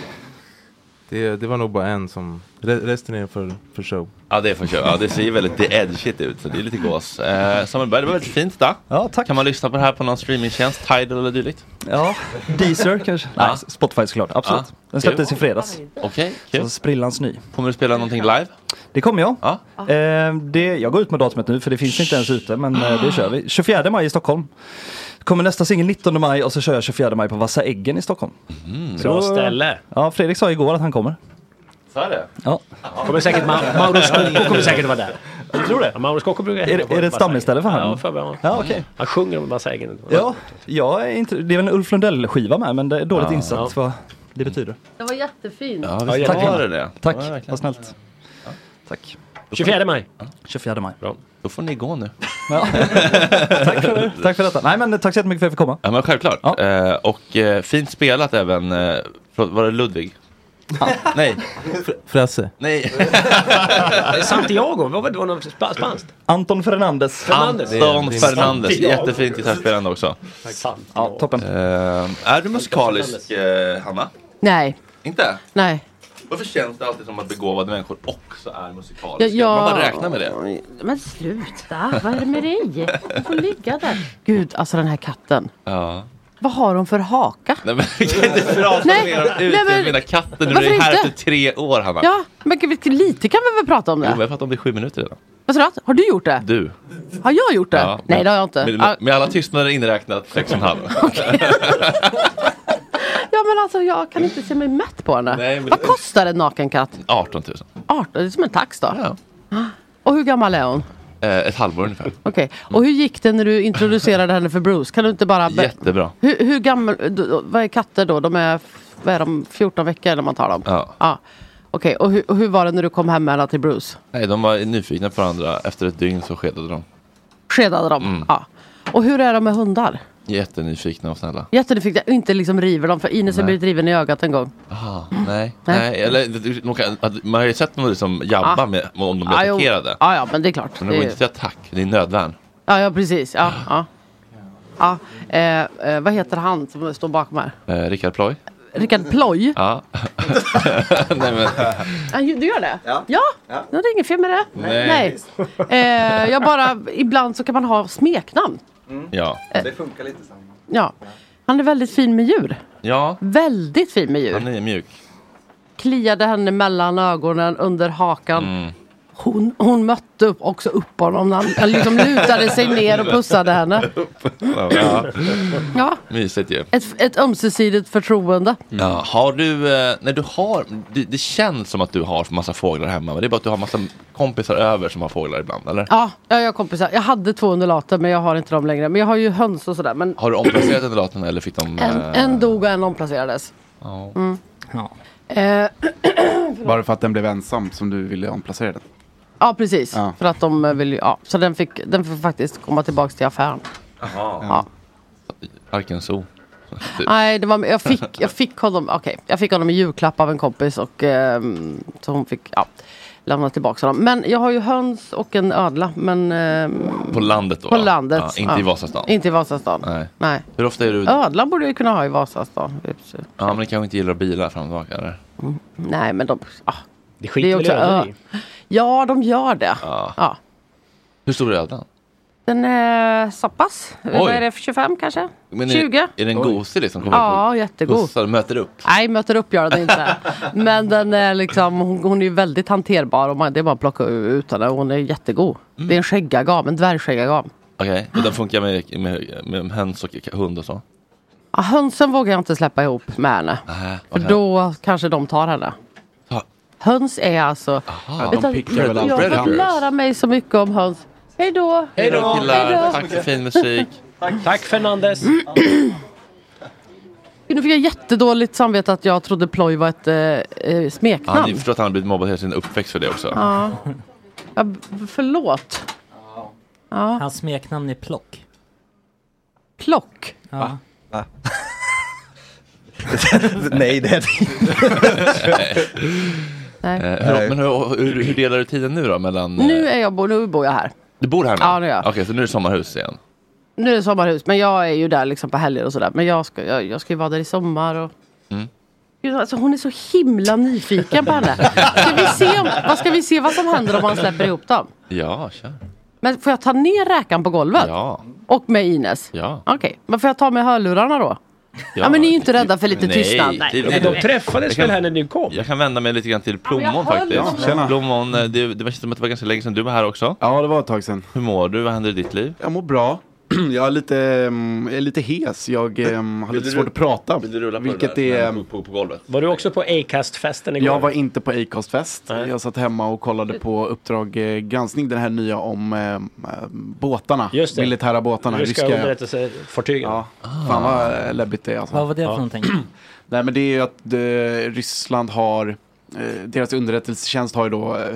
P: Det, det var nog bara en som, re- resten är för, för show.
A: Ja det får jag köra. Ja, det ser ju väldigt the edgeigt ut så det är lite gås. Eh, Samuel Berg, det var väldigt fint då.
O: Ja, tack.
A: Kan man lyssna på det här på någon streamingtjänst, Tidal eller dylikt?
O: Ja, Deezer kanske. Nej,
A: Ja.
O: Spotify såklart, absolut.
A: Ja.
O: Den släpptes
A: Kul.
O: i fredags.
A: Okej,
O: Så sprillans ny.
A: Kommer du spela någonting live?
O: Det kommer jag. Eh, det, jag går ut med datumet nu för det finns inte ens ute men eh, det kör vi. 24 maj i Stockholm. Kommer nästa singel 19 maj och så kör jag 24 maj på Vassa Äggen i Stockholm.
A: Mm.
O: Så
C: Bra
O: då-
C: ställe.
O: Ja, Fredrik sa igår att han kommer.
A: Sa det?
O: Ja.
C: Kommer säkert Ma- Mauro Scocco kommer säkert vara där.
O: Du tror det?
C: Ja, Mauro Scocco brukar
O: Är det- är det ett stammisställe för honom?
C: Ja, för mig.
O: Ja, okej.
C: Han sjunger om massa egen.
O: Ja, jag är inte, det är väl en Ulf Lundell-skiva med men det är dåligt
C: Ja.
O: insatt
C: Ja.
O: vad det betyder.
L: Det var jättefint.
O: tack.
A: var det det.
O: Tack,
A: Ja, verkligen.
O: vad snällt. Tack.
C: 24 maj.
O: 24 maj.
A: Bra. Då får ni gå nu.
O: Ja. [laughs] tack, för, tack för detta. Nej men eh, tack så jättemycket för att jag fick komma.
A: Ja men självklart. Eh, och eh, fint spelat även, eh, förlåt, var det Ludvig? [laughs] Nej.
P: Frasse.
O: [laughs]
A: Nej.
C: Santiago, vad var det? Det var något spa- spanskt?
O: Anton Fernandes.
A: Anton Fernandes, jättefint gitarrspelande också.
O: Ja, toppen.
A: är du musikalisk, eh, Hanna?
L: Nej,
A: Inte?
L: nej.
A: Varför känns det alltid som att begåvade människor också är musikaliska?
L: Ja, ja.
A: Man bara räknar med det.
L: Men sluta, vad är det med dig? Du får ligga där. Gud, alltså den här katten.
A: Ja.
L: Vad har hon för haka?
A: Nej men vi kan inte prata
L: Nej,
A: mer om
L: nej, men-
A: utemina katten. Du
L: varför
A: är här
L: inte?
A: efter tre år Hanna.
L: Ja, men gud, lite kan vi väl prata om
A: Jo, men
L: det?
A: jag fattar om det är sju minuter redan.
L: Vad sa du? Har du gjort det?
A: Du.
L: Har jag gjort det?
A: Ja,
L: Nej,
A: men-
L: det har jag inte.
A: Med, med alla tystnader inräknat, sex och en
L: [laughs]
A: halv.
L: Ja, men alltså jag kan inte se mig mätt på henne.
A: Nej, men-
L: Vad kostar en naken katt?
A: 18 000.
L: 18, det är som en tax då. Och hur gammal är hon?
A: Eh, ett halvår ungefär.
L: Okej, och hur gick det när du introducerade henne för Bruce? Kan du inte bara... be-
A: Jättebra.
L: Hur, hur gammal, d- d- vad är katter då? De är, vad är de, 14 veckor när man tar dem?
A: Ja.
L: Ja. Okej, och hur, och hur var det när du kom hem med henne till Bruce?
A: Nej, de var nyfikna på varandra. Efter ett dygn så skedade de.
L: Skedade de?
A: Mm.
L: Ja. Och hur är de med hundar?
A: Jättenyfikna och snälla.
L: Jättenyfiken, inte liksom river dem för Ines har
A: Nej.
L: blivit riven i ögat en gång.
A: Aha, nej.
L: Nej.
A: nej. Eller, de kan, att- man har ju sett dem liksom jabba
L: Ah.
A: med, om de blir
L: Ah, jo.
A: attackerade.
L: Ja, ja, men det är klart.
A: Men de går
L: Det är-
A: inte till attack, det är nödvärn.
L: Ja, ja precis. Ja, ja. Ja, eh, eh, vad heter han som står bakom här?
A: Eh, Rickard Ploy?
L: Rickard Ploy?
A: Ja. [laughs] nej, men,
L: Ja, Du gör det? Ja. ja? Det är inget fel med det.
A: Nej.
L: Eh, jag bara, ibland så kan man ha smeknamn.
A: Mm. ja.
F: Det funkar lite så.
L: Eh. Ja. Han är väldigt fin med djur.
A: ja.
L: Väldigt fin med djur.
A: Han är mjuk.
L: Kliade henne mellan ögonen, under hakan.
A: Mm.
L: Hon, hon mötte upp, också upp honom. när Han, han liksom lutade sig ner och pussade henne.
A: Ja.
L: Ja.
A: Mysigt ju.
L: Ett, ett ömsesidigt förtroende.
A: Ja, har du, eh, när du har, det, det känns som att du har massa fåglar hemma, men det är bara att du har massa kompisar över som har fåglar ibland, eller?
L: Ja, jag jag har kompisar. Jag hade två undulater men jag har inte dem längre. Men jag har ju höns och sådär. Men
A: Har du omplacerat undulaterna eller fick de?
L: en,
A: eh,
L: en dog och en omplacerades.
A: ja.
L: Mm.
G: Ja.
L: Eh, [clears throat]
D: Bara för att den blev ensam som du ville omplacera den.
L: ja, precis.
D: Ja.
L: För att de eh, vill ju, ja. Så den fick, den får faktiskt komma tillbaks till affären.
A: Jaha. Arken Zoo. Typ.
L: Nej, det var, jag, fick, jag, fick honom, okay, jag fick honom i julklapp av en kompis och ehm, så hon fick ja, lämna tillbaka honom. Men jag har ju höns och en ödla. Men, ehm,
A: På landet då?
L: På
A: ja.
L: landet.
A: Ja, inte i
L: ja.
A: Vasastan?
L: Inte i Vasastan.
A: Nej.
L: Nej.
A: Hur ofta är du?
L: Ödlan borde jag ju kunna ha i Vasastan. Mm.
A: Ja, men ni kanske inte gillar bilar fram och tillbaka eller?
L: Nej, men de... Ah,
A: Det
L: är också ö- Ja, de gör det.
A: Ja.
L: Ja.
A: Hur stor är ödlan?
L: Den är så pass. Vad är det, 25 kanske?
A: Men är,
L: 20?
A: Är den gosig liksom? Kommer
L: Ja,
A: på-
L: jättegod.
A: Pussar, möter upp?
L: Nej, möter upp gör den inte. Men den är liksom, hon, hon är ju väldigt hanterbar och man, det är bara att plocka ut henne. Hon är jättegod. Det är en skäggagam, en dvärgskäggagam.
A: Okej,
L: Ah.
A: och den funkar med, med, med höns och hund och så?
L: Ja, hönsen vågar jag inte släppa ihop med henne.
A: Nej,
L: För
A: okej.
L: då kanske de tar henne. Höns är alltså...
A: Ja, de
L: Vet du,
A: pickar väl
L: jag
A: alltid
L: har fått
A: predators.
L: lära mig så mycket om höns. Hej då!
A: Hej då killar, tack för fin musik.
C: Tack Fernandes.
L: Nu fick jag jättedåligt samvete att jag trodde ploj var ett eh, eh, smeknamn.
A: Ja, ni förstår att han har blivit mobbad hela sin uppväxt för det också. [laughs]
L: Ja. Ja, b- förlåt. Ja.
G: Hans smeknamn är Plock.
L: Plock?
G: Ja.
O: Va? [laughs] Nej, det är det
A: [laughs]
O: inte.
L: Nej.
A: Eh, hur, men hur, hur, hur delar du tiden nu då? Mellan, eh,
L: Nu, är jag, bo- nu bor jag här.
A: Du bor här nu?
L: Ja, det gör jag.
A: Okej, så nu är det sommarhus igen.
L: Nu är det sommarhus, men jag är ju där liksom på helger och sådär. Men jag ska, jag, jag ska ju vara där i sommar. Och...
A: Mm.
L: Gud, alltså, hon är så himla nyfiken på henne. Ska vi se om, vad ska vi se vad som händer om man släpper ihop dem?
A: Ja, kör.
L: Men får jag ta ner räkan på golvet?
A: Ja.
L: Och med Ines?
A: Ja.
L: Okej, men får jag ta med hörlurarna då? Ja, men ni är ju inte rädda för lite tystnad.
A: det- det- jag kan- Jag kan vända mig lite grann till
L: Ja, men
A: Plommon
L: jag höll dem.
A: faktiskt.
L: Tjena.
A: Plommon, eh, det, det var- känns som att det var ganska länge sedan du var här också.
D: Ja, det var ett tag sedan.
A: Hur mår du? Vad händer i ditt liv?
D: Jag mår bra. [clears throat] Jag är lite, ehm, jag är lite hes. Jag ehm, har
A: Vill
D: lite
A: du-
D: svårt att prata.
A: Vill du rulla på
D: vilket
A: det där?
D: är...
A: På, på, på golvet?
C: Var du också på Acast-festen igår?
D: Jag var inte på Acast-fest. Jag satt hemma och kollade på Uppdrag eh, granskning, den här nya om eh, båtarna.
C: Just det.
D: Militära båtarna.
C: Ryska
D: ryska
C: underrättelsefartygen.
D: Ja. Fan vad eh, läbbigt det är. Alltså.
G: Vad var det för någonting?
D: [clears throat] Nej men det är ju att eh, Ryssland har, eh, deras underrättelsetjänst har ju då eh,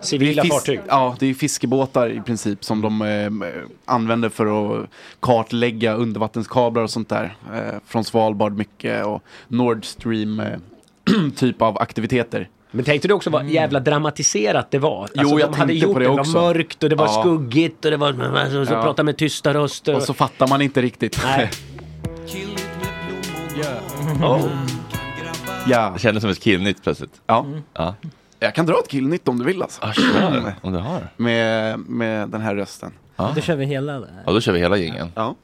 C: Civila
D: det är
C: fartyg.
D: Ja, det är fiskebåtar i princip som de eh, använder för att kartlägga undervattenskablar och sånt där. Eh, från Svalbard mycket och Nord Stream eh, [clears throat] typ av aktiviteter.
C: Men tänkte du också vad jävla dramatiserat det var?
D: Mm.
C: Alltså,
D: Jo, jag
C: de hade
D: tänkte
C: gjort
D: på det
C: det
D: också.
C: var mörkt och det var
D: Ja.
C: skuggigt och det var... Så, så
D: Ja.
C: pratade med tysta röster.
D: Och så fattar [laughs] man inte riktigt.
C: Nej.
D: Oh. Ja.
A: Det kändes som ett killnytt plötsligt.
D: Ja.
L: Mm.
A: ja.
D: Jag kan dra ett killnytt om du vill
C: Ah,
D: alltså. [clears throat]
A: kör, om du har.
D: Med, med den här rösten.
A: Ja.
G: Då kör vi hela eller?
A: Ja, då kör vi hela gingen.
D: Ja.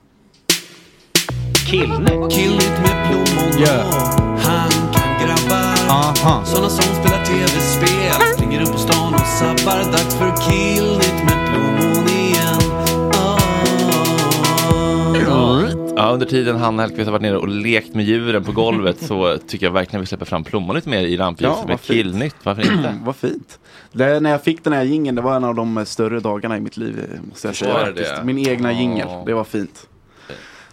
C: Killnytt.
K: Killnytt med plommon och handkan grabbar.
D: Aha.
K: Såna som spelar tv-spel. Springer upp på stan och sabbar. Dags för killnytt med plommon igen.
A: Ja, under tiden Hanna Hellquist har varit nere och lekt med djuren på golvet så tycker jag verkligen vi släpper fram plommon lite mer i rampljuset
D: Ja,
A: med
D: vad fint.
A: killnytt. Varför inte?
D: [clears throat] Vad fint. Det, när jag fick den här jingeln, det var en av de eh, större dagarna i mitt liv. eh, Måste jag säga,
A: Var det
D: faktiskt.
A: det?
D: Min egna
A: Ja.
D: jingel, det var fint.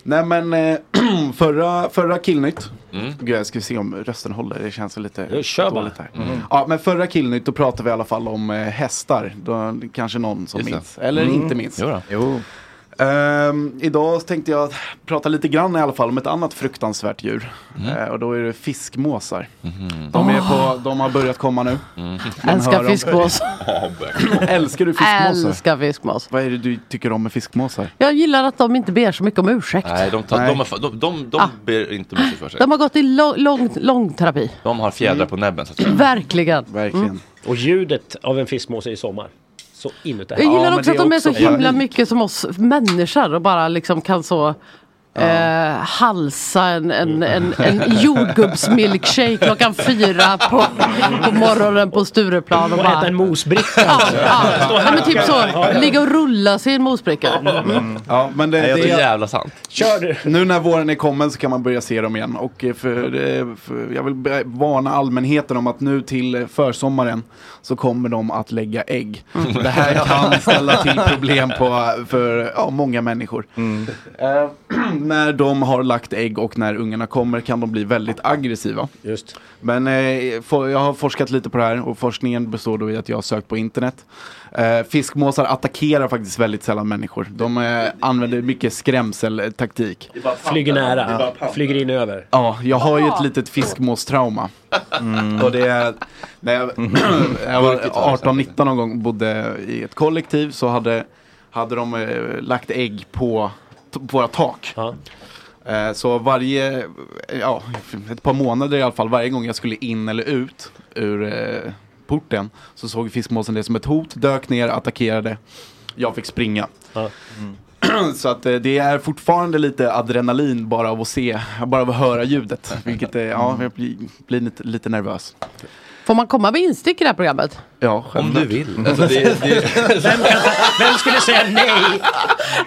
D: Nej men eh, [clears throat] förra, förra killnytt.
A: Mm.
D: Gud, jag ska se om rösten håller, det känns lite
C: Ja, kör bara.
D: dåligt här.
C: Mm.
D: Ja, men förra killnytt då pratade vi i alla fall om eh, hästar. Då, kanske någon som
A: Just det.
D: minns. Eller
A: Mm.
D: inte minns.
A: Jo då.
D: Ehm, idag tänkte jag prata lite grann i alla fall om ett annat fruktansvärt djur.
A: Mm.
D: Eh, och då är det fiskmåsar.
A: Mm-hmm.
D: De, är
A: Ah.
D: på, de har börjat komma
A: Mm.
D: nu. Man
L: Älskar
D: hör om-
L: fiskmås.
D: [clears throat] Älskar du fiskmåsar?
L: Älskar fiskmås.
D: Vad är det du tycker om med fiskmåsar?
L: Jag gillar att de inte ber så mycket om ursäkt.
A: Nej, de, tar,
D: Nej.
A: de, har, de, de,
D: Ah.
A: de ber inte om ursäkt för sig.
L: De har gått i lång, lång, lång terapi.
A: De har fjädrar på näbben så att säga.
L: Verkligen. Mm.
C: Och ljudet av en fiskmås är i sommar. Så inuti
L: Jag gillar också att de är så himla mycket som oss människor och bara liksom kan så Eh, halsa en, en,
D: Mm.
L: en, en jordgubbsmilkshake klockan fyra på, på morgonen på Stureplan. Och
C: Och
L: bara,
C: äta en mosbricka.
L: ja, men typ så, ligga och rulla sig i en mosbricka. Mm.
D: Ja, men det,
A: Nej, jag
D: det
A: tror jävla sant.
D: Nu när våren är kommen så kan man börja se dem igen. Och eh, för, eh, för, jag vill be- varna allmänheten om att nu till eh, försommaren så kommer de att lägga ägg. Det här kan ställa till problem på, för ja, många människor.
C: Mm.
D: Eh, [clears throat] när de har lagt ägg och när ungarna kommer kan de bli väldigt aggressiva.
C: Just.
D: Men eh, for, jag har forskat lite på det här och forskningen består då i att jag har sökt på internet. Eh, fiskmåsar attackerar faktiskt väldigt sällan människor. De eh, använder mycket skrämseltaktik.
C: Flyger nära. Flyger in över.
D: Ja, jag har ju ett litet fiskmåstrauma.
C: Mm.
D: Och det är, när jag, [clears throat] jag var 18-19 någon gång och bodde i ett kollektiv så hade, hade de eh, lagt ägg på, t- på våra tak. Eh, så varje, eh, ja, ett par månader i alla fall, varje gång jag skulle in eller ut ur eh, porten så såg fiskmåsen det som ett hot, dök ner, attackerade. Jag fick springa. [clears throat] Så att eh, det är fortfarande lite adrenalin bara av att se, bara av att höra ljudet. Vilket är, ja, jag blir, blir lite, lite nervös.
L: Får man komma med instick i det här programmet?
D: Ja, Om du
A: vill.
D: Alltså,
A: det,
C: Vem skulle säga nej?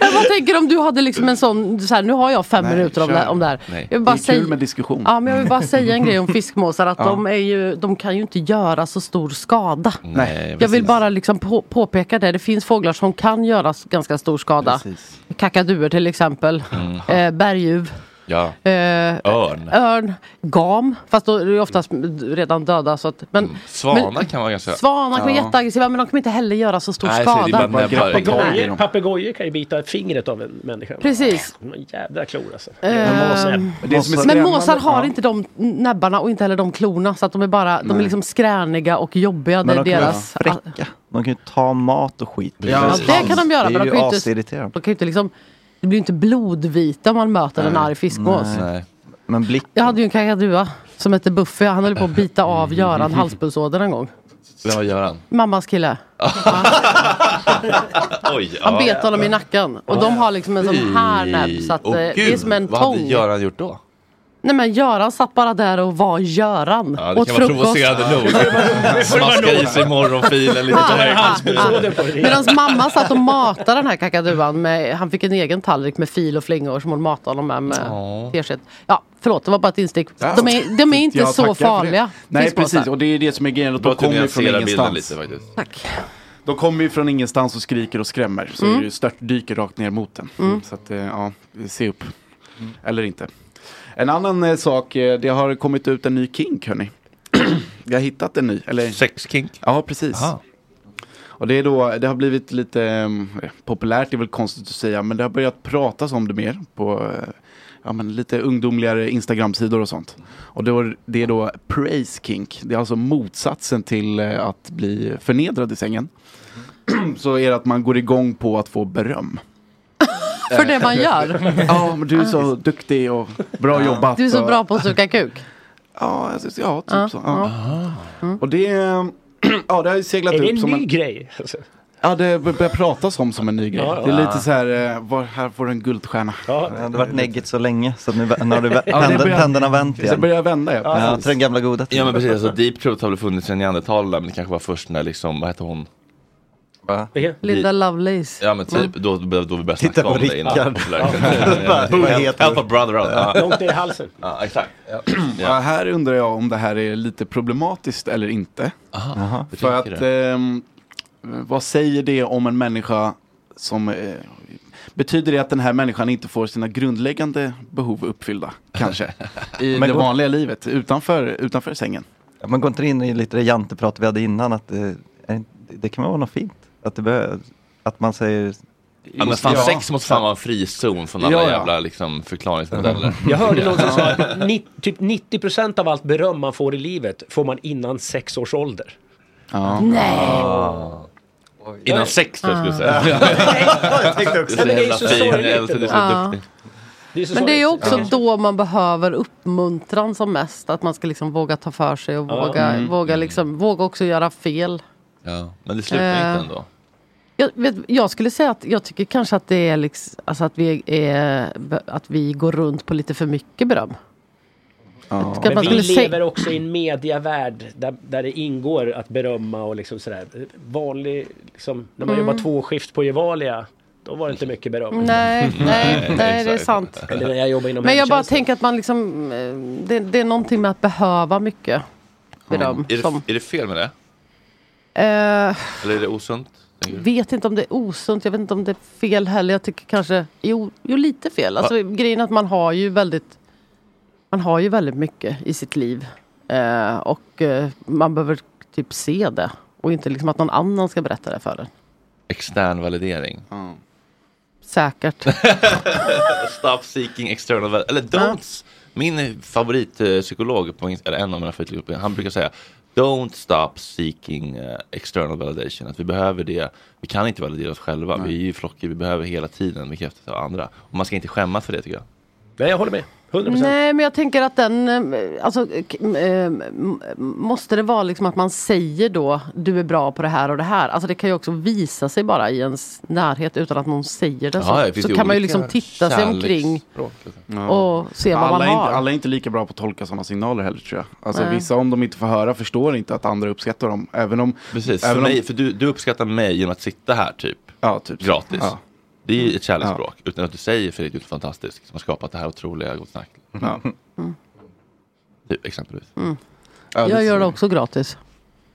L: Jag bara tänker om du hade liksom en sån, så här, nu har jag fem
D: Nej,
L: minuter om det, här-
D: kör.
L: om det här.
D: Nej.
L: Jag vill bara
D: det är kul
L: säga,
D: med diskussion.
L: ja, men jag vill bara säga en grej
D: [laughs]
L: om fiskmåsar, att
D: Ja.
L: de, är ju, de kan ju inte göra så stor skada.
A: Eh,
D: Nej,
L: jag vill
D: precis.
L: bara liksom på, påpeka det, det finns fåglar som kan göra s- ganska stor skada.
D: Precis.
L: Kakaduer till exempel,
A: Mm.
L: eh, berguv.
A: Ja.
L: Eh,
A: Örn.
L: örn, gam, fast då är det oftast redan döda. Så att, men,
A: Mm. Svanar
L: men,
A: kan vara ganska...
L: Svanar kan vara
A: Ja.
L: jätteaggressiva men de kommer inte heller göra så stor
A: Nej, så det är
L: skada.
A: bara näbbar.
C: Papegojor- Papegojor kan ju bita fingret av en människa.
L: Precis.
C: Men Jävla klor alltså.
L: Ehm, men måsar har inte de näbbarna och inte heller de klorna. Så att de är bara, de är
F: Nej.
L: liksom skräniga och jobbiga. Det
F: Men
L: är
F: de kan vara
L: deras...
F: fräcka. De kan ju ta mat och skit.
L: Ja, det kan de göra.
F: Det
L: Men
F: är
L: de
F: ju
L: kan ju inte,
F: asirriterande.
L: de kan ju inte liksom... Det blir ju inte blodvita om man möter en arg fiskmås.
F: Men blick.
L: Jag hade ju en kakadua som hette Buffy. Han höll på att bita av
A: Mm.
L: Göran halspulsådern en gång.
A: Vem var Göran?
L: Mammas kille.
A: Oj,
L: Han
A: ja.
L: bet honom i nacken. Och de har liksom en sån här näbb. Så att, eh,
A: Åh,
L: det är
A: gud,
L: som en
A: Vad hade
L: tång.
A: Göran gjort då?
L: Nej men Göran satt bara där och var Göran.
A: Ja, det
L: Åt
A: kan vara
L: frukost.
A: provocerande
L: [laughs]
A: nog. Smaska i sig morgonfilen lite högt.
L: Medan mamma satt och matade den här kakaduan med, han fick en egen tallrik med fil och flingor som hon matade honom med med
D: Ja.
L: tesked. Ja, förlåt det var bara ett instick. De är, de är inte
D: Jag tackar
L: så
D: för det.
L: farliga.
D: Nej,
L: fiskmåsar.
D: precis. Och det är det som är grejen. att
A: Bra
D: De
A: att du
D: kommer ju från
A: nyanserar bilden
D: ingenstans.
A: lite faktiskt.
L: Tack.
D: De kommer ju från ingenstans och skriker och skrämmer. Så
L: Mm.
D: mm. stört dyker rakt ner mot den.
L: Mm.
D: Så att, eh, ja, se upp. Eller inte. En annan eh, sak, eh, det har kommit ut en ny kink hörni. [clears throat] Jag har hittat en ny. Eller...
A: Sexkink?
D: Ja, precis. Och det, är då, det har blivit lite eh, populärt, det är väl konstigt att säga, men det har börjat pratas om det mer på eh, ja, men lite ungdomligare Instagram-sidor och sånt. Och då, det är då praise kink, det är alltså motsatsen till eh, att bli förnedrad i sängen. [clears throat] Så är det att man går igång på att få beröm.
L: [laughs] För det man gör.
D: [laughs] Ja, men du är så duktig och bra jobbat.
L: Du är så
D: och-
L: bra på att suga kuk.
D: Ja, alltså, ja typ
K: Ja,
D: så.
K: ja.
D: Ja. Och det, [clears throat] eh, ja, det har ju seglat
K: Är det
D: upp
K: en
D: som
K: ny
D: en...
K: grej?
M: alltså.
D: Ja, det bör- börjar pratas om som en ny grej.
F: Ja, ja.
D: Det är
F: Ja.
D: lite så här, eh, var, här får du en guldstjärna.
F: Det hade varit negget så länge så att nu, [laughs] nu har du vä-
D: [laughs] Ja, det
F: tänder-
D: börjar-
F: tänderna vänt
D: Det börjar vända, ja.
F: ja
D: precis.
F: till den gamla goda
A: Ja men precis, alltså Deep Throat har väl funnits sedan neandertalarna men det kanske var först när liksom, vad hette hon? Va?
L: Linda Lovelace.
A: Ja men typ, då, då, då vi började
F: Mm. Titta
A: snacka
F: på
A: om det
F: [laughs]
A: innan. Liksom.
F: Rickard.
A: Populärt.
F: Bara, vad
A: Help
F: heter
A: help a brother out. Ja.
D: Långt ner i halsen.
A: Ja exakt.
D: Ja, här undrar jag om det här är lite problematiskt eller inte.
A: Aha, hur
D: För att,
A: tänker
D: ehm, vad säger det om en människa som... Eh, betyder det att den här människan inte får sina grundläggande behov uppfyllda, kanske? I
F: Men
D: det
F: då-
D: vanliga livet, utanför, utanför sängen?
F: Ja, Man går inte in i lite det janteprat vi hade innan att det, det kan vara något fint. Att, det behöver, att man säger...
A: Ja, men fan, sex måste fan vara en frizon från alla
F: Ja, ja.
A: jävla liksom,
D: Mm.
A: förklaringsmodeller.
M: Jag
A: [laughs]
M: hörde någon som sa att ni, typ 90% av allt beröm man får i livet får man innan sex års ålder.
D: Ja.
M: Nej.
A: Ah. Innan sex tror jag skulle
M: Ah.
A: säga.
F: [laughs]
M: Nej, jag
A: tänkte också
M: Nej, men det är så
A: så jävla fin,
M: sorgligt
A: jag älskar det, du är
L: Ja.
A: så duktig.
L: Men det är ju också
A: Ja.
L: då man behöver uppmuntran som mest. Att man ska liksom våga ta för sig och
A: Ja.
L: våga,
A: Mm.
L: våga, liksom, våga också göra fel.
A: Ja, men det slutar
L: Eh.
A: inte ändå.
L: Jag, vet, jag skulle säga att jag tycker kanske att det är liksom, alltså att vi är, att vi går runt på lite för mycket beröm. Jag tycker att
M: Men
L: man
M: vi
L: skulle
M: lever
L: sä-
M: också i en mediavärld där, där det ingår att berömma och liksom sådär. Vanlig, liksom, när man
L: Mm.
M: jobbar två skift på Gevalia, då var det inte mycket beröm. [laughs]
L: Nej, nej, nej, det är
M: exakt.
L: sant.
M: Eller när jag jobbar inom
L: Men jag bara
M: hemtjänsten.
L: tänker att man liksom, eh, det, det är någonting med att behöva mycket beröm.
A: Mm. Är,
L: Som,
A: det, är det fel med det?
L: eh,
A: Eller är det osunt? tänker du?
L: vet inte om det är osunt, jag vet inte om det är fel heller. Jag tycker kanske, jo, jo lite fel. Alltså,
A: Va?
L: Grejen är att man har ju väldigt, man har ju väldigt mycket i sitt liv. Eh, och eh, man behöver typ se det. Och inte liksom att någon annan ska berätta det för en.
A: Extern validering. [laughs]
L: Säkert.
A: Stop seeking external validation. Eller don't. Min favoritpsykolog, på, eller en av mina favoritpsykologer, han brukar säga Don't stop seeking eh, external validation. Att vi behöver det. Vi kan inte validera oss själva. Vi är ju flockar. Vi behöver hela tiden bekräftelse av andra. Och man ska inte skämmas för det tycker jag.
M: Nej, jag håller med. 100%.
L: Nej, men jag tänker att den... eh, Alltså, k- eh, m- måste det vara liksom att man säger då du är bra på det här och det här. Alltså det kan ju också visa sig bara i ens närhet utan att någon säger det.
D: Ja, ja,
L: så
D: finns
L: så
D: det
L: kan man ju
D: olika
L: liksom titta sig omkring.
A: liksom.
L: Och se vad
D: alla
L: man
D: är
L: har.
D: Inte, alla är inte lika bra på att tolka sådana signaler heller tror jag. Alltså,
L: Nej.
D: vissa om de inte får höra förstår inte att andra uppskattar dem. Även om...
A: Precis, för,
D: även
A: mig, för du, du uppskattar mig genom att sitta här typ. Gratis.
D: Ja.
A: Det är ju ett kärleksspråk. Utan att du säger Fredrik, du är fantastisk. Som har skapat det här otroliga Gott Snack.
D: Ja.
A: Du, exempelvis.
L: Mm.
A: Ja, det är
L: jag gör
A: så.
L: det också gratis.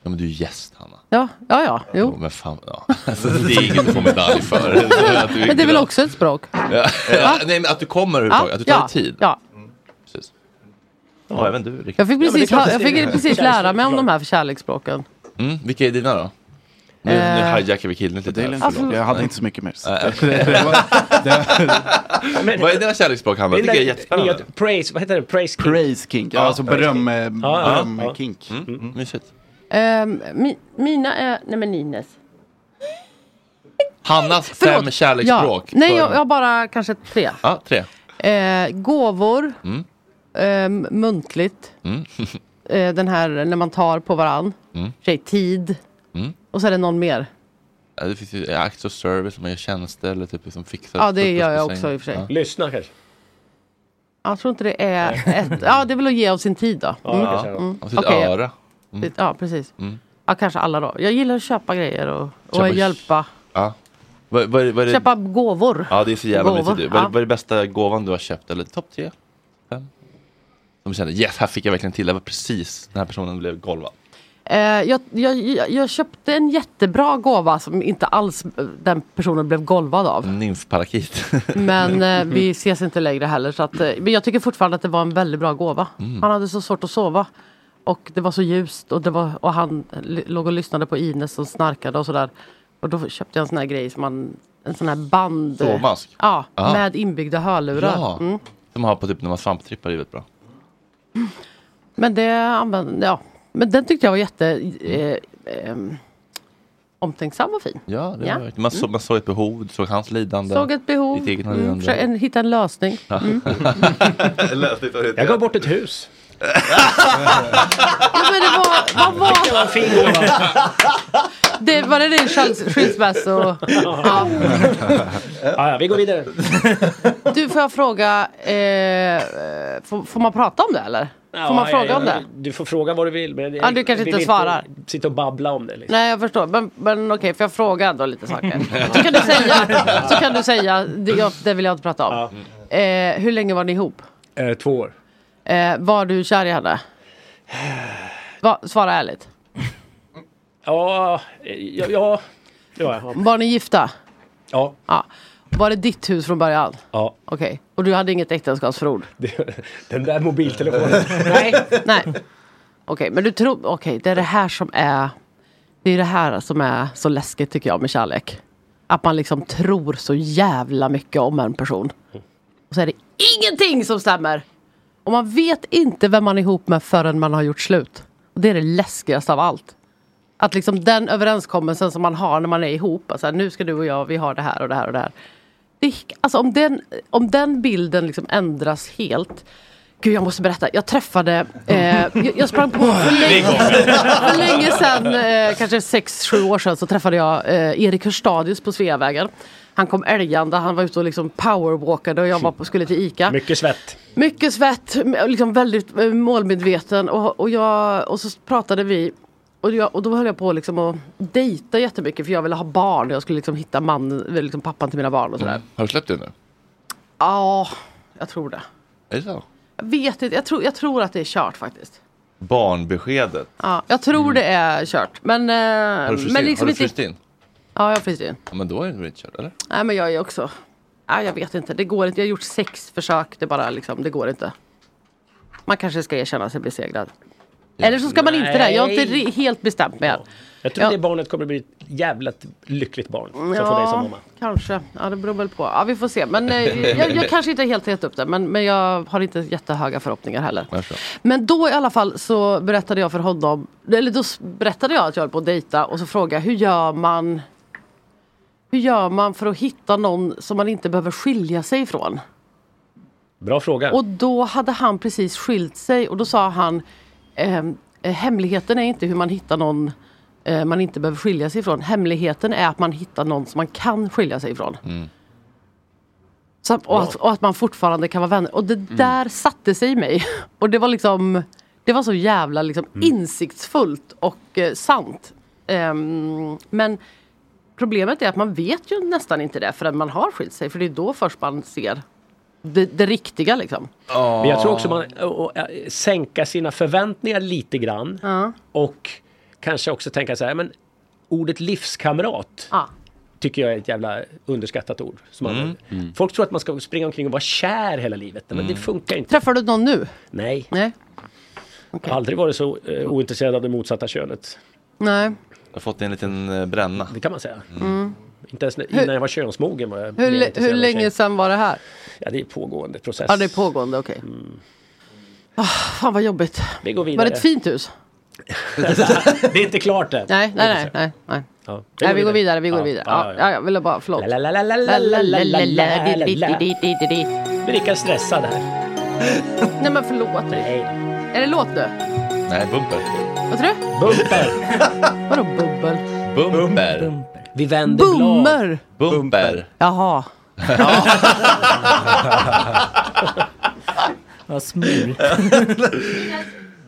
A: Ja men du är gäst Hanna.
L: Ja, ja, ja.
A: Jo.
L: Jo.
A: Men fan, [laughs] ja. Alltså, det är inget att få medalj för. Att du
L: [laughs] Men det är väl
A: glad.
L: också ett språk?
A: Ja.
L: Va?
A: Nej men att du kommer överhuvudtaget, att du tar dig tid.
L: Ja.
A: Precis. Ja, även du Rickard.
L: Jag fick
A: Ja, men det är
L: precis,
A: klart
L: ha-
A: att
L: jag
A: det är
L: fick
A: det.
L: precis lära mig om de här kärleksspråken.
A: Mm, vilka är dina då? Nu, nu
L: Eh,
A: hijackar vi killen lite. här,
L: alltså-
A: förlåt.
L: Jag hade
A: Nej.
D: inte så mycket mer.
A: [laughs]
D: [laughs]
A: Nej, okej. [laughs] Vad är dina kärleksspråk Hanna? Det tycker jag är jättespännande.
M: Nya- Praise, vad heter det? Praise kink.
D: Praise kink, ja, alltså beröm, eh, beröm, eh, kink.
A: Mm, mm, mysigt.
L: Ehm, mi, mina är... Nej men Nines.
A: Hannas
L: Förlåt.
A: fem kärleksspråk.
L: Ja. Nej,
A: För-
L: jag, jag har bara kanske tre.
A: Ja, tre.
L: Eh, gåvor,
A: Mm.
L: ehm, muntligt,
A: Mm. [laughs]
L: eh, den här när man tar på varann,
A: Mm.
L: Tjej, tid
A: Mm.
L: och så är det någon mer.
A: Ja, det finns ju acts of service, man gör tjänster eller typ som fixar.
L: Ja, det gör jag
A: pusspussing.
L: också i och för sig.
A: Ja.
M: Lyssna kanske.
L: Jag tror inte det är ett. Ja, det är väl att ge av sin tid då. Mm.
A: Ja, kanske. Och sitt
L: Okej.
A: öra. Mm.
L: Sitt- Ja, precis.
A: Mm.
L: Ja, kanske alla då. Jag gillar att köpa grejer och, och
A: Köpa-
L: hjälpa.
A: Ja. Vad, vad, vad är det?
L: Köpa gåvor.
A: Ja, det är så jävla
L: Gåvor.
A: mysigt. du. Vad,
L: Ja.
A: vad är det bästa gåvan du har köpt? Eller topp tre? Fem? Som kände, yes, här fick jag verkligen till. Det var precis den här personen blev golvad.
L: Eh, jag, jag, jag- jag köpte en jättebra gåva som inte alls eh, den personen blev golvad av.
A: Nymfparakit.
L: [laughs] Men eh, vi ses inte längre heller. Så att, eh, men jag tycker fortfarande att det var en väldigt bra gåva.
A: Mm.
L: Han hade så svårt att sova. Och det var så ljust och, det var, och han l- låg och lyssnade på Ines som snarkade och sådär. Och då köpte jag en sån här grej som man, en sån här band.
A: Sovmask?
L: Ja,
A: Aha.
L: med inbyggda hörlurar.
A: Ja.
L: Mm.
A: Som man har på typ när man svamptrippar, det är väldigt bra.
L: Men det använde, ja. Men den tyckte jag var jätte eh, ehm, omtänksam och fin.
A: Ja, det var verkligen. Man, så, man såg ett behov, du såg hans lidande.
L: Mm. Såg ett behov,
A: Ditt eget
L: mm,
A: lidande. [laughs]
L: försökte en, hitta en lösning.
A: Ja.
L: Mm.
A: Lösligt och
L: [laughs]
M: Jag gav bort ett hus.
L: Ja, men det var... Vad var det? Var det var det din skils- skilsmässo? Ja.
M: ja, ja, vi går vidare.
L: Du, får jag fråga... Eh, får, får man prata om det eller? Får man
M: Ja,
L: fråga
M: ja,
L: om det?
M: Du får fråga vad du vill. Men
L: Ja, du kanske
M: vill
L: inte svarar.
M: Sitta och babbla om det. Liksom.
L: Nej, jag förstår. Men, men okej, för jag frågar ändå lite
M: Mm.
L: saker. Så kan du säga, så kan du säga det, jag, det vill jag inte prata om. Eh, hur länge var ni ihop?
M: Eh, två år.
L: Eh, var du kär i henne? Va, svara ärligt.
M: Ja, eh, ja, ja. Det var jag.
L: Var ni gifta?
M: Ja.
L: ja. Var det ditt hus från början?
M: Ja.
L: Okej. Och du hade inget äktenskapsförord?
M: Den där mobiltelefonen.
L: Nej. Nej. Okej, men du tror... Okej, det är det här som är... Det är det här som är så läskigt tycker jag med kärlek. Att man liksom tror så jävla mycket om en person. Och så är det ingenting som stämmer. Och man vet inte vem man är ihop med förrän man har gjort slut. Och det är det läskigaste av allt. Att liksom den överenskommelsen som man har när man är ihop, alltså nu ska du och jag, vi har det här och det här och det här. Det, alltså om den, om den bilden liksom ändras helt. Gud jag måste berätta, jag träffade, eh, jag, jag sprang på för länge, för länge sedan, eh, kanske sex sju år sedan så träffade jag eh, Erik Hörstadius på Sveavägen. Han kom älgande, han var ute och liksom powerwalkade och jag var på, skulle till ICA.
M: Mycket svett.
L: Mycket svett, liksom väldigt eh, målmedveten och, och, jag, och så pratade vi och, jag, och då höll jag på liksom att dejta jättemycket för jag ville ha barn. Jag skulle liksom hitta man, liksom pappan till mina barn och sådär.
A: Mm. Har du släppt det nu?
L: Ja, jag tror det.
A: Är det så?
L: Jag vet inte, jag tror, jag tror att det är kört faktiskt.
A: Barnbeskedet.
L: Ja, jag tror det är kört. Men, eh,
A: Mm. Har du fryst
L: men
A: in?
L: liksom
A: har du
L: inte-
A: fryst in?
L: Ja, jag har fryst in.
A: Ja, men då är det väl inte kört, eller?
L: Nej, men jag är också... Nej, jag vet inte. Det går inte. Jag har gjort sex försök. Det bara liksom, det går inte. Man kanske ska erkänna sig besegrad. Eller så ska man inte det. Jag har inte
M: Nej.
L: ri- helt bestämt mig än.
M: Jag tror
L: Ja. Mm,
M: det barnet kommer bli ett jävla lyckligt barn. Som får dig som
L: Ja,
M: mamma.
L: kanske. Ja, det beror väl på. Ja, vi får se. Men eh, jag, jag kanske inte är helt helt upp det. Men, men jag har inte jättehöga förhoppningar heller. Men då i alla fall så berättade jag för honom, eller då s- berättade jag att jag höll på att dejta och så frågade jag hur gör man hur gör man för att hitta någon som man inte behöver skilja sig ifrån?
M: Bra fråga.
L: Och då hade han precis skilt sig och då sa han ehm, eh, Hemligheten är inte hur man hittar någon eh, man inte behöver skilja sig ifrån. Hemligheten är att man hittar någon som man kan skilja sig ifrån. Så, att- och, att, och att man fortfarande kan vara vänner. Och det där satte sig i mig. [laughs] Och det var liksom Det var så jävla liksom, insiktsfullt och eh, sant. Ehm, men problemet är att man vet ju nästan inte det förrän man har skilt sig. För det är då först man ser det, det riktiga liksom.
M: Men jag tror också man och, och, eh, sänka sina förväntningar lite grann.
L: Ja.
M: Och kanske också tänka så här, men ordet livskamrat
L: Ja.
M: tycker jag är ett jävla underskattat ord. Som man
L: Mm.
M: använder. Folk tror att man ska springa omkring och vara kär hela livet, men det funkar inte.
L: Mm. Träffar du någon nu?
M: Nej.
L: Nej.
M: Jag har aldrig varit så eh, ointresserad av det motsatta könet. Mm.
L: Nej.
A: Jag har fått en liten eh, bränna.
M: Det kan man säga.
L: Mm.
M: Inte ens när-
L: Hur-
M: innan jag var könsmogen var jag
L: Hur,
M: mer
L: le-
M: intresserad
L: hur
M: av
L: länge
M: tjejer.
L: sedan var det här?
M: Ja, det är pågående process. Mm.
L: Ja, det är pågående, okej. Ah, fan vad jobbigt.
M: Vi går
L: Var
M: vidare.
L: det ett fint hus?
M: [laughs] det är inte klart än.
L: Nej, nej, nej. nej, nej.
M: Ja.
L: Nej, vi går vidare, vi går vidare. Ja, ja, jag ville bara, förlåt.
M: Blir lika stressad här.
L: Nej men förlåt. Är det låt nu?
A: Nej, bumper.
L: Vad tror du?
G: [laughs]
M: Bumper.
L: Vadå bubbel?
A: Bumper.
M: Vi vänder
L: Bummer!
A: Bumper.
L: Jaha.
G: Vad
M: [laughs]
G: smul.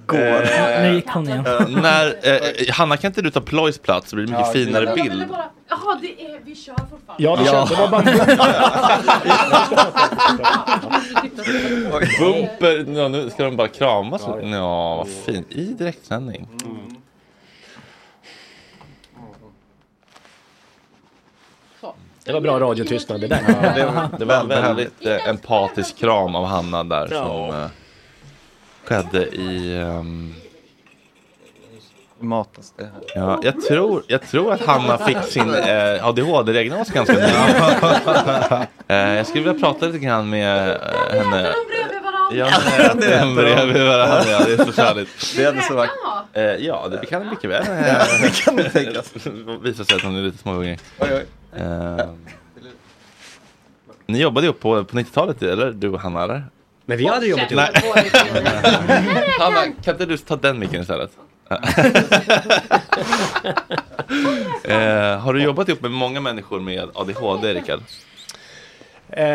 A: Går.
G: Nu gick hon igen.
A: Eh, när, eh, Hanna kan inte du ta Ploys plats så blir det mycket
G: Ja, det-
A: finare bild.
L: Jaha, det är, vi kör fortfarande.
M: Ja, vi kör. Det var bara...
A: [laughs] Bumper, ja, nu ska de bara kramas. Ja, vad fint. I direktsändning.
M: Mm. Det var bra radiotystnad det där.
A: Ja, det,
M: [laughs]
A: det var en väldigt eh, empatisk kram av Hanna där
M: Ja.
A: som eh, skedde i... ehm,
F: Matas det här.
A: ja, jag, tror, jag tror att Hanna fick sin eh, ADHD-diagnos ganska
K: [laughs]
A: nyligen. eh, jag skulle vilja prata lite grann med eh, henne. Ja, [laughs] de
K: Det
A: äter bredvid varandra. Ja, det är förfärligt.
K: Det är ändå
A: så vackert. Eh, ja, det kan mycket väl.
K: [laughs] Ja, det kan nog
A: tänkas. [laughs] visar sig att hon är lite småhungrig. Eh, ni jobbade ju på, på 90-talet, eller? Du och Hanna, eller?
M: Men vi hade jobbat ihop.
A: [laughs] Hanna, kan inte du ta den micken istället? eh, har du jobbat ihop med många människor med ADHD, Rickard?
M: Eh,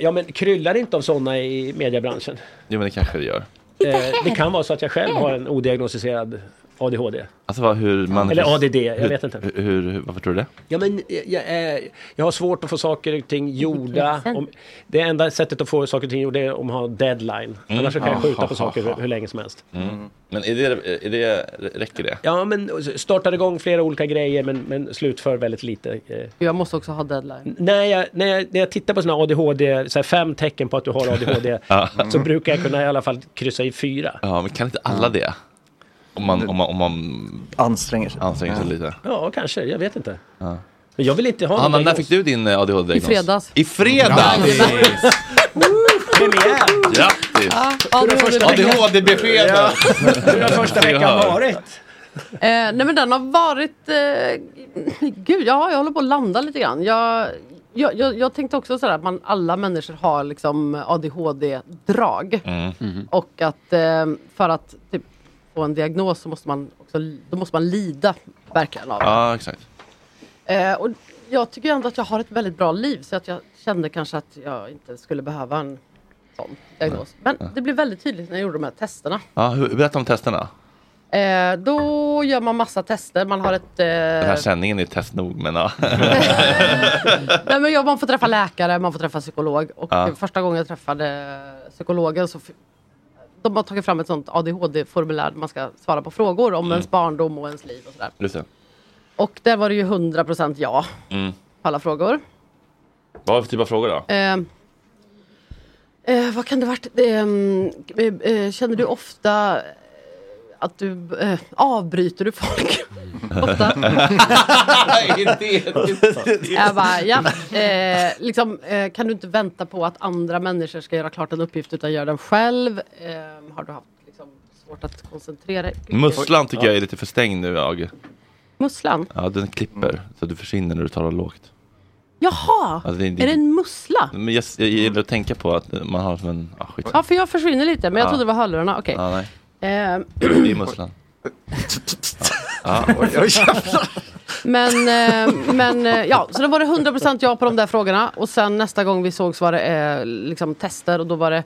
M: ja, men kryllar det inte av sådana i mediebranschen?
A: Jo, men det kanske du gör.
M: Eh, det kan vara så att jag själv har en odiagnostiserad ADHD.
A: Alltså vad, hur man...
M: Eller ADD, jag vet inte.
A: Hur, hur, varför tror du det?
M: Ja, men jag, jag, är- jag har svårt att få saker och ting gjorda. Om, det enda sättet att få saker och ting gjorda är om att ha deadline.
A: Mm.
M: Annars så kan jag skjuta på
A: Ah,
M: saker
A: ah, ah.
M: hur, hur länge som helst.
A: Mm. Men är det, är det, räcker det?
M: Ja, men startar igång flera olika grejer men, men slutför väldigt lite. eh.
L: Jag måste också ha deadline.
M: När jag, när, jag, när jag tittar på sådana ADHD, så här fem tecken på att du har
A: [laughs]
M: ADHD,
A: Ja.
M: så brukar jag kunna i alla fall kryssa i fyra.
A: Ja, men kan inte alla det? Om man, om man, om man
F: anstränger sig,
A: anstränger sig lite.
M: Ja, kanske. Jag vet inte.
A: Ja.
M: Men jag vill inte ha
A: Hanna,
M: någon
A: när fick du din eh, ADHD-diagnos?
M: I fredags.
A: I fredags!
M: Premiär!
A: Grattis!
M: Hur har första veckan-
A: ADHD-beskeden!
M: Hur har första veckan varit?
L: Eh, nej men den har varit... Eh, gud, ja, jag håller på att landa lite grann. Jag, jag, jag, jag tänkte också sådär att man, alla människor har liksom ADHD-drag.
A: Mm.
D: Mhm.
L: Och att eh, för att typ, få en diagnos så måste man, också, då måste man lida verkligen av det.
A: Ja, exakt.
L: Eh, och jag tycker ändå att jag har ett väldigt bra liv så att jag kände kanske att jag inte skulle behöva en sån diagnos. Men det blev väldigt tydligt när jag gjorde de här testerna.
A: Ja, hur, berätta om testerna.
L: Eh, då gör man massa tester. Man har ett...
A: Den här
L: Eh,
A: sändningen är test nog, men ja.
L: nej, men ja, man får träffa läkare, man får träffa psykolog. Och
A: Ja.
L: eh, första gången jag träffade psykologen så... f- De har tagit fram ett sånt ADHD-formulär där man ska svara på frågor om ens barndom och ens liv och sådär.
A: Just det.
L: Och där var det ju 100% ja
A: Mm.
L: på alla frågor.
A: Vad var det för typ av frågor då?
L: Eh, eh, vad kan det varit? Ehm, Eh, eh, känner du ofta att du eh, avbryter du folk?
M: [laughs]
L: ofta?
M: Mm.
L: [laughs] Mm, Jag bara, ja. Eh, liksom, eh, kan du inte vänta på att andra människor ska göra klart en uppgift utan gör den själv? Eh, har du haft liksom, svårt att koncentrera dig?
A: Musslan tycker jag är lite för stängd nu, Age.
L: Musslan?
A: Ja, den klipper så du försvinner när du talar lågt.
L: Jaha!
A: Alltså, det är- det-
L: är det en mussla?
A: Men jag, jag gillar att tänka på att man har som en... Ah, skit.
L: Ja, för jag försvinner lite, men jag
A: Ja.
L: trodde det var hörlurarna. Okej.
A: Ja, nej.
L: [clears throat] Ehm,
A: Det är musslan. Ja. Ja.
L: Men, eh, men eh, ja, så då var det 100% ja på de där frågorna. Och sen nästa gång vi sågs var det eh, liksom tester och då var det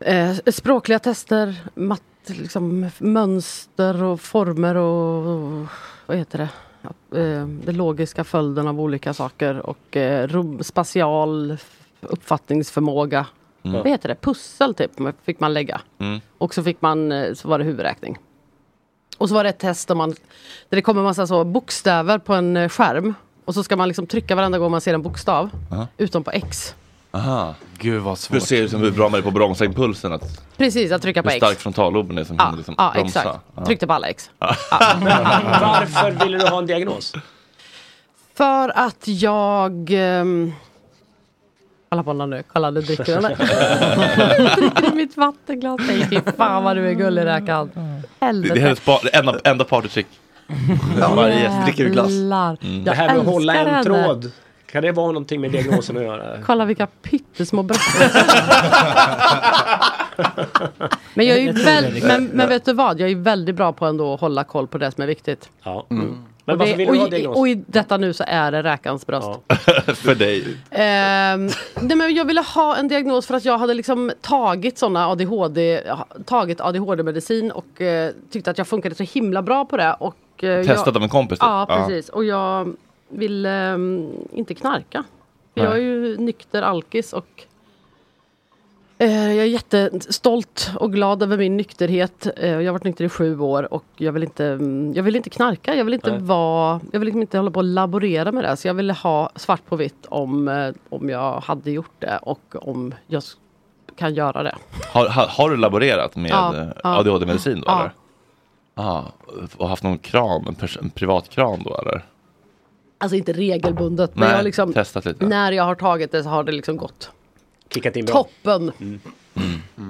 L: eh, språkliga tester, matt, liksom, mönster och former och, och vad heter det? Ja, eh, Den logiska följden av olika saker och eh, rum, spatial uppfattningsförmåga.
K: Mm.
L: Vad heter det? Pussel typ fick man lägga.
K: Mm.
L: Och så fick man, eh, så var det huvudräkning. Och så var det ett test där, man, där det kommer massa så bokstäver på en eh, skärm. Och så ska man liksom trycka varenda gång man ser en bokstav.
A: Aha.
L: Utom på X.
A: Aha.
D: Gud vad
A: svårt. För att se liksom hur bra man är på att bromsa impulsen. Att
L: Precis, att trycka på
A: hur
L: X.
A: stark frontalloben är som
L: Ja,
A: hinner liksom
L: ja
A: bromsa.
L: exakt. Tryckte på alla X.
A: Ja.
M: Varför ville du ha en diagnos?
L: För att jag... ehm, Kolla på honom nu, kolla nu dricker han. dricker i [laughs] mitt vattenglas. Nej, fy fan vad du är gullig räkan.
A: [laughs] Det, det är
L: Helvete.
A: hennes par, det enda, enda partytrick. Varje gäst dricker ur glass.
L: Jävlar.
A: Mm.
M: Det här med att
L: Jag
M: hålla en
L: älskar henne.
M: tråd. Kan det vara någonting med diagnosen att göra?
L: Kolla vilka
A: [laughs]
L: pyttesmå bröst. men jag är ju
M: Jag tror det är
L: väl,
M: riktigt.
L: men, men vet du vad, jag är väldigt bra på ändå att hålla koll på det som är viktigt.
M: Ja.
A: Mm.
M: Mm. Men
L: Och, det,
M: varför vill du ha
L: och, i,
M: diagnos?
L: och i detta nu så är det räkans bröst.
A: [laughs] För dig.
L: Ehm, nej men jag ville ha en diagnos för att jag hade liksom tagit såna ADHD, tagit ADHD-medicin och eh, tyckte att jag funkade så himla bra på det. Och, eh,
A: Testat
L: jag,
A: av en kompis, typ.
L: Ja,
A: Ja.
L: precis. Och jag vill ehm, inte knarka. För
A: Nej.
L: jag är ju nykter alkis och eh, jag är jättestolt och glad över min nykterhet. Eh, jag har varit nykter i sju år och jag vill inte, mm, jag vill inte knarka. Jag vill inte
M: Nej.
L: vara, jag vill liksom inte hålla på och laborera med det. Så jag ville ha svart på vitt om, eh, om jag hade gjort det och om jag s- kan göra det.
A: Har, har, har du laborerat med
L: Ja,
A: eh,
L: ja.
A: ADHD-medicin då?
L: Ja.
A: Eller? Ja. Och haft någon kram, en, pers- en privat kram då eller?
L: Alltså inte regelbundet. men
A: Nej,
L: jag liksom,
A: testat lite.
L: När jag har tagit det så har det liksom gått
M: Kickat in bra.
L: toppen.
M: Mm.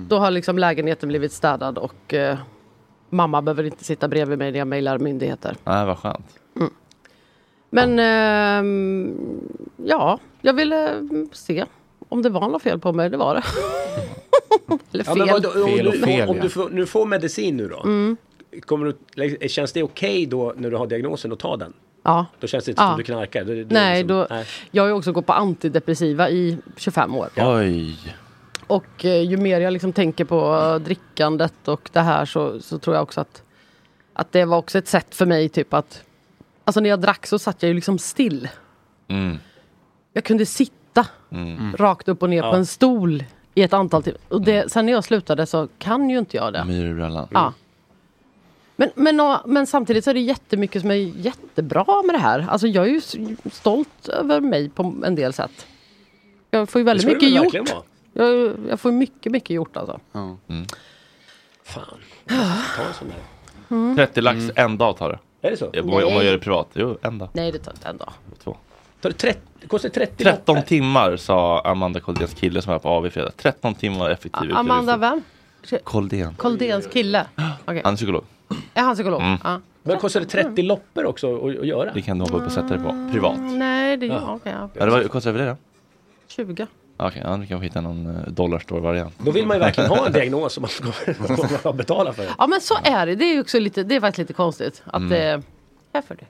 L: Då har liksom lägenheten blivit städad och eh, mamma behöver inte sitta bredvid mig när jag mejlar myndigheter.
A: Nej, vad skönt.
L: Men ehm, ja, jag ville mm, se om det var något fel på mig, det var det. [laughs]
C: Ja,
L: Eller fel.
C: men vadå, om
L: fel och
C: du,
L: fel,
C: om
L: ja.
C: du får, nu får medicin nu då.
L: Mm.
C: Kommer du, känns det okej då när du har diagnosen att ta den?
L: Ja.
C: Då känns det inte
L: Ja.
C: som du knarkar? Det- det är
L: Nej,
C: liksom-
L: då,
C: nej.
L: jag har ju också gått på antidepressiva i 25 år.
D: Oj.
L: Och eh, ju mer jag liksom tänker på eh, drickandet och det här så, så tror jag också att, att det var också ett sätt för mig typ att... Alltså när jag drack så satt jag ju liksom still.
M: Mm.
L: Jag kunde sitta
M: Mm.
L: rakt upp och ner
M: Ja.
L: på en stol i ett antal timmar. Och det, sen när jag slutade så kan ju inte jag det.
Q: Myr i brallan.
L: Ja. Men, men, och- men samtidigt så är det jättemycket som är jättebra med det här. Alltså jag är ju s- stolt över mig på en del sätt. Jag får ju väldigt
C: Det ska
L: mycket
C: du väl
L: gjort.
C: verkligen vara.
L: Jag, jag får mycket, mycket gjort alltså.
A: Mm.
C: Fan,
L: Ja.
C: ta en sån där.
L: Mm.
A: 30 lax en dag tar det.
C: Är det så?
A: Om man, om man
C: Nej.
A: gör det privat. Jo, en dag.
L: Nej, det tar inte en dag.
A: Två.
C: Tar det, 30, det kostar 30
A: 13 timmar sa Amanda Koldéns kille som var på AV i fredag. 13 timmar effektiv utevistelsen.
L: Amanda vem?
A: Koldén.
L: Koldéns kille? Okej.
A: Han är psykolog.
L: Är han psykolog?
A: Mm.
L: Ja.
C: Men kostar det 30 loppor också att, att göra?
A: Det kan du hoppa upp och sätta dig på. Privat.
L: Mm, Nej, det är
A: Ja.
L: ja. okej. ja.
A: Ja, det var, kostar det över det då?
L: 20.
A: Ja, Okej, okay, ja, du kanske hittar någon eh, dollarstore-variant.
C: Då vill man ju verkligen
A: [laughs]
C: ha en diagnos som man ska betala för.
L: Ja men så är det. Det är ju också lite, det är faktiskt lite konstigt. Att
A: Mm.
L: det... Varför det?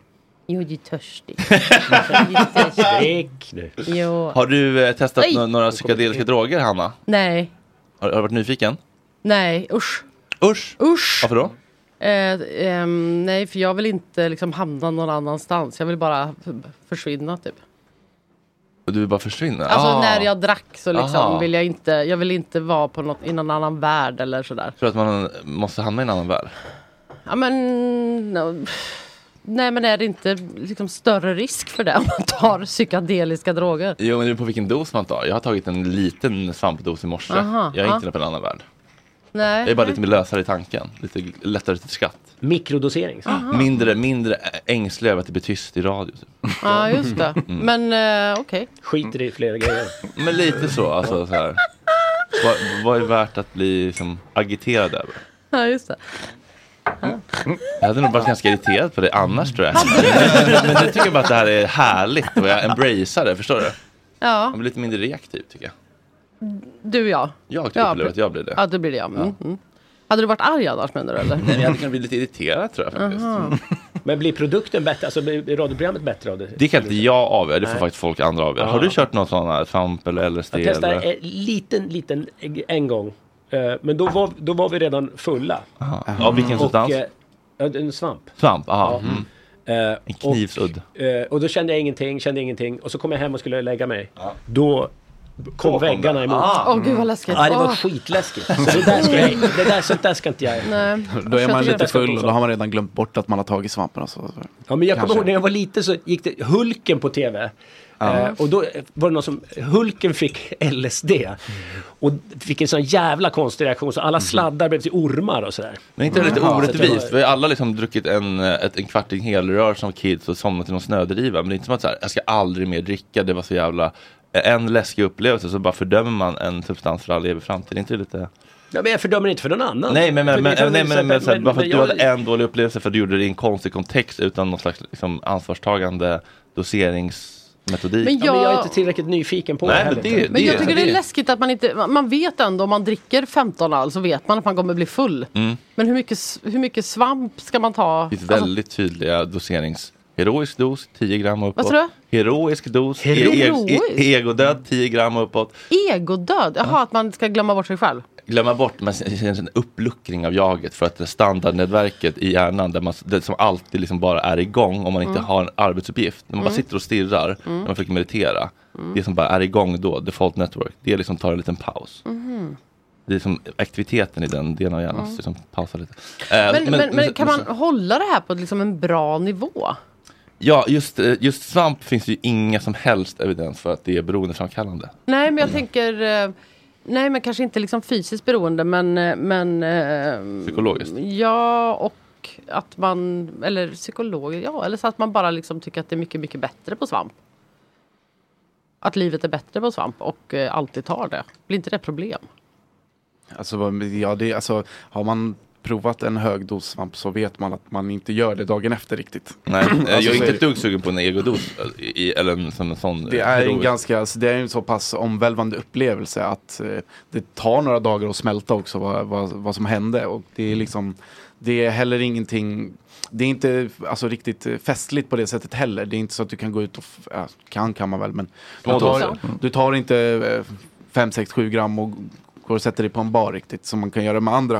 L: Jo, du är [laughs] törstig. Jag är törstig. Jo.
A: Har du eh, testat
L: Oj.
A: nå- några psykedeliska droger, Hanna?
L: Nej,
A: Har, har du varit nyfiken?
L: nej, usch.
A: Usch!
L: Usch!
A: Varför då?
L: Eh, ehm, nej, för jag vill inte liksom hamna någon annanstans. Jag vill bara f- försvinna typ.
A: Och Du vill bara försvinna?
L: Alltså
A: Ah.
L: när jag drack så liksom
A: Aha.
L: vill jag inte, jag vill inte vara på något, i någon annan värld eller sådär.
A: Tror du att man måste hamna i en annan värld?
L: Ja men... No. Nej men är det inte liksom större risk för det om man tar psykedeliska droger?
A: Jo, men det är på vilken dos man tar. Jag har tagit en liten svampdos i morse.
L: Aha,
A: jag är
L: ja.
A: inte på en annan värld.
L: Nej.
A: Jag är bara lite mer lösare i tanken. Lite lättare till skratt.
C: Mikrodosering.
L: Aha.
A: Mindre, mindre ä- ängslig över att det blir tyst i radio. Typ.
L: Ja just det.
A: Mm.
L: Men eh, okej.
C: Skiter i flera grejer.
A: Men lite så. Alltså, så
L: [laughs]
A: här. Vad, vad är värt att bli liksom, agiterad över?
L: Ja just det.
A: Jag hade nog varit ganska irriterad på det annars tror jag. Men jag tycker bara att det här är härligt och jag embracear det, förstår du?
L: Ja,
A: Jag blir lite mindre reaktiv tycker jag.
L: du och jag.
A: Jag typ
L: Ja,
A: upplever att jag blir det.
L: Ja det blir det ja. Mm, mm. Hade du varit arg annars menar du eller?
A: Nej, men jag hade kunnat bli lite irriterad tror jag faktiskt.
L: Aha.
C: Mm. [laughs] Men blir produkten bättre, alltså blir radioprogrammet bättre av det?
A: Det kan inte jag avgöra, det får
C: Nej.
A: faktiskt folk andra avgöra. Har
C: Ja.
A: du kört någon sån här svamp eller LSD?
C: Jag testade
A: eller?
C: en liten, liten en gång. Eh, Men då var, då var vi redan fulla.
A: Aha. Av vilken
C: Och,
A: substans?
C: eh, En en svamp.
A: Svamp, aha.
C: Ja.
A: Mm.
C: Eh,
A: En knivsudd.
C: Eh, och då kände jag ingenting, kände ingenting. Och så kom jag hem och skulle lägga mig. Då kom
A: kom
C: väggarna
A: det.
C: emot.
A: Ah.
L: Åh, gud, vad läskigt.
C: Ja, det var
L: Ah.
C: skitläskigt. Så det där ska jag,
L: [laughs]
C: det där, sånt där ska inte jag...
L: Nej.
D: Då är man
C: Jag
D: lite
C: tycker-
D: full och då har man redan glömt bort att man har tagit svampen. alltså. och så.
C: Ja, men jag kommer
D: Kanske.
C: ihåg när jag var liten så gick det Hulken på TV.
D: Ja.
C: Eh, och då var det någon som, Hulken fick LSD.
A: Mm.
C: Och fick en sån jävla konstig reaktion så alla sladdar blev till ormar och sådär.
A: Mhm. Men inte det lite
C: Ja, så att det var-
A: orättvist? Vi har alla liksom druckit en, eh, ett, en kvarting helrör som kids och somnat i någon snödriva. Men det är inte som att så här, jag ska aldrig mer dricka, det var så jävla eh, en läskig upplevelse så bara fördömer man en substans för all evig framtid. Är inte det lite...
C: Ja, men jag fördömer inte för någon annan.
A: Nej men,
C: För
A: men, men,
C: det kan
A: nej, men,
C: väl
A: men,
C: sätta-
A: så här, bara för att
C: men
A: du
C: jag-
A: hade en dålig upplevelse för att du gjorde det i en konstig kontext utan någon slags liksom, ansvarstagande doseringsmetodik.
L: Men
C: Ja, men jag är
L: jag-
C: inte tillräckligt nyfiken på
A: Nej,
C: det
A: men
C: heller.
A: det-
L: Men jag tycker det är läskigt att man inte, man- man vet ändå om man dricker 15 öl så vet man att man kommer bli full.
A: Mm.
L: Men hur mycket, s- hur mycket svamp ska man ta? Alltså,
A: Det finns
C: Alltså-
A: väldigt tydliga doserings... Heroisk dos, 10 gram uppåt.
L: Vad sa du?
A: Heroisk dos, e-
L: Heroisk?
A: e- e- egodöd, 10 gram uppåt.
L: Egodöd? Jaha, att man ska glömma bort sig själv?
A: glömma bort men det känns en uppluckring av jaget för att det standardnätverket i hjärnan där man, det som alltid liksom bara är igång om man inte
L: Mm.
A: har en arbetsuppgift. När man bara
L: Mm.
A: sitter och stirrar,
L: Mm.
A: när man försöker meditera.
L: Mm.
A: Det som bara är igång då, default network, det liksom tar en liten paus.
L: Mhm.
A: Det är som aktiviteten i den delen av hjärnan som liksom pausar lite. Eh,
L: Mm. Men, men, men, kan man
A: så-
L: hålla det här på liksom en bra nivå?
A: Ja, just, eh, just svamp finns det ju inga som helst evidens för att det är beroendeframkallande.
L: Nej, men jag tänker... eh, Nej, men kanske inte liksom fysiskt beroende, men... eh, men eh,
A: Psykologiskt.
L: Ja, och att man... Eller psykologiskt, ja. Eller så att man bara liksom tycker att det är mycket, mycket bättre på svamp. Att livet är bättre på svamp och eh, alltid tar det. Blir inte det problem?
D: Alltså, vad- ja, det, alltså, har man provat en hög dos svamp så vet man att man inte gör det dagen efter riktigt.
L: [clears throat]
D: [clears throat]
A: Nej, eh,
D: Alltså,
A: jag
D: så
A: är inte
D: det.
A: ett dugg sugen på en egodos. eh, i- Eller en sån... en sån
D: Det är en
A: prov.
D: ganska, alltså, det är en så pass omvälvande upplevelse att eh, det tar några dagar att smälta också vad, vad, vad som hände och det är
A: Mm.
D: liksom, det är heller ingenting, det är inte alltså, riktigt eh, festligt på det sättet heller. Det är inte så att du kan gå ut och, f- ja, kan kan man väl, men du
A: Ja, då
D: tar,
A: så.
D: du tar inte eh, 5, 6, 7 gram och går och sätter dig på en bar riktigt som man kan göra med andra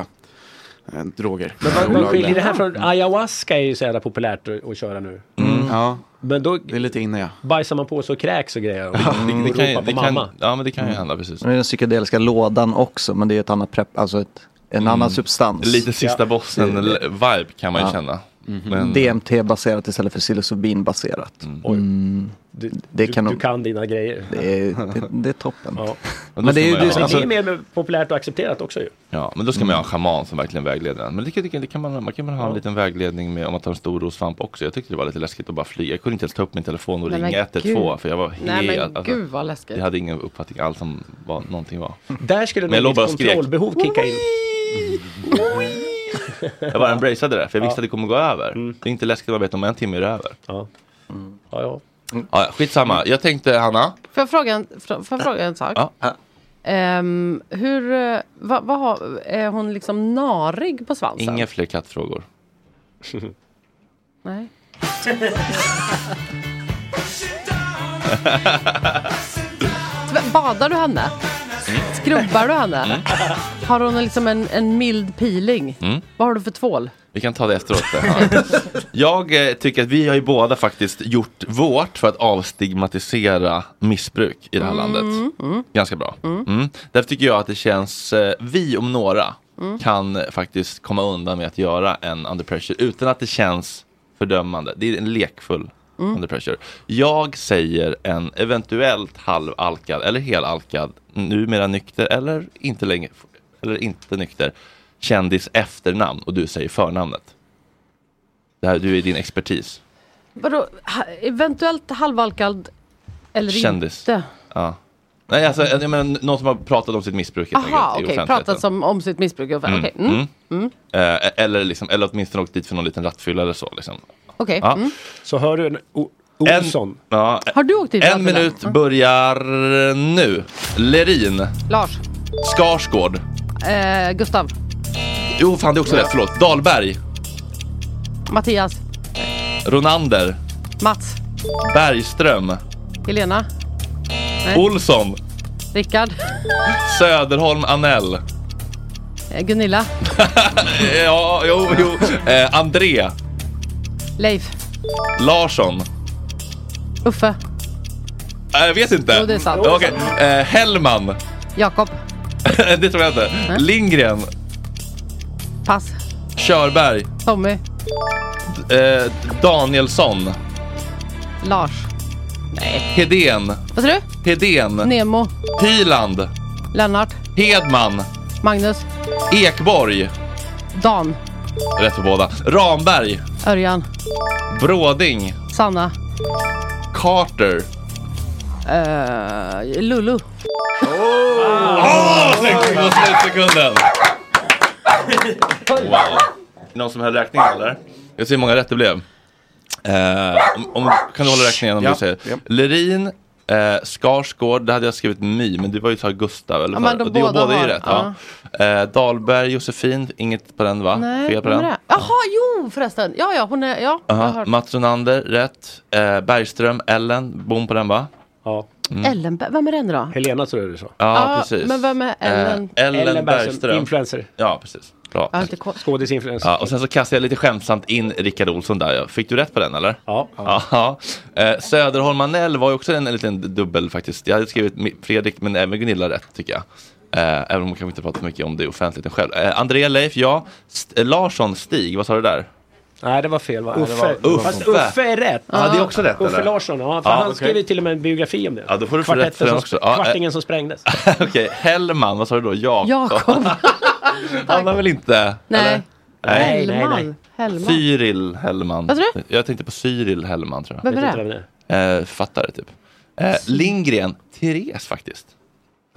D: eh, droger.
C: Men vad, vad
D: Olagliga.
C: skiljer det här från ayahuasca är ju så jävla populärt att, att köra nu.
A: Mm.
D: Mm. Ja,
C: Men då
D: det är lite inne ja.
C: bajsar man på sig och kräks och grejer och,
A: det- det
C: och
A: kan ju-
C: ropar Mm, på
A: det kan-
C: mamma. Mm.
A: Ja, men det kan ju hända, precis.
F: Men Det är den psykedeliska lådan också, men det är ett annat prep, alltså ett, en annan substans.
A: Mm. Lite sista bossen-vibe kan man ju
F: Ja.
A: känna.
C: Mhm.
F: Mm.
A: Men-
F: DMT-baserat istället för psilocybin-baserat. Mm.
C: Du,
F: Det kan
C: du,
F: nog-
C: du kan dina grejer.
F: Det, är- det,
A: [laughs]
F: det är toppen.
C: Ja.
A: Men då
F: Men det är
A: ska
F: ju
A: man
F: det
A: göra.
F: som...
A: Alltså-
C: Det är mer Mm. populärt och accepterat också ju.
A: Ja, men då ska man ju ha en schaman som verkligen vägleder en. Men det, kan- det, kan- det kan man, man kan man ha en liten vägledning med om man tar en stor ros svamp också. Jag tyckte det var lite läskigt att bara flyga. Jag kunde inte ens ta upp min telefon och
L: Nej, men
A: ringa 112
L: gud.
A: för jag var helt... alltså,
L: Nej, men gud, vad läskigt.
A: Jag hade ingen uppfattning alls om vad någonting var.
C: Där skulle
A: Men jag låg
C: nog
A: bara
C: ditt
A: och skrek.
C: kontrollbehov kicka in.
A: Jag bara embraceade det, för jag
C: Ja. Mm.
A: visste att det kommer gå över. Det är inte läskigt att veta om en timme är det över. Mm.
C: Ja, ja. ja.
A: ja skitsamma. Jag tänkte, Hanna.
L: Får jag fråga en, fr- får jag fråga en sak?
A: Ja.
L: Ehm, hur, eh, vad, vad har, är hon liksom narig på svansen?
A: Inga fler
L: [laughs]
A: kattfrågor.
L: Nej. [laughs] Tv- Badar du henne? Skrubbar du henne?
A: Mm.
L: Har hon liksom en, en mild peeling?
A: Mm.
L: Vad har du för tvål?
A: Vi kan ta det efteråt. Ja. [laughs] Jag eh, tycker att vi har ju båda faktiskt gjort vårt för att avstigmatisera missbruk i det här
L: Mm,
A: landet.
L: mm.
A: Ganska bra.
L: Mm.
A: Mm. Därför tycker jag att det känns, eh, vi om några
L: Mm.
A: kan eh, faktiskt komma undan med att göra en under pressure utan att det känns fördömande. Det är en lekfull
R: Mm.
A: under pressure. Jag säger en eventuellt halvalkad eller helalkad, numera nykter eller inte längre, eller inte nykter, kändis efternamn och du säger förnamnet. Det här, du är din expertis.
L: Vadå, ha, eventuellt halvalkad eller
A: Kändis.
L: inte?
A: Ja. Nej, alltså, jag menar, någon som har pratat om sitt missbruk helt
L: Aha,
A: enkelt i
L: okej.
A: offentligheten.
L: Pratat som om sitt missbruk. Mm. Okej. Mm.
A: Mm.
L: Mm.
A: Eh, eller, liksom, eller åtminstone åkt dit för någon liten rattfylla eller så. Liksom.
L: Okej.
A: Ja.
L: Mm.
A: Så hör du en Olsson. ja,
L: Har du åkt dit för
A: En
L: rattfylla?
A: minut börjar nu. Lerin.
L: Lars.
A: Skarsgård.
L: Eh, Gustav.
A: Jo, fan det är också rätt. Förlåt. Dahlberg.
L: Mattias.
A: Ronander.
L: Mats.
A: Bergström.
L: Helena. Nej.
A: Olsson.
L: Rickard.
A: Söderholm Anell. [laughs]
L: Eh, Gunilla.
A: ja, jo, jo. Eh, André.
L: Leif.
A: Larsson.
L: Uffe.
A: Eh, Jag vet inte.
L: Jo, det är sant.
A: Okej. Eh, Hellman.
L: Jakob.
A: [laughs] det tror jag inte.
L: Nej.
A: Lindgren.
L: Pass.
A: Körberg.
L: Tommy.
A: Eh, Danielsson.
L: Lars.
A: Hedén.
L: Vad sa du?
A: Hedén.
L: Nemo.
A: Piland.
L: Lennart.
A: Hedman.
L: Magnus.
A: Ekborg.
L: Dan.
A: Rätt på båda. Ramberg.
L: Örjan.
A: Bråding.
L: Sanna.
A: Carter.
L: Eh, Lulu.
M: Ah,
A: Åh, snyggt! Ah, Det var slutsekunden! Wow. Någon som höll räkningen eller? Jag ser hur många rätt det blev. Eh, om, om, kan du hålla räkningen om
D: Ja,
A: du säger?
D: ja.
A: Lerin, eh, Skarsgård, där hade jag skrivit My, men du var ju så här Gustav. Eller
L: Ja,
A: så
L: men
A: här.
L: de
A: Och det- och
L: båda
A: båda är ju
L: har-
A: rätt. Ja. Eh, Dahlberg, Josefin, inget på den va?
L: Nej,
A: Fel på
L: vem är
A: den?
L: det? Jaha, jo förresten. Ja, ja, hon är... Ja, jag har
A: Aha,
L: hört.
A: Mats Ronander, rätt. Eh, Bergström, Ellen, bom på den va? Ja.
L: Ellen, Be- vem är den då?
A: Helena tror jag du sa. Ja,
L: Ja,
A: precis.
L: men vem är Ellen?
A: Eh, Ellen,
C: Ellen Bergström,
A: Bergström.
C: influencer.
A: Ja, precis. Bra.
L: Jag har inte koll.
C: Skådisinfluencer.
A: Ja, och sen så kastade jag lite skämtsamt in Rickard Olsson där. ja. Fick du rätt på den eller? Ja. ja. Eh, Söderholm Anell var ju också en, en liten dubbel faktiskt. Jag hade skrivit Mi- Fredrik men även Gunilla rätt tycker jag. Eh, även om hon kanske inte pratar så mycket om det i offentligheten själv. Eh, Andrea Leif, ja. St- eh, Larsson Stig, vad sa du där?
C: Nej, det var fel va?
A: Uffe.
C: Nej, det var- Fast
A: Uffe.
C: Uffe är rätt.
A: Ja, det är också rätt,
C: Uffe
A: eller?
C: Larsson, ja. För
A: Ja,
C: han
A: okej.
C: skrev ju till och med en biografi om det.
A: Ja, då får du få rätt för den
C: som,
A: också. Ja, eh.
C: kvartingen som sprängdes.
A: [laughs] Okej, Hellman, vad sa du då? Jakob. [laughs]
L: Jakob.
A: Han var väl inte?
L: Nej.
A: Nej, nej,
L: Hellman.
A: nej.
L: Hellman.
A: Cyril Hellman.
L: Vad sa
A: Jag tänkte på Cyril Hellman tror jag.
L: Vem är Vet inte det?
A: Eh,
L: vem
A: författare typ. Eh, Lindgren, Therese faktiskt.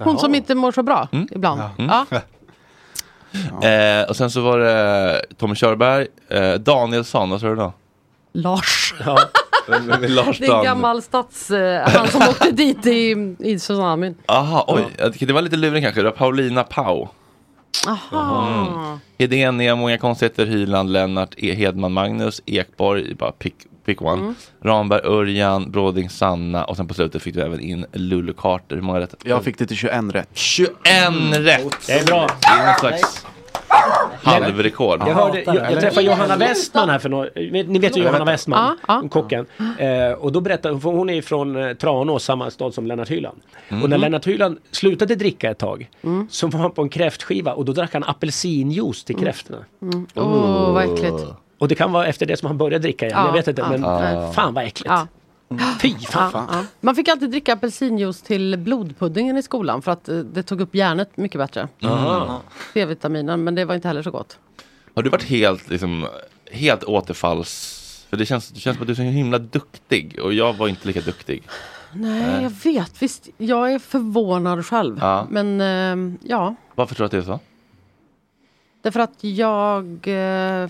A: Mm.
L: Hon som inte mår så bra ibland. Ja.
A: [laughs] Eh, och sen så var det Tommy Körberg, eh, Danielsson, vad sa du då?
L: Lars.
A: [laughs] Vem- vem är [laughs] Lars
L: det är en
A: Dan?
L: gammal stats... eh, han som åkte dit i, i tsunamin.
A: Aha, oj, jag tycker det var lite lurigt kanske. Det var Paulina Pau.
L: Aha.
A: Mm. Hedén, Nemo, Inga konstigheter, Hyland, Lennart, E- Hedman, Magnus, Ekborg, bara pick, pick one.
O: Mm.
A: Ramberg, Örjan, Bråding, Sanna och sen på slutet fick du även in Lulu Carter. Hur många rätt?
O: Jag fick det till 21 rätt.
A: 21 rätt!
O: Det är bra.
A: Det är någon slags halvrekord.
C: Jag, hörde, jag, jag träffade Johanna Westman här för några... Ni vet ju
A: Ja,
C: Johanna
A: vänta.
C: Westman, kocken. Eh, och då berättade hon, för hon är ju från eh, Tranås, samma stad som Lennart Hyland. Och när
A: Mm.
C: Lennart Hyland slutade dricka ett tag så var han på en kräftskiva och då drack han apelsinjuice till kräftorna.
L: Mm. Mm. Oh, vad äckligt.
C: Och det kan vara efter det som han började dricka igen,
L: Ja,
C: jag vet inte.
L: ja,
C: men
L: ja.
C: fan vad äckligt.
L: Ja.
C: Fy fan.
L: Ja, ja. Man fick alltid dricka apelsinjuice till blodpuddingen i skolan för att eh, det tog upp järnet mycket bättre.
A: Aha.
L: C-vitaminen, men det var inte heller så gott.
A: Har du varit helt, liksom, helt återfalls... För det känns, det känns som att du är så himla duktig och jag var inte lika duktig.
L: Nej,
A: Nej.
L: jag vet. Visst, jag är förvånad själv.
A: Ja.
L: Men eh, ja,
A: Varför tror du att det är så?
L: därför att jag eh,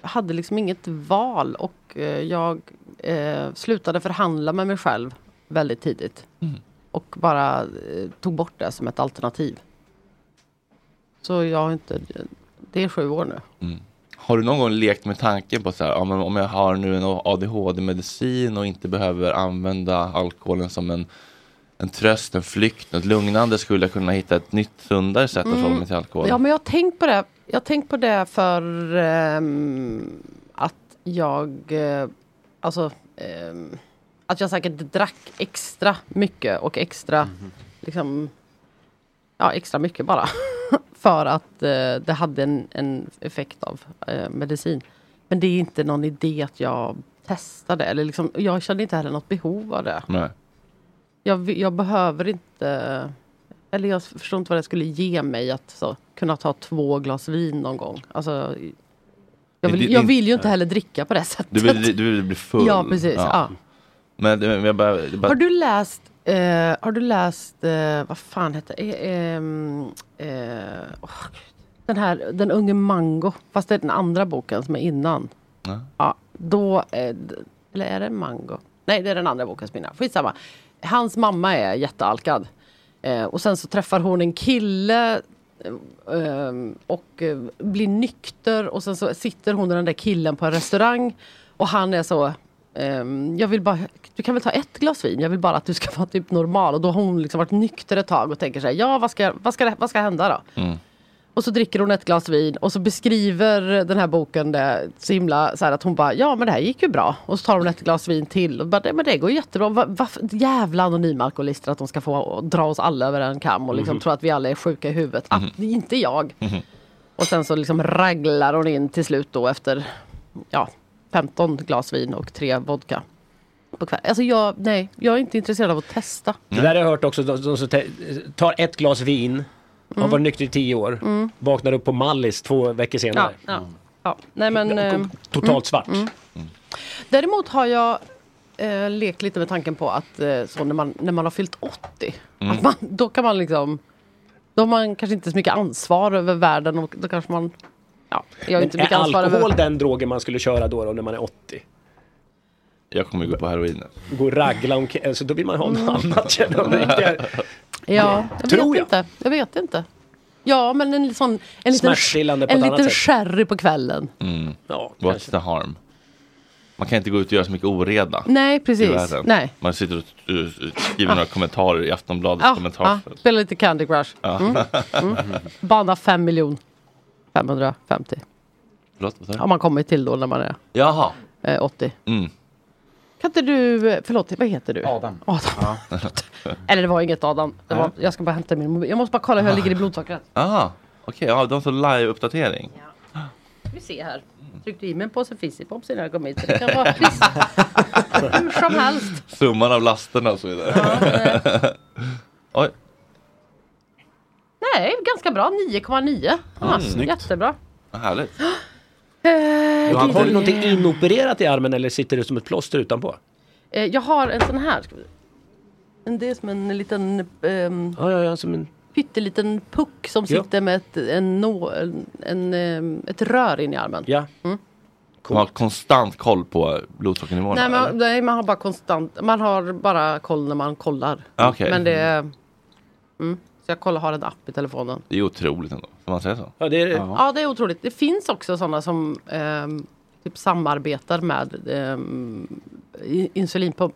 L: hade liksom inget val och eh, jag eh, slutade förhandla med mig själv väldigt tidigt.
M: Mm.
L: Och bara eh, tog bort det som ett alternativ. Så jag har inte... Det är sju år nu.
A: Har du någon gång lekt med tanken på så här, ja, men om jag har nu en ADHD-medicin och inte behöver använda alkoholen som en, en tröst, en flykt, något lugnande, skulle jag kunna hitta ett nytt sundare sätt att förhålla mig till alkohol?
L: Mm. Ja, men jag har tänkt på det. Jag har tänkt på det för ehm, att jag eh, alltså ehm, att jag säkert drack extra mycket och extra liksom ja, extra mycket bara. [laughs] för att eh, det hade en, en effekt av eh, medicin. Men det är inte någon idé att jag testade eller liksom, jag kände inte heller något behov av det.
A: Nej.
L: Jag, vi- jag behöver inte... Eller jag förstår inte vad det skulle ge mig att så, kunna ta två glas vin någon gång. Alltså, jag,
A: Det-
L: vill,
A: det-
L: jag vill ju inte
A: Nej.
L: heller dricka på det sättet.
A: Du vill, du vill bli full?
L: Ja, precis, ja.
A: Men, men jag bara, jag bara,
L: Har du läst, eh, har du läst eh, vad fan hette eh, ehm, eh, åh, gud. den här, Den unge Mango, fast det är den andra boken som är innan.
A: Ja.
L: Ja, då, eh, d- eller är det Mango? Nej, det är den andra boken som är innan. Skitsamma. Hans mamma är jättealkad. Eh, och sen så träffar hon en kille eh, ehm, och eh, blir nykter och sen så sitter hon och den där killen på en restaurang och han är så ehm, jag vill bara, du kan väl ta ett glas vin, jag vill bara att du ska vara typ normal. Och då har hon liksom varit nykter ett tag och tänker så här, ja vad ska, vad ska, det- vad ska hända då?
M: Mm.
L: Och så dricker hon ett glas vin och så beskriver den här boken det så himla så här att hon bara ja men det här gick ju bra. Och så tar hon ett glas vin till och bara "Nej, men det går jättebra. Va, va, jävla anonyma alkoholister att de ska få dra oss alla över en kam och liksom
M: Mhm.
L: tro att vi alla är sjuka i huvudet. Ah,
M: Mhm.
L: det är inte jag. Och sen så liksom raglar hon in till slut då efter ja, 15 glas vin och tre vodka. På kväll. Alltså jag, nej, jag är inte intresserad av att testa.
C: Det där har jag hört också, de, de som te- tar ett glas vin, har
L: Mm.
C: varit nykter i tio år,
L: Mm.
C: vaknar upp på Mallis två veckor
L: Ja,
C: senare.
L: ja, Mm. ja. Nej, men, ehm,
C: Totalt svart.
L: Däremot har jag eh, lekt lite med tanken på att eh, så när, man, när man har fyllt 80,
M: Mm.
L: att man, då kan man liksom... Då har man kanske inte så mycket ansvar över världen och då kanske man... Ja, jag har
C: Men
L: inte mycket
C: är
L: ansvar
C: alkohol
L: över...
C: den drogen man skulle köra då, då när man är 80?
A: jag kommer ju gå på heroin.
C: Gå och raggla omkring, alltså, då vill man ha
L: Mm.
C: något annat känner jag. Det är-
L: Ja, jag
C: Tror
L: vet
C: jag.
L: inte. Jag vet inte. Ja, men en sån... En liten,
A: Smärtstillande på
L: en
A: ett annat
L: liten
A: sätt.
L: sherry på kvällen.
A: [laughs] Mm.
C: Ja,
A: What's the harm? Man kan inte gå ut och göra så mycket oreda.
L: Nej,
A: i
L: precis.
A: världen.
L: Nej.
A: Man sitter och uh, uh, skriver
L: Ah.
A: några kommentarer i Aftonbladets
L: Ja, ja,
A: kommentarsfält.
L: spela lite Candy Crush.
A: Ja.
L: Mm. Bana 5 miljoner 550.
A: Förlåt, vad sa du?
L: Har man kommit till då när man är
A: Jaha.
L: eh, 80.
A: Mm.
L: Kan inte du, eh, förlåt, vad heter du? Adam.
A: [laughs]
L: Eller det var inget Adam. Det var, jag ska bara hämta min mobil. Jag måste bara kolla hur jag ligger i blodsockret.
A: Ah, okej, ja, de som live-uppdatering.
L: Vi ser här. Tryckte i mig en påse fizzypops innan jag kom hit. så Det
C: [laughs]
L: kan
A: [laughs]
L: vara precis hur som helst.
A: Summan av lasterna och så vidare. [laughs] Oj,
L: Nej, ganska bra. 9,9.
A: Mm,
L: Ah,
A: snyggt.
L: Jättebra.
A: vad härligt.
L: Eh,
C: Johan,
L: det-
C: har du någonting inopererat i armen eller sitter det som ett plåster utanpå?
L: Eh, Jag har en sån här. ska vi- En- Det är som en liten... ehm,
C: Ja, ja, ja, som en
L: pytteliten puck som
C: Ja.
L: sitter med ett, en, nå- en, en, eh, ett rör in i armen.
C: Ja.
L: Mm.
A: Man har konstant koll på blodsockernivåerna?
L: Nej,
A: eller?
L: man, nej, man har bara konstant, man har bara koll när man kollar.
C: Ah,
A: Ja, okej.
L: Men det är, mm, så jag kollar, har en app i telefonen.
A: Det är otroligt ändå, får man säga så?
C: Ja, det är
L: Ja. det är otroligt. Det finns också sådana som ehm, typ samarbetar med ehm, i- insulinpump.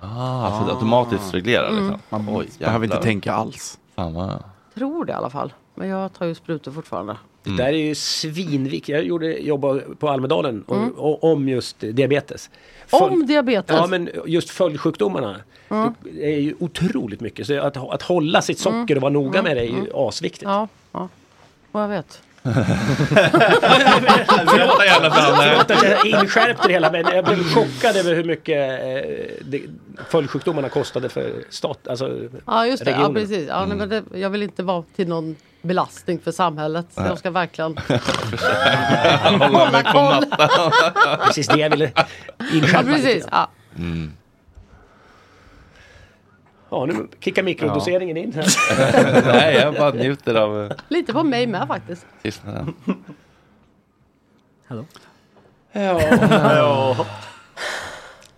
A: Ah, så det är automatiskt reglerar
L: Mm.
A: liksom?
L: Man
A: Oj,
D: behöver inte
A: jävlar.
D: tänka alls.
A: Fan vad...
L: Tror det i alla fall. Men jag tar ju sprutor fortfarande.
A: Mm.
C: Det där är ju svinviktigt. Jag gjorde, jobbade på Almedalen om,
L: Mm.
C: o- om just diabetes.
L: Om diabetes?
C: Ja, men just följdsjukdomarna.
L: Mm.
C: Det är ju otroligt mycket. Så att, att hålla sitt socker och vara noga med det är ju asviktigt.
L: Mm. Ja, ja. Och jag vet.
C: Förlåt
A: gärna för alla.
C: förlåt att jag inskärpte det hela, men jag blev chockad över hur mycket eh, det- följdsjukdomarna kostade för stat, alltså
L: Ja, just det. Ja,
C: regionen.
L: precis. Ja, nej, men det, jag vill inte vara till någon belastning för samhället. Så
A: Mm.
C: Mm. Nej.
L: jag
A: [laughs]
L: ska verkligen...
C: [laughs] Hålla mig på mattan. Precis det jag ville
L: Ja,
C: inskärpa. lite
L: precis.
C: grann.
L: Ja.
C: Ja, nu kickar mikrodoseringen in här. [laughs]
A: Nej, jag bara njuter av eh,
L: Lite på mig med faktiskt.
A: tystnaden.
C: Ja.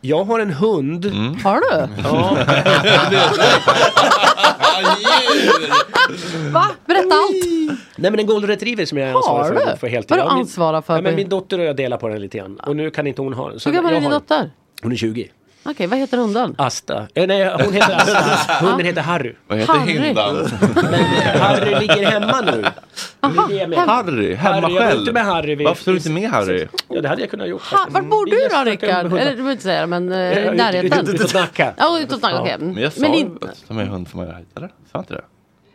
C: Jag har en hund.
A: Mm.
L: Har du?
C: [laughs] Ja.
L: Va? Berätta allt!
C: Nej men en golden retriever som jag är
L: Har
C: ansvarig för,
L: du?
C: för heltid.
L: Vad du
C: Ja, min-
L: ansvarar för
C: Ja, men
L: på-
C: min dotter och jag delar på den lite grann. Och nu kan inte hon ha den.
L: Hur gammal
C: jag
L: är din
C: har-
L: dotter?
C: Hon är 20.
L: Okej, vad heter hunden?
C: Asta. Eh, nej, hon
A: [laughs]
C: heter Asta. Hunden heter Harry.
A: Vad
L: heter Ah. Harry. hindan?
C: Men Harry ligger hemma nu. Aha,
A: Harry, hemma
C: Harry, jag var
A: själv.
C: inte med Harry vid-
A: Varför tog du inte med Harry?
C: Ja, det hade jag kunnat gjort.
L: Ha, var bor du då Rickard?
C: hundar.
L: Eller du behöver inte säga det, men eh,
C: Ja,
L: i
C: ut-
L: närheten?
C: ut- utåt Nacka.
L: Ja, utåt Nacka, okej.
A: Men jag sa
L: Men,
A: ju
L: in-
A: att ta med hund får man göra hit, eller? Sa jag inte det?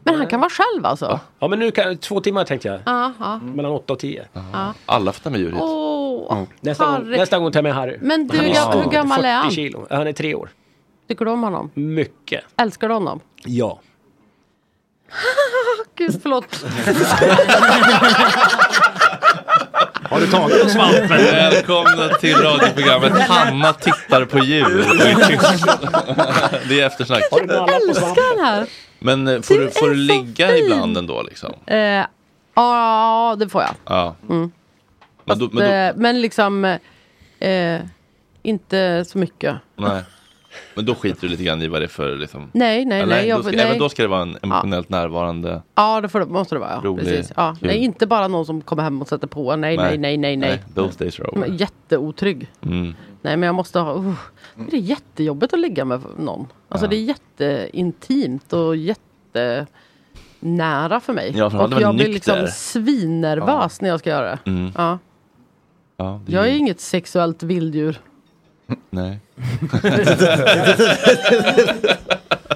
L: men han kan vara själv alltså?
C: Ja, men nu kan, två timmar tänkte jag.
L: Ja, ja.
C: Mellan 8 och 10.
L: ja.
A: Alla får ta med djur hit. Mm.
L: Åh,
C: Nästa, gång,
L: Harry.
C: nästa gång tar jag med Harry.
L: Men du,
C: Han
L: hur
C: är
L: gam- hur
C: stor,
L: gammal är han?
C: 40 kilo. Han är tre år.
L: Tycker du om honom?
C: Mycket.
L: Älskar du honom?
C: Ja.
L: Gud, förlåt.
C: Har du tagit svampen?
A: Välkomna till radioprogrammet Hanna tittar på djur. Det är eftersnack.
L: Älskar den här!
A: Men eh, får du, får du ligga ibland ändå liksom?
L: Eh, Ja, det får jag.
A: Ja.
L: Mm.
A: Men då, men då,
L: Eh, Men liksom, eh, inte så mycket.
A: nej. Men då skiter du lite grann i vad det är för liksom.
L: Nej, nej,
A: Ja,
L: nej, jag-
A: då ska,
L: nej.
A: Även då ska det vara en emotionellt närvarande.
L: Ja, det får, det måste det vara. Ja.
A: Rolig,
L: Precis. Ja.
A: kul.
L: Nej, inte bara någon som kommer hem och sätter på. Nej, nej, nej, nej. nej.
A: Those days are
L: Men
A: over.
L: Jätteotrygg.
A: Mm.
L: Nej, men jag måste ha... Uh, det är jättejobbigt att ligga med någon. Alltså det är jätteintimt och jättenära för mig.
A: Ja, för han
L: och
A: hade
L: jag
A: väl
L: blir
A: nykter?
L: liksom svinnervös när jag ska göra det.
A: Mm.
L: Ja.
A: Ja, det
L: Jag är inget sexuellt vilddjur.
C: [laughs]
A: Nej.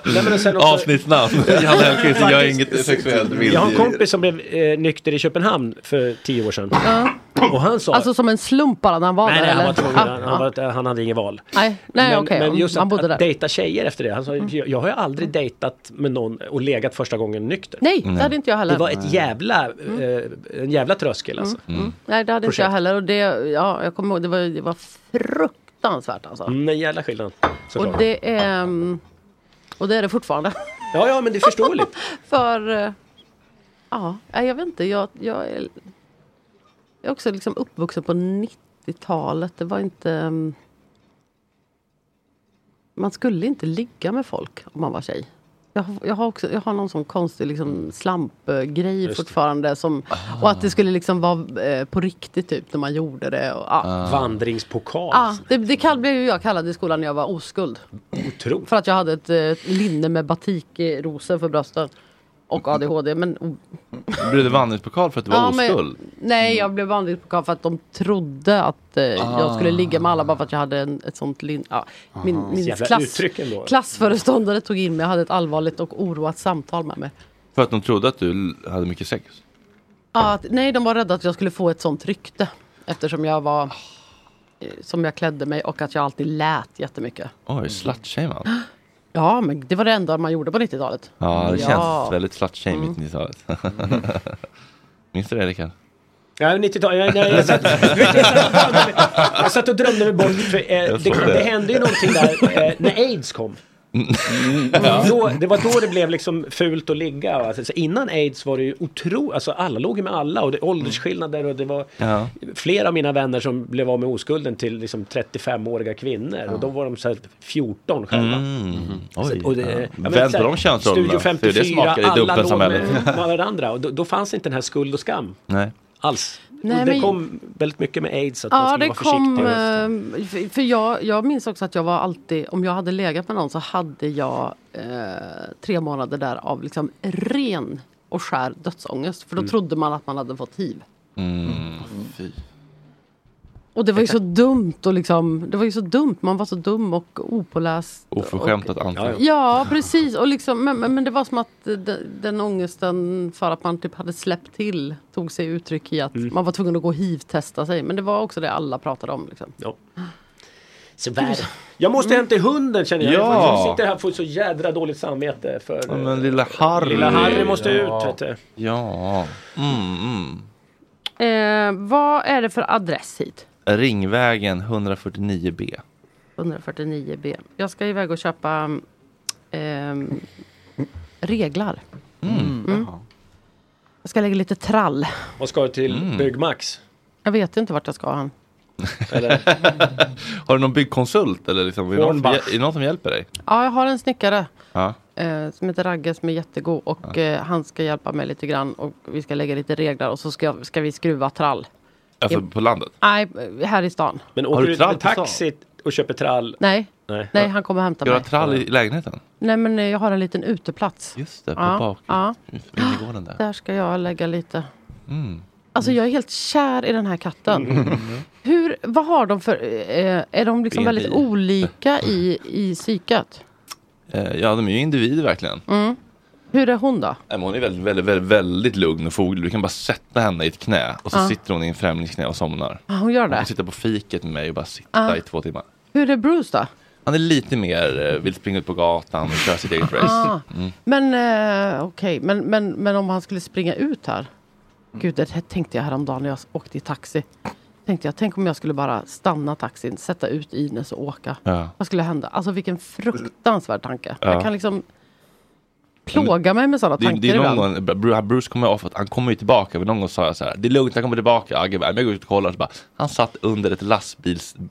C: Nej, men och sen också-
A: Avsnittsnamn. Janne Hellquist, jag är inget sexuellt vilddjur.
C: Jag har en kompis som blev eh, nykter i Köpenhamn för tio år sedan.
L: Ja.
C: Och han sa...
L: Alltså som en slump bara när han var
C: nej,
L: där?
C: nej, han var
L: eller?
C: tvungen.
L: Ja,
C: han,
L: ja.
C: han, var, han hade inget val.
L: Nej, nej
C: men,
L: okej.
C: men just
L: han
C: att,
L: bodde
C: att
L: där. Mm.
C: dejta tjejer efter det. Han sa, jag, jag har ju aldrig dejtat med någon och legat första gången nykter.
L: Nej, det hade inte jag heller. Mm.
C: Det var ett
L: Nej.
C: jävla, eh, en jävla tröskel alltså.
L: Nej, det hade inte jag
C: projekt.
L: heller. Och det, ja, jag kommer ihåg, det var, det var fruktansvärt alltså.
C: Mm, en jävla skillnad. såklart.
L: Och det är... mm, Och det är det fortfarande.
C: Ja, ja, men det är förståeligt.
L: För... eh, Ja, nej, jag vet inte. Jag, jag, är, jag är också liksom uppvuxen på 90-talet. Det var inte... mm, Man skulle inte ligga med folk om man var tjej. Jag, har- jag, har, också, jag har någon sån konstig liksom slampgrej
C: Just det. Ah.
L: fortfarande. Som, och att det skulle liksom vara eh, på riktigt typ när man gjorde det. Och, [laughs] ja.
C: Ah. Vandringspokal.
L: Ja, det, det kall, blev ju jag kallad i skolan när jag var oskuld.
C: Otroligt.
L: För att jag hade ett eh, linne med batikrosor för brösten. Och ADHD. Men,
A: Blev du vandringspokal för att du var
L: Ja, men-
A: oskuld?
L: nej, jag blev vandringspokal för att de trodde att eh, jag
A: Ah.
L: skulle ligga med alla bara för att jag hade en, ett sånt linne. Ja, min
A: Aha.
L: min
A: Jävla
L: klass,
A: uttryck ändå.
L: klassföreståndare tog in mig och hade ett allvarligt och oroat samtal med mig.
A: För att de trodde att du l- hade mycket sex?
L: Ja, Att, nej, de var rädda att jag skulle få ett sånt rykte. Eftersom jag var eh, som jag klädde mig och att jag alltid lät jättemycket.
A: Oj, slutshamead.
L: Mm. Ja, men det var det enda man gjorde på 90-talet.
A: Ja, det
L: Ja.
A: känns väldigt slutshameigt mm.
L: [laughs]
A: 90-talet. Minns du det Rickard?
C: Ja, 90-talet. Jag,
L: [laughs]
C: jag,
A: [laughs]
C: jag, satt, jag, [laughs] satt, jag satt och drömde mig bort. För, eh,
A: Jag såg
C: det,
A: det.
C: det hände ju någonting där eh, när aids kom.
A: Mm. Ja.
C: Då, det var då det blev liksom fult att ligga. Alltså, så innan aids var det ju otroligt, alltså alla låg ju med alla och det åldersskillnader och det var
A: Ja.
C: flera av mina vänner som blev av med oskulden till liksom 35-åriga kvinnor och då var de så här 14 själva.
A: Mm. Oj.
C: Så- och det-
A: Ja.
C: ja, men
A: Vänder
C: så här,
A: de könsrollerna?
C: Studio
A: För det
C: 54,
A: smakar lite
C: alla låg
A: dubbelsamhället.
C: [laughs] med med varandra och då, då fanns inte den här skuld och skam
A: Nej.
C: alls.
L: Nej,
C: det
L: men-
C: kom väldigt mycket med aids att man
L: Ja,
C: skulle
L: det
C: vara
L: kom...
C: försiktig.
L: eh, för- För jag, jag minns också att jag var alltid, om jag hade legat med någon så hade jag eh, tre månader där av liksom ren och skär dödsångest. För då
A: Mm.
L: trodde man att man hade fått hiv.
A: Mm. Fy.
L: Och det var ju så dumt och liksom, det var ju så dumt. Man var så dum och opåläst.
A: Oförskämt att anta.
L: Ja, precis. Och liksom, men, men men det var som att de- den ångesten för att man typ hade släppt till tog sig uttryck i att
C: Mm.
L: man var tvungen att gå och hiv-testa sig. Men det var också det alla pratade om. Liksom.
C: Ja. Så värd. Mm. Jag måste hem till hunden känner jag.
A: Ja.
C: Jag sitter här och får så jädra dåligt samvete för... eh,
A: Ja, men lilla Harry.
C: Lilla Harry måste
A: Ja.
C: ut, vet du.
A: Ja. Mm, mm.
L: Eh, vad är det för adress hit?
A: Ringvägen 149B.
L: 149B. Jag ska iväg och köpa ehm, reglar. Mm. Jag ska lägga lite trall.
C: Och ska till
A: Mm.
C: Byggmax.
L: Jag vet inte vart jag ska än.
C: Eller?
A: [laughs] Har du någon byggkonsult? Eller liksom, är, det någon som,
C: Hornbach.
A: är det någon som hjälper dig?
L: Ja, jag har en snickare
A: Ja.
L: eh, som heter Ragge som är jättegod och eh, han ska hjälpa mig lite grann och vi ska lägga lite reglar och så ska, ska vi skruva trall.
A: Alltså
L: I-
A: på landet?
L: Nej, eh, här i stan.
C: Men
A: Har
C: åker
A: du
C: du ut med
A: trall på stan?
C: taxi och köper trall?
L: Nej,
C: Nej.
L: nej, han kommer
A: Ska
L: hämta
A: du ha
L: mig.
A: trall i lägenheten?
L: Nej, men eh, jag har en liten uteplats.
A: Just det, på
L: ja,
A: bak-
L: Ja.
A: Innergården där.
L: Där ska jag lägga lite.
A: Mm.
L: Alltså jag är helt kär i den här katten. Hur, vad har de för, eh, är de liksom
A: Baby.
L: väldigt olika i, i psyket?
A: Eh, Ja, de är ju individer verkligen.
L: Mm. Hur är hon då?
A: Nej, men Hon är väldigt, väldigt, väldigt, väldigt lugn och foglig. Du kan bara sätta henne i ett knä och så
L: Ja.
A: sitter hon i en främlings knä och somnar.
L: Ah, hon gör
A: Hon
L: det?
A: kan sitta på fiket med mig och bara sitta
L: Ja.
A: i två timmar.
L: Hur är Bruce då?
A: Han är lite mer, eh, vill springa ut på gatan och köra sitt eget
L: Ah.
A: race. Mm.
L: Men eh, okej, men, men, men om han skulle springa ut här? Gud, det här tänkte jag häromdagen när jag åkte i taxi. Tänkte jag, tänk om jag skulle bara stanna taxin, sätta ut Ines och åka.
A: Ja.
L: Vad skulle hända? Alltså vilken fruktansvärd tanke.
A: Ja.
L: Jag kan liksom plåga mig med sådana
A: Det,
L: tankar
A: det är någon
L: ibland.
A: gång, Bru- Bruce kommer av att han kommer ju tillbaka, men någon gång sa jag så här, det är lugnt, han kommer tillbaka. Ja, gud, men jag går ut och kollar, så bara, han satt under ett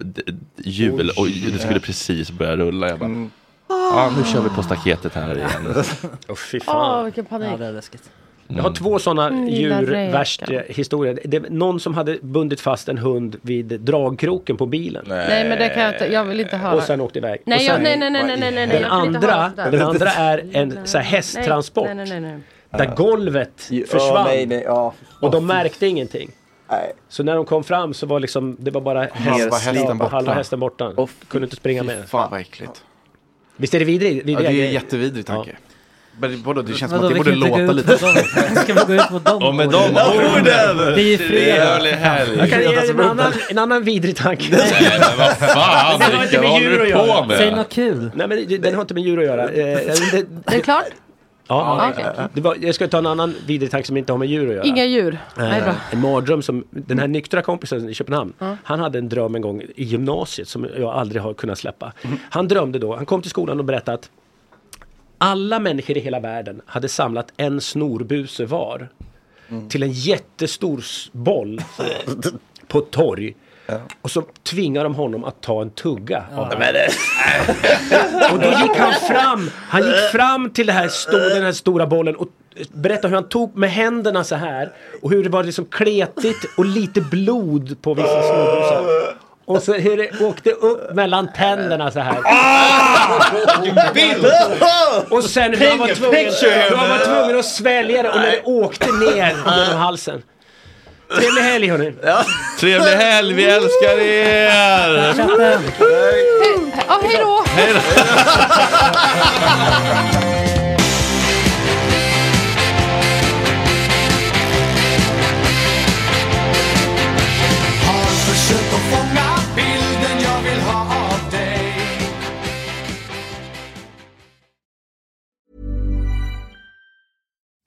A: lastbilshjul och det skulle precis börja rulla. Jag bara, ja, nu kör vi på staketet här igen.
C: Åh fy
L: Åh,
C: fan.
L: vilken panik.
S: Ja, det är läskigt.
C: Jag har två sådana
L: Mm, lilla räkan.
C: djurvärst-historier. Det är någon som hade bundit fast en hund vid dragkroken på bilen.
L: Nej, men det kan jag inte. Jag vill inte höra.
C: Eh, Och sen åkte iväg.
L: Nej,
C: och sen,
L: jag- nej, nej, nej, nej, nej, nej,
C: Den
L: jag vill inte höra
C: andra,
L: sånt där.
C: den andra är en så här, hästtransport.
L: Nej, nej, nej, nej.
C: Där golvet försvann.
T: nej, nej, ja.
C: Och de märkte ingenting. Så när de kom fram så var liksom, det var bara häst,
T: hästen
C: slip,
T: borta.
C: halva hästen borta. Kunde inte springa med.
D: Fan vad äckligt.
C: Visst är det vidrig,
D: Ja,
C: vidriga
D: det är en
C: grejer?
D: jättevidrig tanke. Men Vadå, det känns som
S: Vadå,
D: att
S: vi
D: det borde
S: kan inte gå
D: låta
S: ut på
D: lite.
S: dem? Ska vi gå ut på dem?
A: Och med de orden!
S: Det är ju fredag.
A: Trevlig helg!
C: Jag kan ge
D: alltså,
C: er en annan, [laughs] en annan vidrig tanke.
A: Nej men vad
C: [laughs]
A: fan,
C: Det har inte
A: Rickard,
C: med
A: vad håller
C: djur att
A: du på
C: göra.
A: med?
S: något kul.
C: Nej men det- den har inte med djur att göra.
A: [laughs]
C: Eh, det,
L: Är det klart?
C: ja,
L: okej.
C: det var, jag ska ta en annan vidrig tanke som inte har med djur att göra.
L: Inga djur? Nej, bra.
C: Eh, En mardröm som den här nyktra kompisen i Köpenhamn. Han hade en dröm en gång i gymnasiet som jag aldrig har kunnat släppa. Han drömde då, han kom till skolan och berättade att alla människor i hela världen hade samlat en snorbuse var till en jättestor s- boll på ett torg. Och så tvingar de honom att ta en tugga av den. Och då gick han fram, han gick fram till det här sto, den här stora bollen och berättade hur han tog med händerna så här och hur det var liksom kletigt och lite blod på vissa snorbusar. Och så hur det åkte upp mellan tänderna så här. Och sen hur han var
M: Picture,
C: tvungen,
M: picture.
C: hur han var tvungen att svälja det och när det åkte ner genom halsen. Trevlig helg hörni!
A: Trevlig helg, vi älskar er!
L: Ja, hej då!
A: Hej då!
M: Har försökt att fånga bilden jag vill ha av dig
U: [laughs]